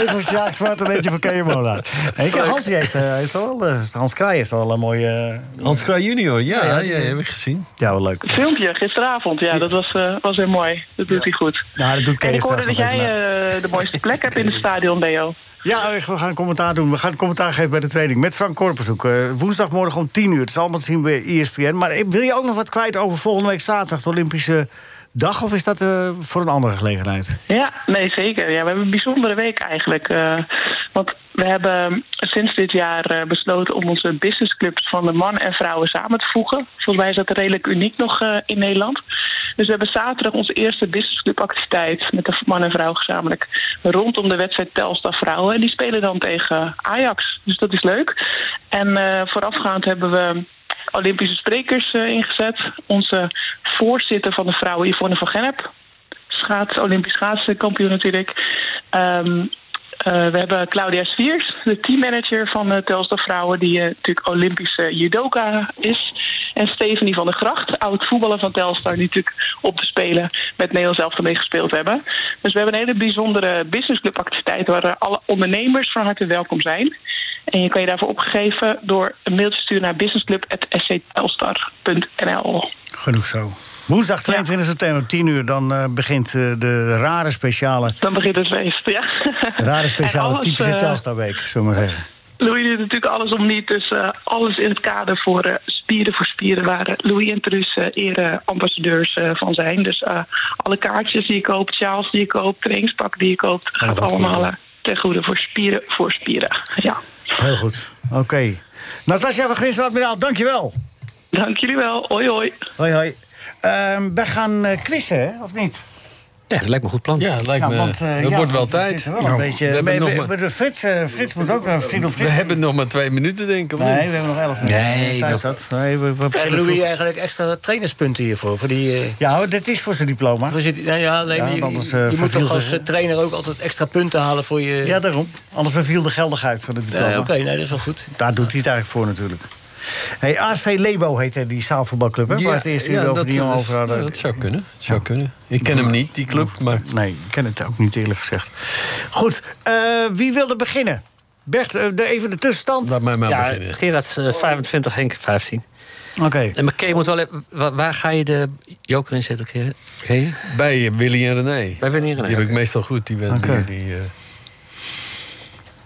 Speaker 3: Eén voor Sjaak Zwart en eentje voor Keemola. Hans die heeft, eh, heeft al, eh, Hans Kraai heeft al een mooie... eh,
Speaker 6: Hans Kraai junior, ja, ja, heb ik gezien.
Speaker 3: Ja, wel leuk.
Speaker 16: Filmpje gisteravond, ja, dat was, eh, was heel mooi. Dat doet hij goed.
Speaker 3: Nou, dat doet Kay
Speaker 16: en ik hoorde
Speaker 3: straks
Speaker 16: dat
Speaker 3: nog
Speaker 16: jij
Speaker 3: even na.
Speaker 16: eh, de mooiste plek hebt in het stadion, Leo.
Speaker 3: Ja, eh, we gaan commentaar doen. We gaan commentaar geven bij de training met Frank Korpershoek. Eh, woensdagmorgen om 10 uur. Het is allemaal te zien bij ESPN. Maar eh, wil je ook nog wat kwijt over volgende week zaterdag... de Olympische dag? Of is dat eh, voor een andere gelegenheid?
Speaker 16: Ja, nee, zeker. Ja, we hebben een bijzondere week eigenlijk. Eh, want we hebben sinds dit jaar eh, besloten om onze businessclubs van de mannen en vrouwen samen te voegen. Volgens mij is dat redelijk uniek nog eh, in Nederland. Dus we hebben zaterdag onze eerste businessclubactiviteit met de man en vrouw gezamenlijk rondom de wedstrijd Telstar Vrouwen. En die spelen dan tegen Ajax. Dus dat is leuk. En eh, voorafgaand hebben we Olympische sprekers eh, ingezet. Onze voorzitter van de vrouwen, Yvonne van Gennep. Schaats, Olympisch schaatskampioen natuurlijk. Ehm, eh, we hebben Claudia Sviers, de teammanager van eh, Telstar Vrouwen... die eh, natuurlijk Olympische judoka is. En Stephanie van der Gracht, oud voetballer van Telstar... die natuurlijk op te spelen met Nederlands elftal mee gespeeld hebben. Dus we hebben een hele bijzondere businessclubactiviteit... waar eh, alle ondernemers van harte welkom zijn. En je kan je daarvoor opgeven door een mailtje te sturen naar businessclub.sctelstar.nl.
Speaker 3: Genoeg zo. Woensdag 22 september, 10 uur, dan eh, begint eh, de rare
Speaker 16: [LAUGHS]
Speaker 3: speciale...
Speaker 16: Dan begint het feest, ja.
Speaker 3: Rare
Speaker 16: En
Speaker 3: speciale
Speaker 16: alles,
Speaker 3: typische
Speaker 16: eh,
Speaker 3: Telstarweek, zullen we maar zeggen.
Speaker 16: Louis doet natuurlijk alles om niet, dus eh, alles in het kader voor eh, Spieren voor Spieren... waar eh, Louis en Truus eh, ere ambassadeurs eh, van zijn. Dus eh, alle kaartjes die je koopt, sjaals die je koopt, trainingspak die je koopt... gaat
Speaker 3: dat
Speaker 16: allemaal
Speaker 3: goed.
Speaker 16: eh, ten goede voor Spieren voor Spieren, ja.
Speaker 3: Heel goed. Oké. Natasja van Grinswaard-Miraal, dankjewel.
Speaker 16: Dank jullie wel. Hoi, hoi.
Speaker 3: Hoi, hoi. Ehm, wij gaan eh quizzen, hè, of niet?
Speaker 8: Ja, dat lijkt me goed plan.
Speaker 6: Ja, dat lijkt me-
Speaker 3: eh,
Speaker 6: het wordt wel tijd.
Speaker 3: Het wel
Speaker 6: Nou,
Speaker 3: een
Speaker 6: we
Speaker 3: beetje...
Speaker 6: hebben
Speaker 3: maar-
Speaker 6: nog
Speaker 3: maar-
Speaker 6: maar-
Speaker 3: maar Frits, eh, Frits moet ook... eh, Friedel
Speaker 6: We
Speaker 3: Frits.
Speaker 6: hebben nog maar twee minuten, denk ik. of
Speaker 3: Nee,
Speaker 6: niet?
Speaker 3: we hebben nog elf minuten.
Speaker 6: Nee,
Speaker 3: Thuis
Speaker 6: nog-
Speaker 3: dat. Nee, we, we
Speaker 5: Krijgt Louis eh, eigenlijk extra trainerspunten hiervoor? Voor die, eh,
Speaker 3: Ja, hoor, dit is voor zijn diploma.
Speaker 5: voor zit- nou ja, nee,
Speaker 3: Ja,
Speaker 5: je,
Speaker 3: anders, eh,
Speaker 5: je moet
Speaker 3: verviel
Speaker 5: toch
Speaker 3: ze,
Speaker 5: als
Speaker 3: hè?
Speaker 5: eh, trainer ook altijd extra punten halen voor je...
Speaker 3: Ja, daarom. Anders verviel de geldigheid van het diploma.
Speaker 5: Eh, Oké, nee, dat is wel goed.
Speaker 3: Daar doet hij het eigenlijk voor natuurlijk. Hey, ASV Lebo heet eh, die zaalvoetbalclub, hè? waar het eerst uur over die jongen
Speaker 6: is-
Speaker 3: over hadden.
Speaker 6: ja, dat zou kunnen. Dat zou kunnen. Ik ken hem niet, die club, maar...
Speaker 3: Nee, ik ken het ook niet eerlijk gezegd. Goed, eh, wie wilde beginnen? Bert, eh, de- even de tussenstand. Laat mij
Speaker 8: ja, Gerard eh, 25, Henk 15.
Speaker 3: Oké.
Speaker 8: En McKay moet wel even... wa- Waar, ga je de joker in zetten, Gerard? Gerard?
Speaker 6: Bij eh, Willy en René.
Speaker 8: Bij Willy en René,
Speaker 6: Die heb ik
Speaker 8: oké.
Speaker 6: meestal goed, die... die,
Speaker 8: Oké.
Speaker 6: die eh,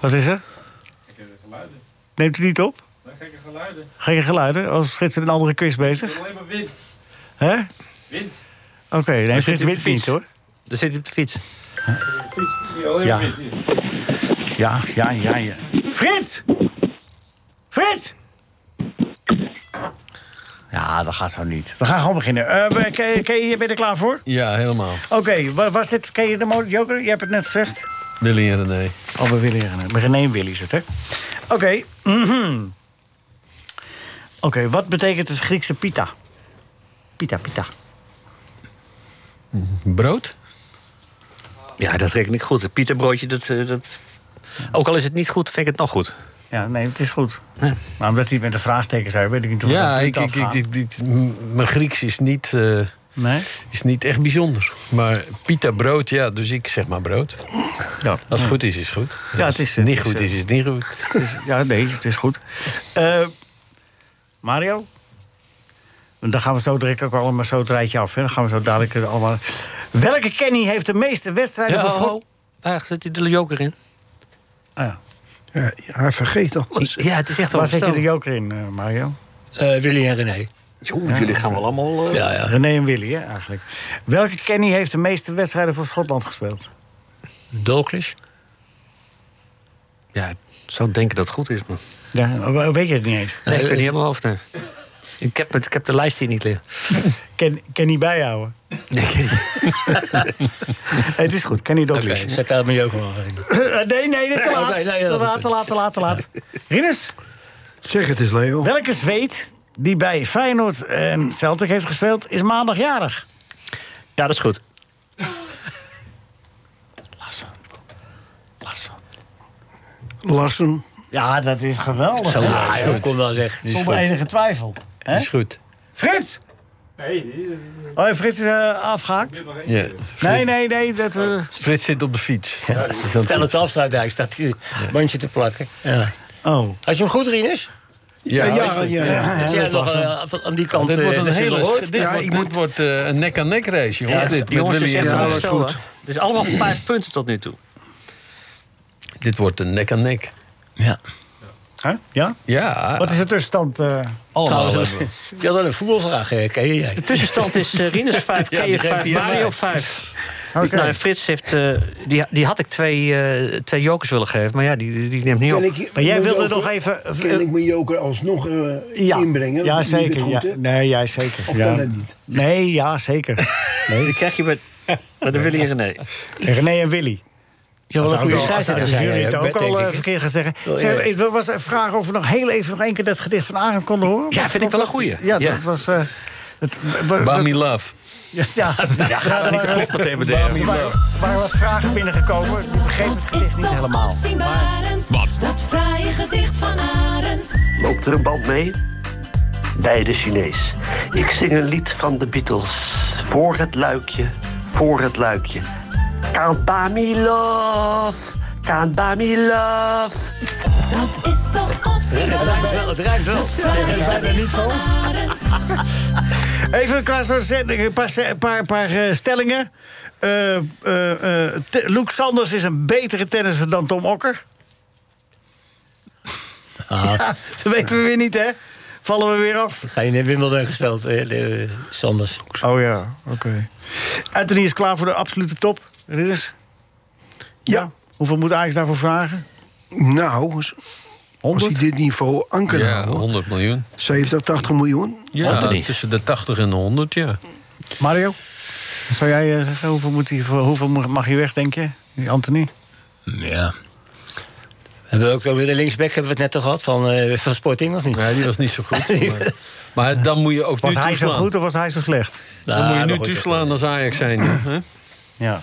Speaker 3: Wat is er? Neemt u niet op? Oh,
Speaker 17: Gekke geluiden.
Speaker 3: Gekke geluiden? Als Frits een andere quiz
Speaker 17: Ik
Speaker 3: bezig?
Speaker 17: wil alleen maar wind.
Speaker 3: Hè?
Speaker 17: Wind.
Speaker 3: Oké, nee,
Speaker 8: Er
Speaker 3: Frits
Speaker 8: hij op
Speaker 3: Wit
Speaker 8: de
Speaker 3: niet hoor.
Speaker 8: Er zit hij op de fiets.
Speaker 3: Ja. Ja, ja, ja, ja. Frits! Frits! Ja, dat gaat zo niet. We gaan gewoon beginnen. Eh, we- Ken ken je, ben je er klaar voor?
Speaker 6: Ja, helemaal.
Speaker 3: Oké, wa- was dit, ken je de mo- Joker? Je hebt het net gezegd.
Speaker 6: Willy en René.
Speaker 3: Oh, we willen René. Maar René en Willy is het, hè? Oké. mhm. Oké, wat betekent het Griekse pita? Pita, pita.
Speaker 6: Brood?
Speaker 8: Ja, dat reken ik goed. Het Pieterbroodje, dat, eh, dat... Ook al is het niet goed, vind ik het nog goed.
Speaker 3: Ja, nee, het is goed. Maar omdat hij het met een vraagteken zei, weet ik niet of we
Speaker 6: Ja,
Speaker 3: dat
Speaker 6: ik,
Speaker 3: punt
Speaker 6: ik, ik,
Speaker 3: afgaan.
Speaker 6: ik- ik- m- mijn Grieks is niet, eh,
Speaker 3: Nee?
Speaker 6: is niet echt bijzonder. Maar pita brood, ja, dus ik zeg maar brood.
Speaker 3: Ja.
Speaker 6: Als het goed is, is het goed.
Speaker 3: Ja,
Speaker 6: Als
Speaker 3: het is-
Speaker 6: het niet
Speaker 3: het is,
Speaker 6: goed is,
Speaker 3: eh,
Speaker 6: is het niet goed.
Speaker 3: Het is- ja, nee, het is goed. Eh, Mario? Want Dan gaan we zo direct ook allemaal zo het rijtje af. Hè? Dan gaan we zo dadelijk eh, allemaal... Welke Kenny heeft de meeste wedstrijden
Speaker 8: Ja,
Speaker 3: voor
Speaker 8: ho,
Speaker 3: Schot?
Speaker 8: Waar zit hij de joker in?
Speaker 7: Ja, hij vergeet alles.
Speaker 8: Ja, het is echt
Speaker 3: Waar zet je de
Speaker 8: onverstandig.
Speaker 3: joker in, eh, Mario?
Speaker 5: Willy en René.
Speaker 8: jullie gaan wel allemaal... eh,
Speaker 5: Ja, ja.
Speaker 3: René en Willy, hè, eigenlijk. Welke Kenny heeft de meeste wedstrijden voor Schotland gespeeld?
Speaker 5: Doklus?
Speaker 8: Ja, ik zou denken dat het goed is, man.
Speaker 3: Ja, we- Oh, weet je het niet eens?
Speaker 8: Nee, ik weet niet helemaal over. nee. Ik heb, het, ik heb de lijst hier niet liggen.
Speaker 3: Ken, Kenny bijhouden. [LAUGHS] het is goed, Kenny
Speaker 5: Oké,
Speaker 3: Doklus.
Speaker 5: zet daar mijn joker maar in.
Speaker 3: Eh, nee, nee, nee, te
Speaker 5: Ja,
Speaker 3: laat.
Speaker 5: oké, nee,
Speaker 3: te
Speaker 5: dat-
Speaker 3: laat, te laat, te laat, te laat. Rinus?
Speaker 7: Zeg het eens, Leo.
Speaker 3: Welke Zweed die bij Feyenoord en Celtic heeft gespeeld, is maandag jarig?
Speaker 8: Ja, dat is goed.
Speaker 7: Larsen.
Speaker 3: Ja, dat is geweldig.
Speaker 5: Zo,
Speaker 3: hè?
Speaker 5: ja, joh, kom wel zeg. Die is
Speaker 3: Zonder
Speaker 5: goed.
Speaker 3: enige twijfel.
Speaker 6: Die is goed.
Speaker 3: Frits! Oh, Frits is eh, afgehaakt.
Speaker 6: Ja.
Speaker 3: Nee, nee, nee. Dat, eh,
Speaker 6: Frits zit op de fiets. Ja,
Speaker 5: Stel het afsluitdijk, staat hier bandje te plakken. Ja.
Speaker 3: Oh.
Speaker 5: Als je hem goed, Rinus?
Speaker 6: Ja, ja, ja,
Speaker 5: Als
Speaker 6: ja, ja.
Speaker 8: Dus
Speaker 5: jij
Speaker 6: Dat
Speaker 5: nog
Speaker 6: was hem.
Speaker 5: eh, van- aan die kant
Speaker 6: dit
Speaker 5: eh,
Speaker 6: wordt een
Speaker 5: dat je
Speaker 6: hele.
Speaker 5: nog hoort.
Speaker 6: Dit, wordt, dit wordt eh, een nek-aan-nek race, jongens.
Speaker 8: Ja,
Speaker 6: dit, met
Speaker 8: jongens, het is
Speaker 6: Willy
Speaker 8: echt
Speaker 6: en René.
Speaker 8: alles goed. Het is
Speaker 3: [CLEARS THROAT]
Speaker 8: allemaal vijf punten tot nu toe.
Speaker 6: Dit wordt een nek-aan-nek.
Speaker 5: Ja.
Speaker 3: Hè? Ja?
Speaker 6: Ja.
Speaker 3: Wat is de tussenstand? eh?
Speaker 6: Allemaal
Speaker 5: Trouwens,
Speaker 6: hebben
Speaker 5: je had al een voetbalvraag, eh, ken je jij?
Speaker 8: De tussenstand is eh,
Speaker 5: [LAUGHS]
Speaker 8: Rinus 5,
Speaker 5: Ja, die
Speaker 8: Kees
Speaker 5: geeft
Speaker 8: 5,
Speaker 5: hij aan
Speaker 8: Mario
Speaker 5: mij.
Speaker 8: 5.
Speaker 3: Oké.
Speaker 8: Nou, en Frits heeft... eh, die, die had ik twee, eh, twee jokers willen geven, maar ja, die, die neemt niet op.
Speaker 17: Kan ik
Speaker 3: Maar jij
Speaker 17: mijn
Speaker 3: wilde
Speaker 17: joker-
Speaker 3: nog even-
Speaker 17: Kan ik mijn joker alsnog eh,
Speaker 3: Ja.
Speaker 17: inbrengen?
Speaker 3: Ja,
Speaker 17: Want nu
Speaker 3: zeker.
Speaker 17: is het goed,
Speaker 3: ja.
Speaker 17: hè?
Speaker 3: Nee, jij zeker.
Speaker 17: Of
Speaker 3: ja.
Speaker 17: kan dat niet?
Speaker 3: Nee, ja,
Speaker 8: [LAUGHS]
Speaker 3: zeker. Nee.
Speaker 8: Die krijg je bij, bij de Willy en René.
Speaker 3: Eh, René en Willy.
Speaker 5: Ja, wel een goede scheidsrechter zijn
Speaker 3: jullie
Speaker 5: jij
Speaker 3: het
Speaker 5: ook,
Speaker 3: ook
Speaker 5: denk
Speaker 3: al
Speaker 5: ik.
Speaker 3: eh, verkeerd gaan zeggen.
Speaker 5: Wel
Speaker 3: Zeg,
Speaker 5: erg.
Speaker 3: ik wil- was een vraag of we nog heel even nog één keer dat gedicht van Arend konden horen.
Speaker 8: Ja, vind ik wel een goeie.
Speaker 3: Ja,
Speaker 8: Ja.
Speaker 3: dat was... eh het, wa- dat-
Speaker 6: Bami Love.
Speaker 3: Ja, [LAUGHS] ja.
Speaker 8: Ja, ga dan niet de klok meteen bedenken.
Speaker 3: Er waren, er waren wat vragen binnengekomen. Ik begreep het gedicht niet helemaal.
Speaker 9: Afzienbarend, dat fraaie gedicht van Arend.
Speaker 15: Loopt er een band mee? Bij de Chinees. Ik zing een lied van de Beatles. Voor het luikje, voor het luikje. Count by me los, count by me los.
Speaker 9: Dat is toch opzienbarend,
Speaker 5: Het rijmt wel.
Speaker 9: dat fraaie gedicht van Arend. [LAUGHS]
Speaker 3: Even qua zo'n zet- een paar, se- een paar, paar eh, stellingen. Eh eh eh, Te- Luc Sanders is een betere tennisser dan Tom Okker. [LAUGHS] Ja, dat weten we weer niet, hè? Vallen we weer af?
Speaker 5: Ah. Ga je in Wimbledon gespeeld, eh, de- Sanders.
Speaker 3: Oh ja, oké. Anthony is klaar voor de absolute top. Ridders? Ja. Hoeveel moet Ajax daarvoor vragen?
Speaker 7: Nou, als- als
Speaker 3: 100?
Speaker 7: hij dit niveau aan kan
Speaker 6: Ja,
Speaker 7: houden.
Speaker 6: 100 miljoen.
Speaker 7: 70, 80 miljoen.
Speaker 6: Ja, tussen de 80 en de 100, ja.
Speaker 3: Mario? Wat Zou jij eh, zeggen, hoeveel, moet hij, voor- hoeveel mo- mag hij weg, denk je? Die Anthony?
Speaker 5: Ja. We hebben ook over de linksback hebben we het net toch gehad van, eh, van Sporting, of niet?
Speaker 6: Ja, die was niet zo
Speaker 5: [LAUGHS]
Speaker 6: goed. Maar, maar dan moet je ook
Speaker 3: Was
Speaker 6: nu
Speaker 3: hij zo
Speaker 6: toeslaan.
Speaker 3: goed of was hij zo slecht?
Speaker 5: Nou,
Speaker 6: dan moet je
Speaker 5: maar
Speaker 6: nu
Speaker 5: goed,
Speaker 6: toeslaan als Ajax zijn. hè?
Speaker 3: Ja. ja.
Speaker 6: het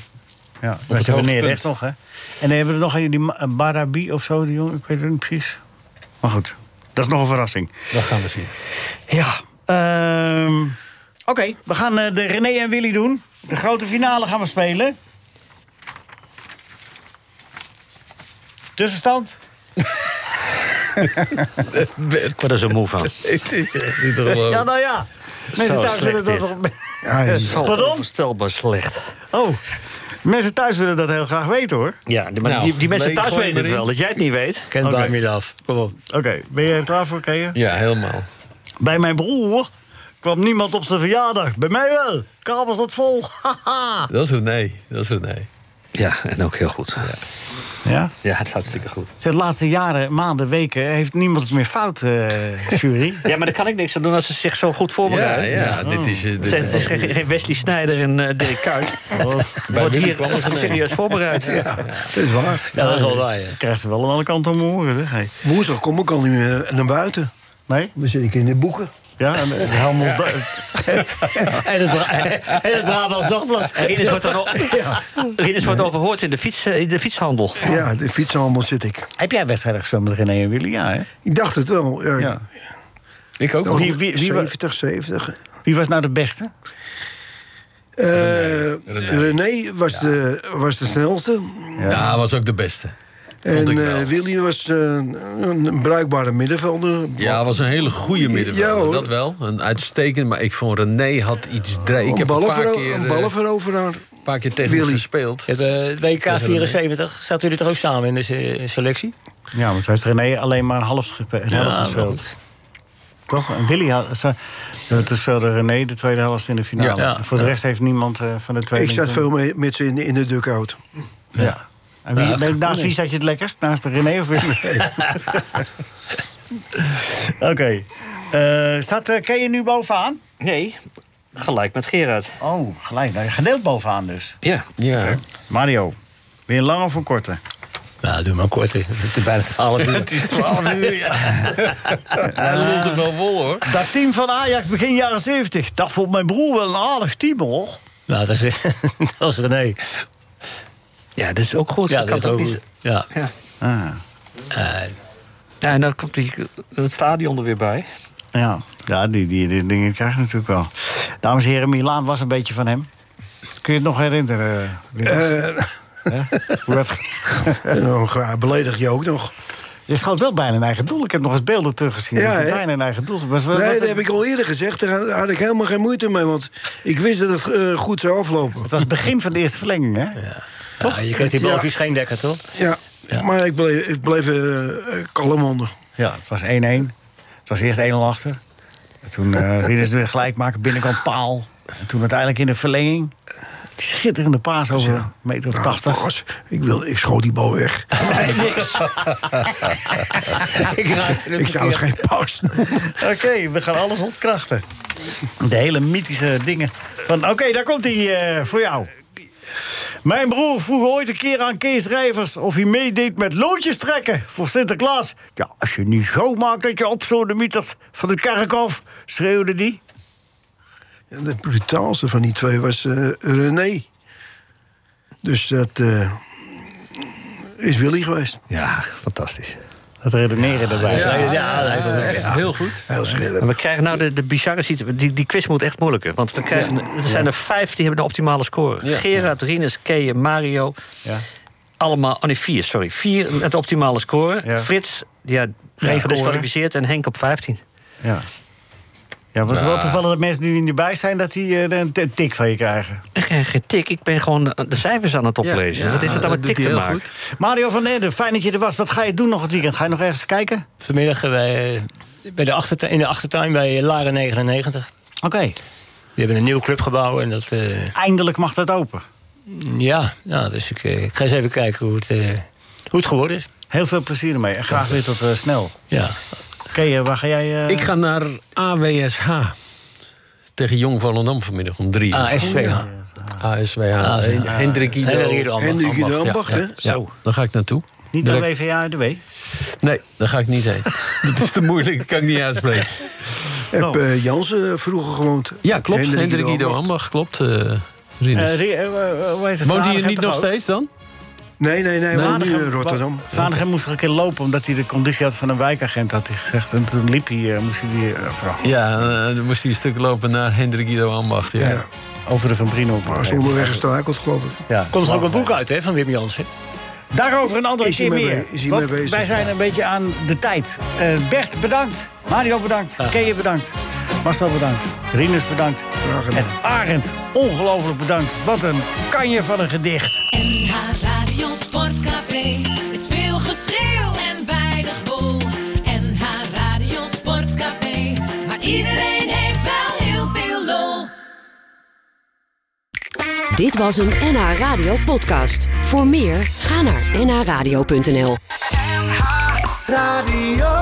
Speaker 3: Dat hebben
Speaker 6: hoogtepunt.
Speaker 3: neer nog, hè? En dan hebben we nog een, die Ma- eh, Barabi of zo, die jongen. Ik weet het niet precies. Maar goed, dat is nog een verrassing.
Speaker 6: Dat gaan we zien.
Speaker 3: Ja. ehm, Oké, we gaan eh, de René en Willy doen. De grote finale gaan we spelen. Tussenstand?
Speaker 8: Ik word er zo moe van.
Speaker 6: [LAUGHS] Het is echt niet te geloven.
Speaker 3: Ja, nou ja. Mensen thuis
Speaker 8: slecht
Speaker 3: willen dat
Speaker 8: is.
Speaker 3: nog...
Speaker 7: Ja, ja.
Speaker 3: Pardon?
Speaker 8: Onvoorstelbaar slecht.
Speaker 3: Oh, mensen thuis willen dat heel graag weten, hoor.
Speaker 8: Ja, maar
Speaker 6: Nou,
Speaker 8: die, die mensen
Speaker 6: leek
Speaker 8: thuis
Speaker 6: gewoon
Speaker 8: weten het
Speaker 6: erin.
Speaker 8: wel, dat jij het niet weet.
Speaker 5: Kent
Speaker 3: Oké.
Speaker 5: bij me af. Kom op.
Speaker 3: Oké, ben je er klaar voor, Keeën?
Speaker 6: Ja, helemaal.
Speaker 3: Bij mijn broer Kwam niemand op zijn verjaardag. Bij mij wel. Kabel zat vol. [LAUGHS] Haha.
Speaker 6: Ah. Dat is René. Dat is René.
Speaker 8: Ja, en ook heel goed.
Speaker 3: Ja? Ja,
Speaker 8: het is hartstikke goed.
Speaker 3: De laatste jaren, maanden, weken heeft niemand het meer fout, eh, jury.
Speaker 8: [LAUGHS] Ja, maar daar kan ik niks aan doen als ze zich zo goed voorbereiden.
Speaker 3: Ja, ja, dit is, eh,
Speaker 8: Het
Speaker 3: dit-
Speaker 8: zijn- het is geen- geen Wesley Snijder en eh Dirk Kuyt. Wordt
Speaker 3: Willem
Speaker 8: hier
Speaker 3: kwam het
Speaker 8: serieus
Speaker 7: [LAUGHS]
Speaker 8: voorbereid.
Speaker 7: Dat is waar.
Speaker 8: Ja, dat is wel waar,
Speaker 3: Krijgt ze wel aan alle kanten om horen, hè? Hey.
Speaker 7: Woensdag kom ik al niet meer naar buiten.
Speaker 3: Nee?
Speaker 7: Dan zit ik in de boeken.
Speaker 3: Ja, en en Helmond... Ja.
Speaker 7: [LAUGHS]
Speaker 5: [LAUGHS]
Speaker 8: En het, Bra- en het Brabants Dagblad. Rinus wordt, dan o- Rinus wordt overhoord in de, fiets, eh, in de fietshandel.
Speaker 7: Ja, de fietsenhandel zit ik.
Speaker 3: Heb jij wedstrijden gespeeld met René en Willy? Ja, hè?
Speaker 7: Ik dacht het wel. Ja.
Speaker 3: Ja.
Speaker 6: Ik
Speaker 3: ook. Wie-
Speaker 7: Wie,
Speaker 3: wie- wie wa-
Speaker 7: 70, 70.
Speaker 3: Wie was nou de beste?
Speaker 7: Eh, René was, de, was de snelste.
Speaker 6: Ja, was ook de beste.
Speaker 7: En
Speaker 6: Vond ik
Speaker 7: eh, Willy was eh, een een bruikbare middenvelder.
Speaker 6: Ja, was een hele goede
Speaker 7: Ja,
Speaker 6: middenvelder.
Speaker 7: hoor.
Speaker 6: dat wel. Een uitstekend. Maar ik vond René had iets... Dre ik
Speaker 7: Een
Speaker 6: heb een paar
Speaker 7: ballenvero-
Speaker 6: keer...
Speaker 7: een
Speaker 6: eh,
Speaker 7: ballenveroveraar.
Speaker 6: Een paar keer tegen hem gespeeld.
Speaker 5: Het eh, WK 74, zaten jullie toch ook samen in de se- selectie?
Speaker 3: Ja, want heeft René alleen maar een half gespe- een
Speaker 5: Ja,
Speaker 3: helft
Speaker 5: maar
Speaker 3: gespeeld. Toch? En Willy had, ze- eh, toen speelde René de tweede helft in de finale.
Speaker 7: Ja.
Speaker 3: En Voor de rest heeft niemand eh, van de tweede...
Speaker 7: Ik zat veel mee, met ze in, in de dugout.
Speaker 3: Ja. En wie,
Speaker 7: Ja,
Speaker 3: nee,
Speaker 7: goed,
Speaker 3: naast
Speaker 7: nee.
Speaker 3: wie zat je het lekkerst? Naast de René of Willy? [LAUGHS] Oké. Eh, staat eh, Ken je nu bovenaan?
Speaker 8: Nee, gelijk met Gerard.
Speaker 3: Oh, gelijk. Nou, gedeeld bovenaan dus.
Speaker 8: Ja.
Speaker 6: ja.
Speaker 3: Mario, ben je lang of een korte?
Speaker 5: Nou, doe maar kort. hè. Het is bijna 12
Speaker 3: [LAUGHS]
Speaker 5: uur.
Speaker 6: Het is 12 uur, ja. Hij lult hem wel vol, hoor.
Speaker 3: Dat team van Ajax begin jaren 70. Dat vond mijn broer wel een aardig team, hoor.
Speaker 5: Nou, dat is, [LAUGHS] dat is René.
Speaker 8: Ja, dat is ook goed.
Speaker 5: Ja,
Speaker 8: Dat kan
Speaker 5: dat
Speaker 8: toch
Speaker 5: is ook
Speaker 8: niet-
Speaker 5: goed. Ja.
Speaker 8: Ja.
Speaker 3: Ah.
Speaker 8: ja, en dan komt die, het stadion er weer bij.
Speaker 3: Ja, ja die, die, die dingen krijg je natuurlijk wel. Dames en heren, Milaan was een beetje van hem. Kun je het nog herinneren?
Speaker 7: Eh.
Speaker 3: Lucas? Hè? Hoe
Speaker 7: [LAUGHS]
Speaker 3: dat
Speaker 7: ging? beledig eh, je ook nog.
Speaker 3: Je schoot wel bijna een eigen doel. Ik heb nog eens beelden teruggezien.
Speaker 7: Ja,
Speaker 3: Ja,
Speaker 7: hè?
Speaker 3: bijna een eigen doel. Was, was-
Speaker 7: nee,
Speaker 3: was
Speaker 7: dat
Speaker 3: het-
Speaker 7: heb ik al eerder gezegd. Daar had ik helemaal geen moeite mee, want ik wist dat het eh, goed zou aflopen.
Speaker 3: Het was het begin van de eerste verlenging, hè?
Speaker 5: Ja, je kreeg die
Speaker 7: Ja.
Speaker 5: balkjes geen dekker, toch?
Speaker 7: Ja, maar ik bleef, ik bleef eh, eh, kalm onder.
Speaker 3: Ja, het was 1-1. Het was eerst 1-0 achter. En
Speaker 7: [LAUGHS]
Speaker 3: toen eh Rieders weer gelijk maken, binnenkant paal. En toen uiteindelijk in de verlenging. Schitterende paas over een meter of 80.
Speaker 7: Nou, ik, wil, ik schoot die bal weg.
Speaker 3: [LAUGHS] ik raakte hem
Speaker 7: Ik zou het
Speaker 3: verkeerd.
Speaker 7: geen paus noemen.
Speaker 3: Oké, we gaan alles ontkrachten. De hele mythische dingen. Van, oké, daar komt hij eh, voor jou. Mijn broer vroeg ooit een keer aan Kees Rijvers of hij meedeed met loodjes trekken voor Sinterklaas. Ja, als je niet zo maakt dat je op zo'n mietert van het kerkhof, schreeuwde die.
Speaker 7: En de brutaalste van die twee was eh, René. Dus dat eh, is Willy geweest.
Speaker 8: Ja, fantastisch.
Speaker 3: Het redeneren daarbij.
Speaker 8: Ja, ja, ja, dat is
Speaker 6: echt heel goed.
Speaker 7: Heel scherp.
Speaker 8: En we krijgen nou de, de bizarre situatie. Die, die quiz moet echt moeilijker. Want we krijgen, er zijn er vijf die hebben de optimale score.
Speaker 6: Ja.
Speaker 8: Gerard, Rinus, Keeën, Mario.
Speaker 3: Ja.
Speaker 8: Allemaal, oh nee, vier, sorry. Vier met de optimale score.
Speaker 3: Ja.
Speaker 8: Frits, ja,
Speaker 3: score, hè?
Speaker 8: gedisqualificeerd. En Henk op 15.
Speaker 3: Ja. Ja, want het is wel
Speaker 8: Ja.
Speaker 3: toevallig dat mensen die er niet bij zijn... dat die eh, een t- een tik van je krijgen.
Speaker 8: Geen, geen tik, ik ben gewoon de cijfers aan het oplezen.
Speaker 3: Ja,
Speaker 8: Wat is
Speaker 3: ja,
Speaker 8: dat dan
Speaker 3: dat
Speaker 8: met
Speaker 3: doet
Speaker 8: tik te
Speaker 3: hij heel
Speaker 8: maken?
Speaker 3: Mario van Ende, fijn dat je er was. Wat ga je doen nog het weekend? Ga je nog ergens kijken?
Speaker 5: Vanmiddag eh, bij, bij de achtertuin, in de achtertuin bij Laren 99.
Speaker 3: Oké.
Speaker 5: Die hebben een nieuw clubgebouw en dat... eh,
Speaker 3: Eindelijk mag dat open.
Speaker 5: ja, ja, dus ik, eh, ik ga eens even kijken hoe het, eh, hoe het geworden is.
Speaker 3: Heel veel plezier ermee en graag weer tot eh, snel.
Speaker 5: Ja.
Speaker 3: Oké, eh, waar ga jij... eh,
Speaker 6: Ik ga naar AWSH. Tegen Jong Volendam vanmiddag om drie uur. Oh,
Speaker 5: ASWH.
Speaker 6: ASWH.
Speaker 5: ASWH.
Speaker 6: Hen- Hendrik Ido.
Speaker 5: Hendrik Ido Ambacht. Hendrik Ido Ambacht,
Speaker 6: ja,
Speaker 5: hè?
Speaker 6: ja,
Speaker 5: Zo.
Speaker 6: Ja, daar ga ik naartoe.
Speaker 3: Niet naar
Speaker 6: Direct-
Speaker 3: WVA en de W? Eh,
Speaker 6: Nee, daar ga ik niet
Speaker 5: [LAUGHS]
Speaker 6: heen. Dat is te [LAUGHS] moeilijk, dat kan ik niet uitspreken.
Speaker 7: [LAUGHS] Heb eh, Jansen vroeger gewoond?
Speaker 6: Ja, klopt. Hendrik, Ido
Speaker 7: Ambach.
Speaker 6: Ambach, klopt. eh Rinus.
Speaker 3: Eh, Rie- eh, eh, hoe heet het?
Speaker 6: Woont hij
Speaker 3: Vlaanderen
Speaker 6: hier niet
Speaker 3: toch
Speaker 6: nog
Speaker 3: ook?
Speaker 6: steeds dan?
Speaker 7: Nee, nee, nee, woont nu in Rotterdam.
Speaker 3: Vlaanderen moest nog een keer lopen omdat hij de conditie had van een wijkagent, had hij gezegd. En toen liep hij, eh, moest hij die eh, vrouw
Speaker 6: Ja, eh, dan moest hij een stuk lopen naar Hendrik Ido Ambacht. Ja.
Speaker 7: Ja.
Speaker 3: over de Van Brino.
Speaker 7: Maar ze onderweg gestruikeld, geloof ik.
Speaker 3: Ja.
Speaker 5: Komt er ook een boek uit hè, van Wim Jansen?
Speaker 3: Daarover een andere
Speaker 7: Is hij
Speaker 3: keer
Speaker 7: mee
Speaker 3: meer.
Speaker 7: be- is hij
Speaker 3: want
Speaker 7: mee bezig?
Speaker 3: wij zijn een beetje aan de tijd. Eh, Bert, bedankt. Mario, bedankt. Keeën, bedankt. Marcel, bedankt. Rinus, bedankt. En Arend, ongelooflijk bedankt. Wat een kanje van een gedicht.
Speaker 9: NH Radio Sportcafé is veel geschreeuw en weinig wol. NH Radio Sportcafé, maar iedereen heeft wel heel
Speaker 15: Dit was een NH Radio podcast. Voor meer, ga naar nhradio.nl.
Speaker 9: Radio.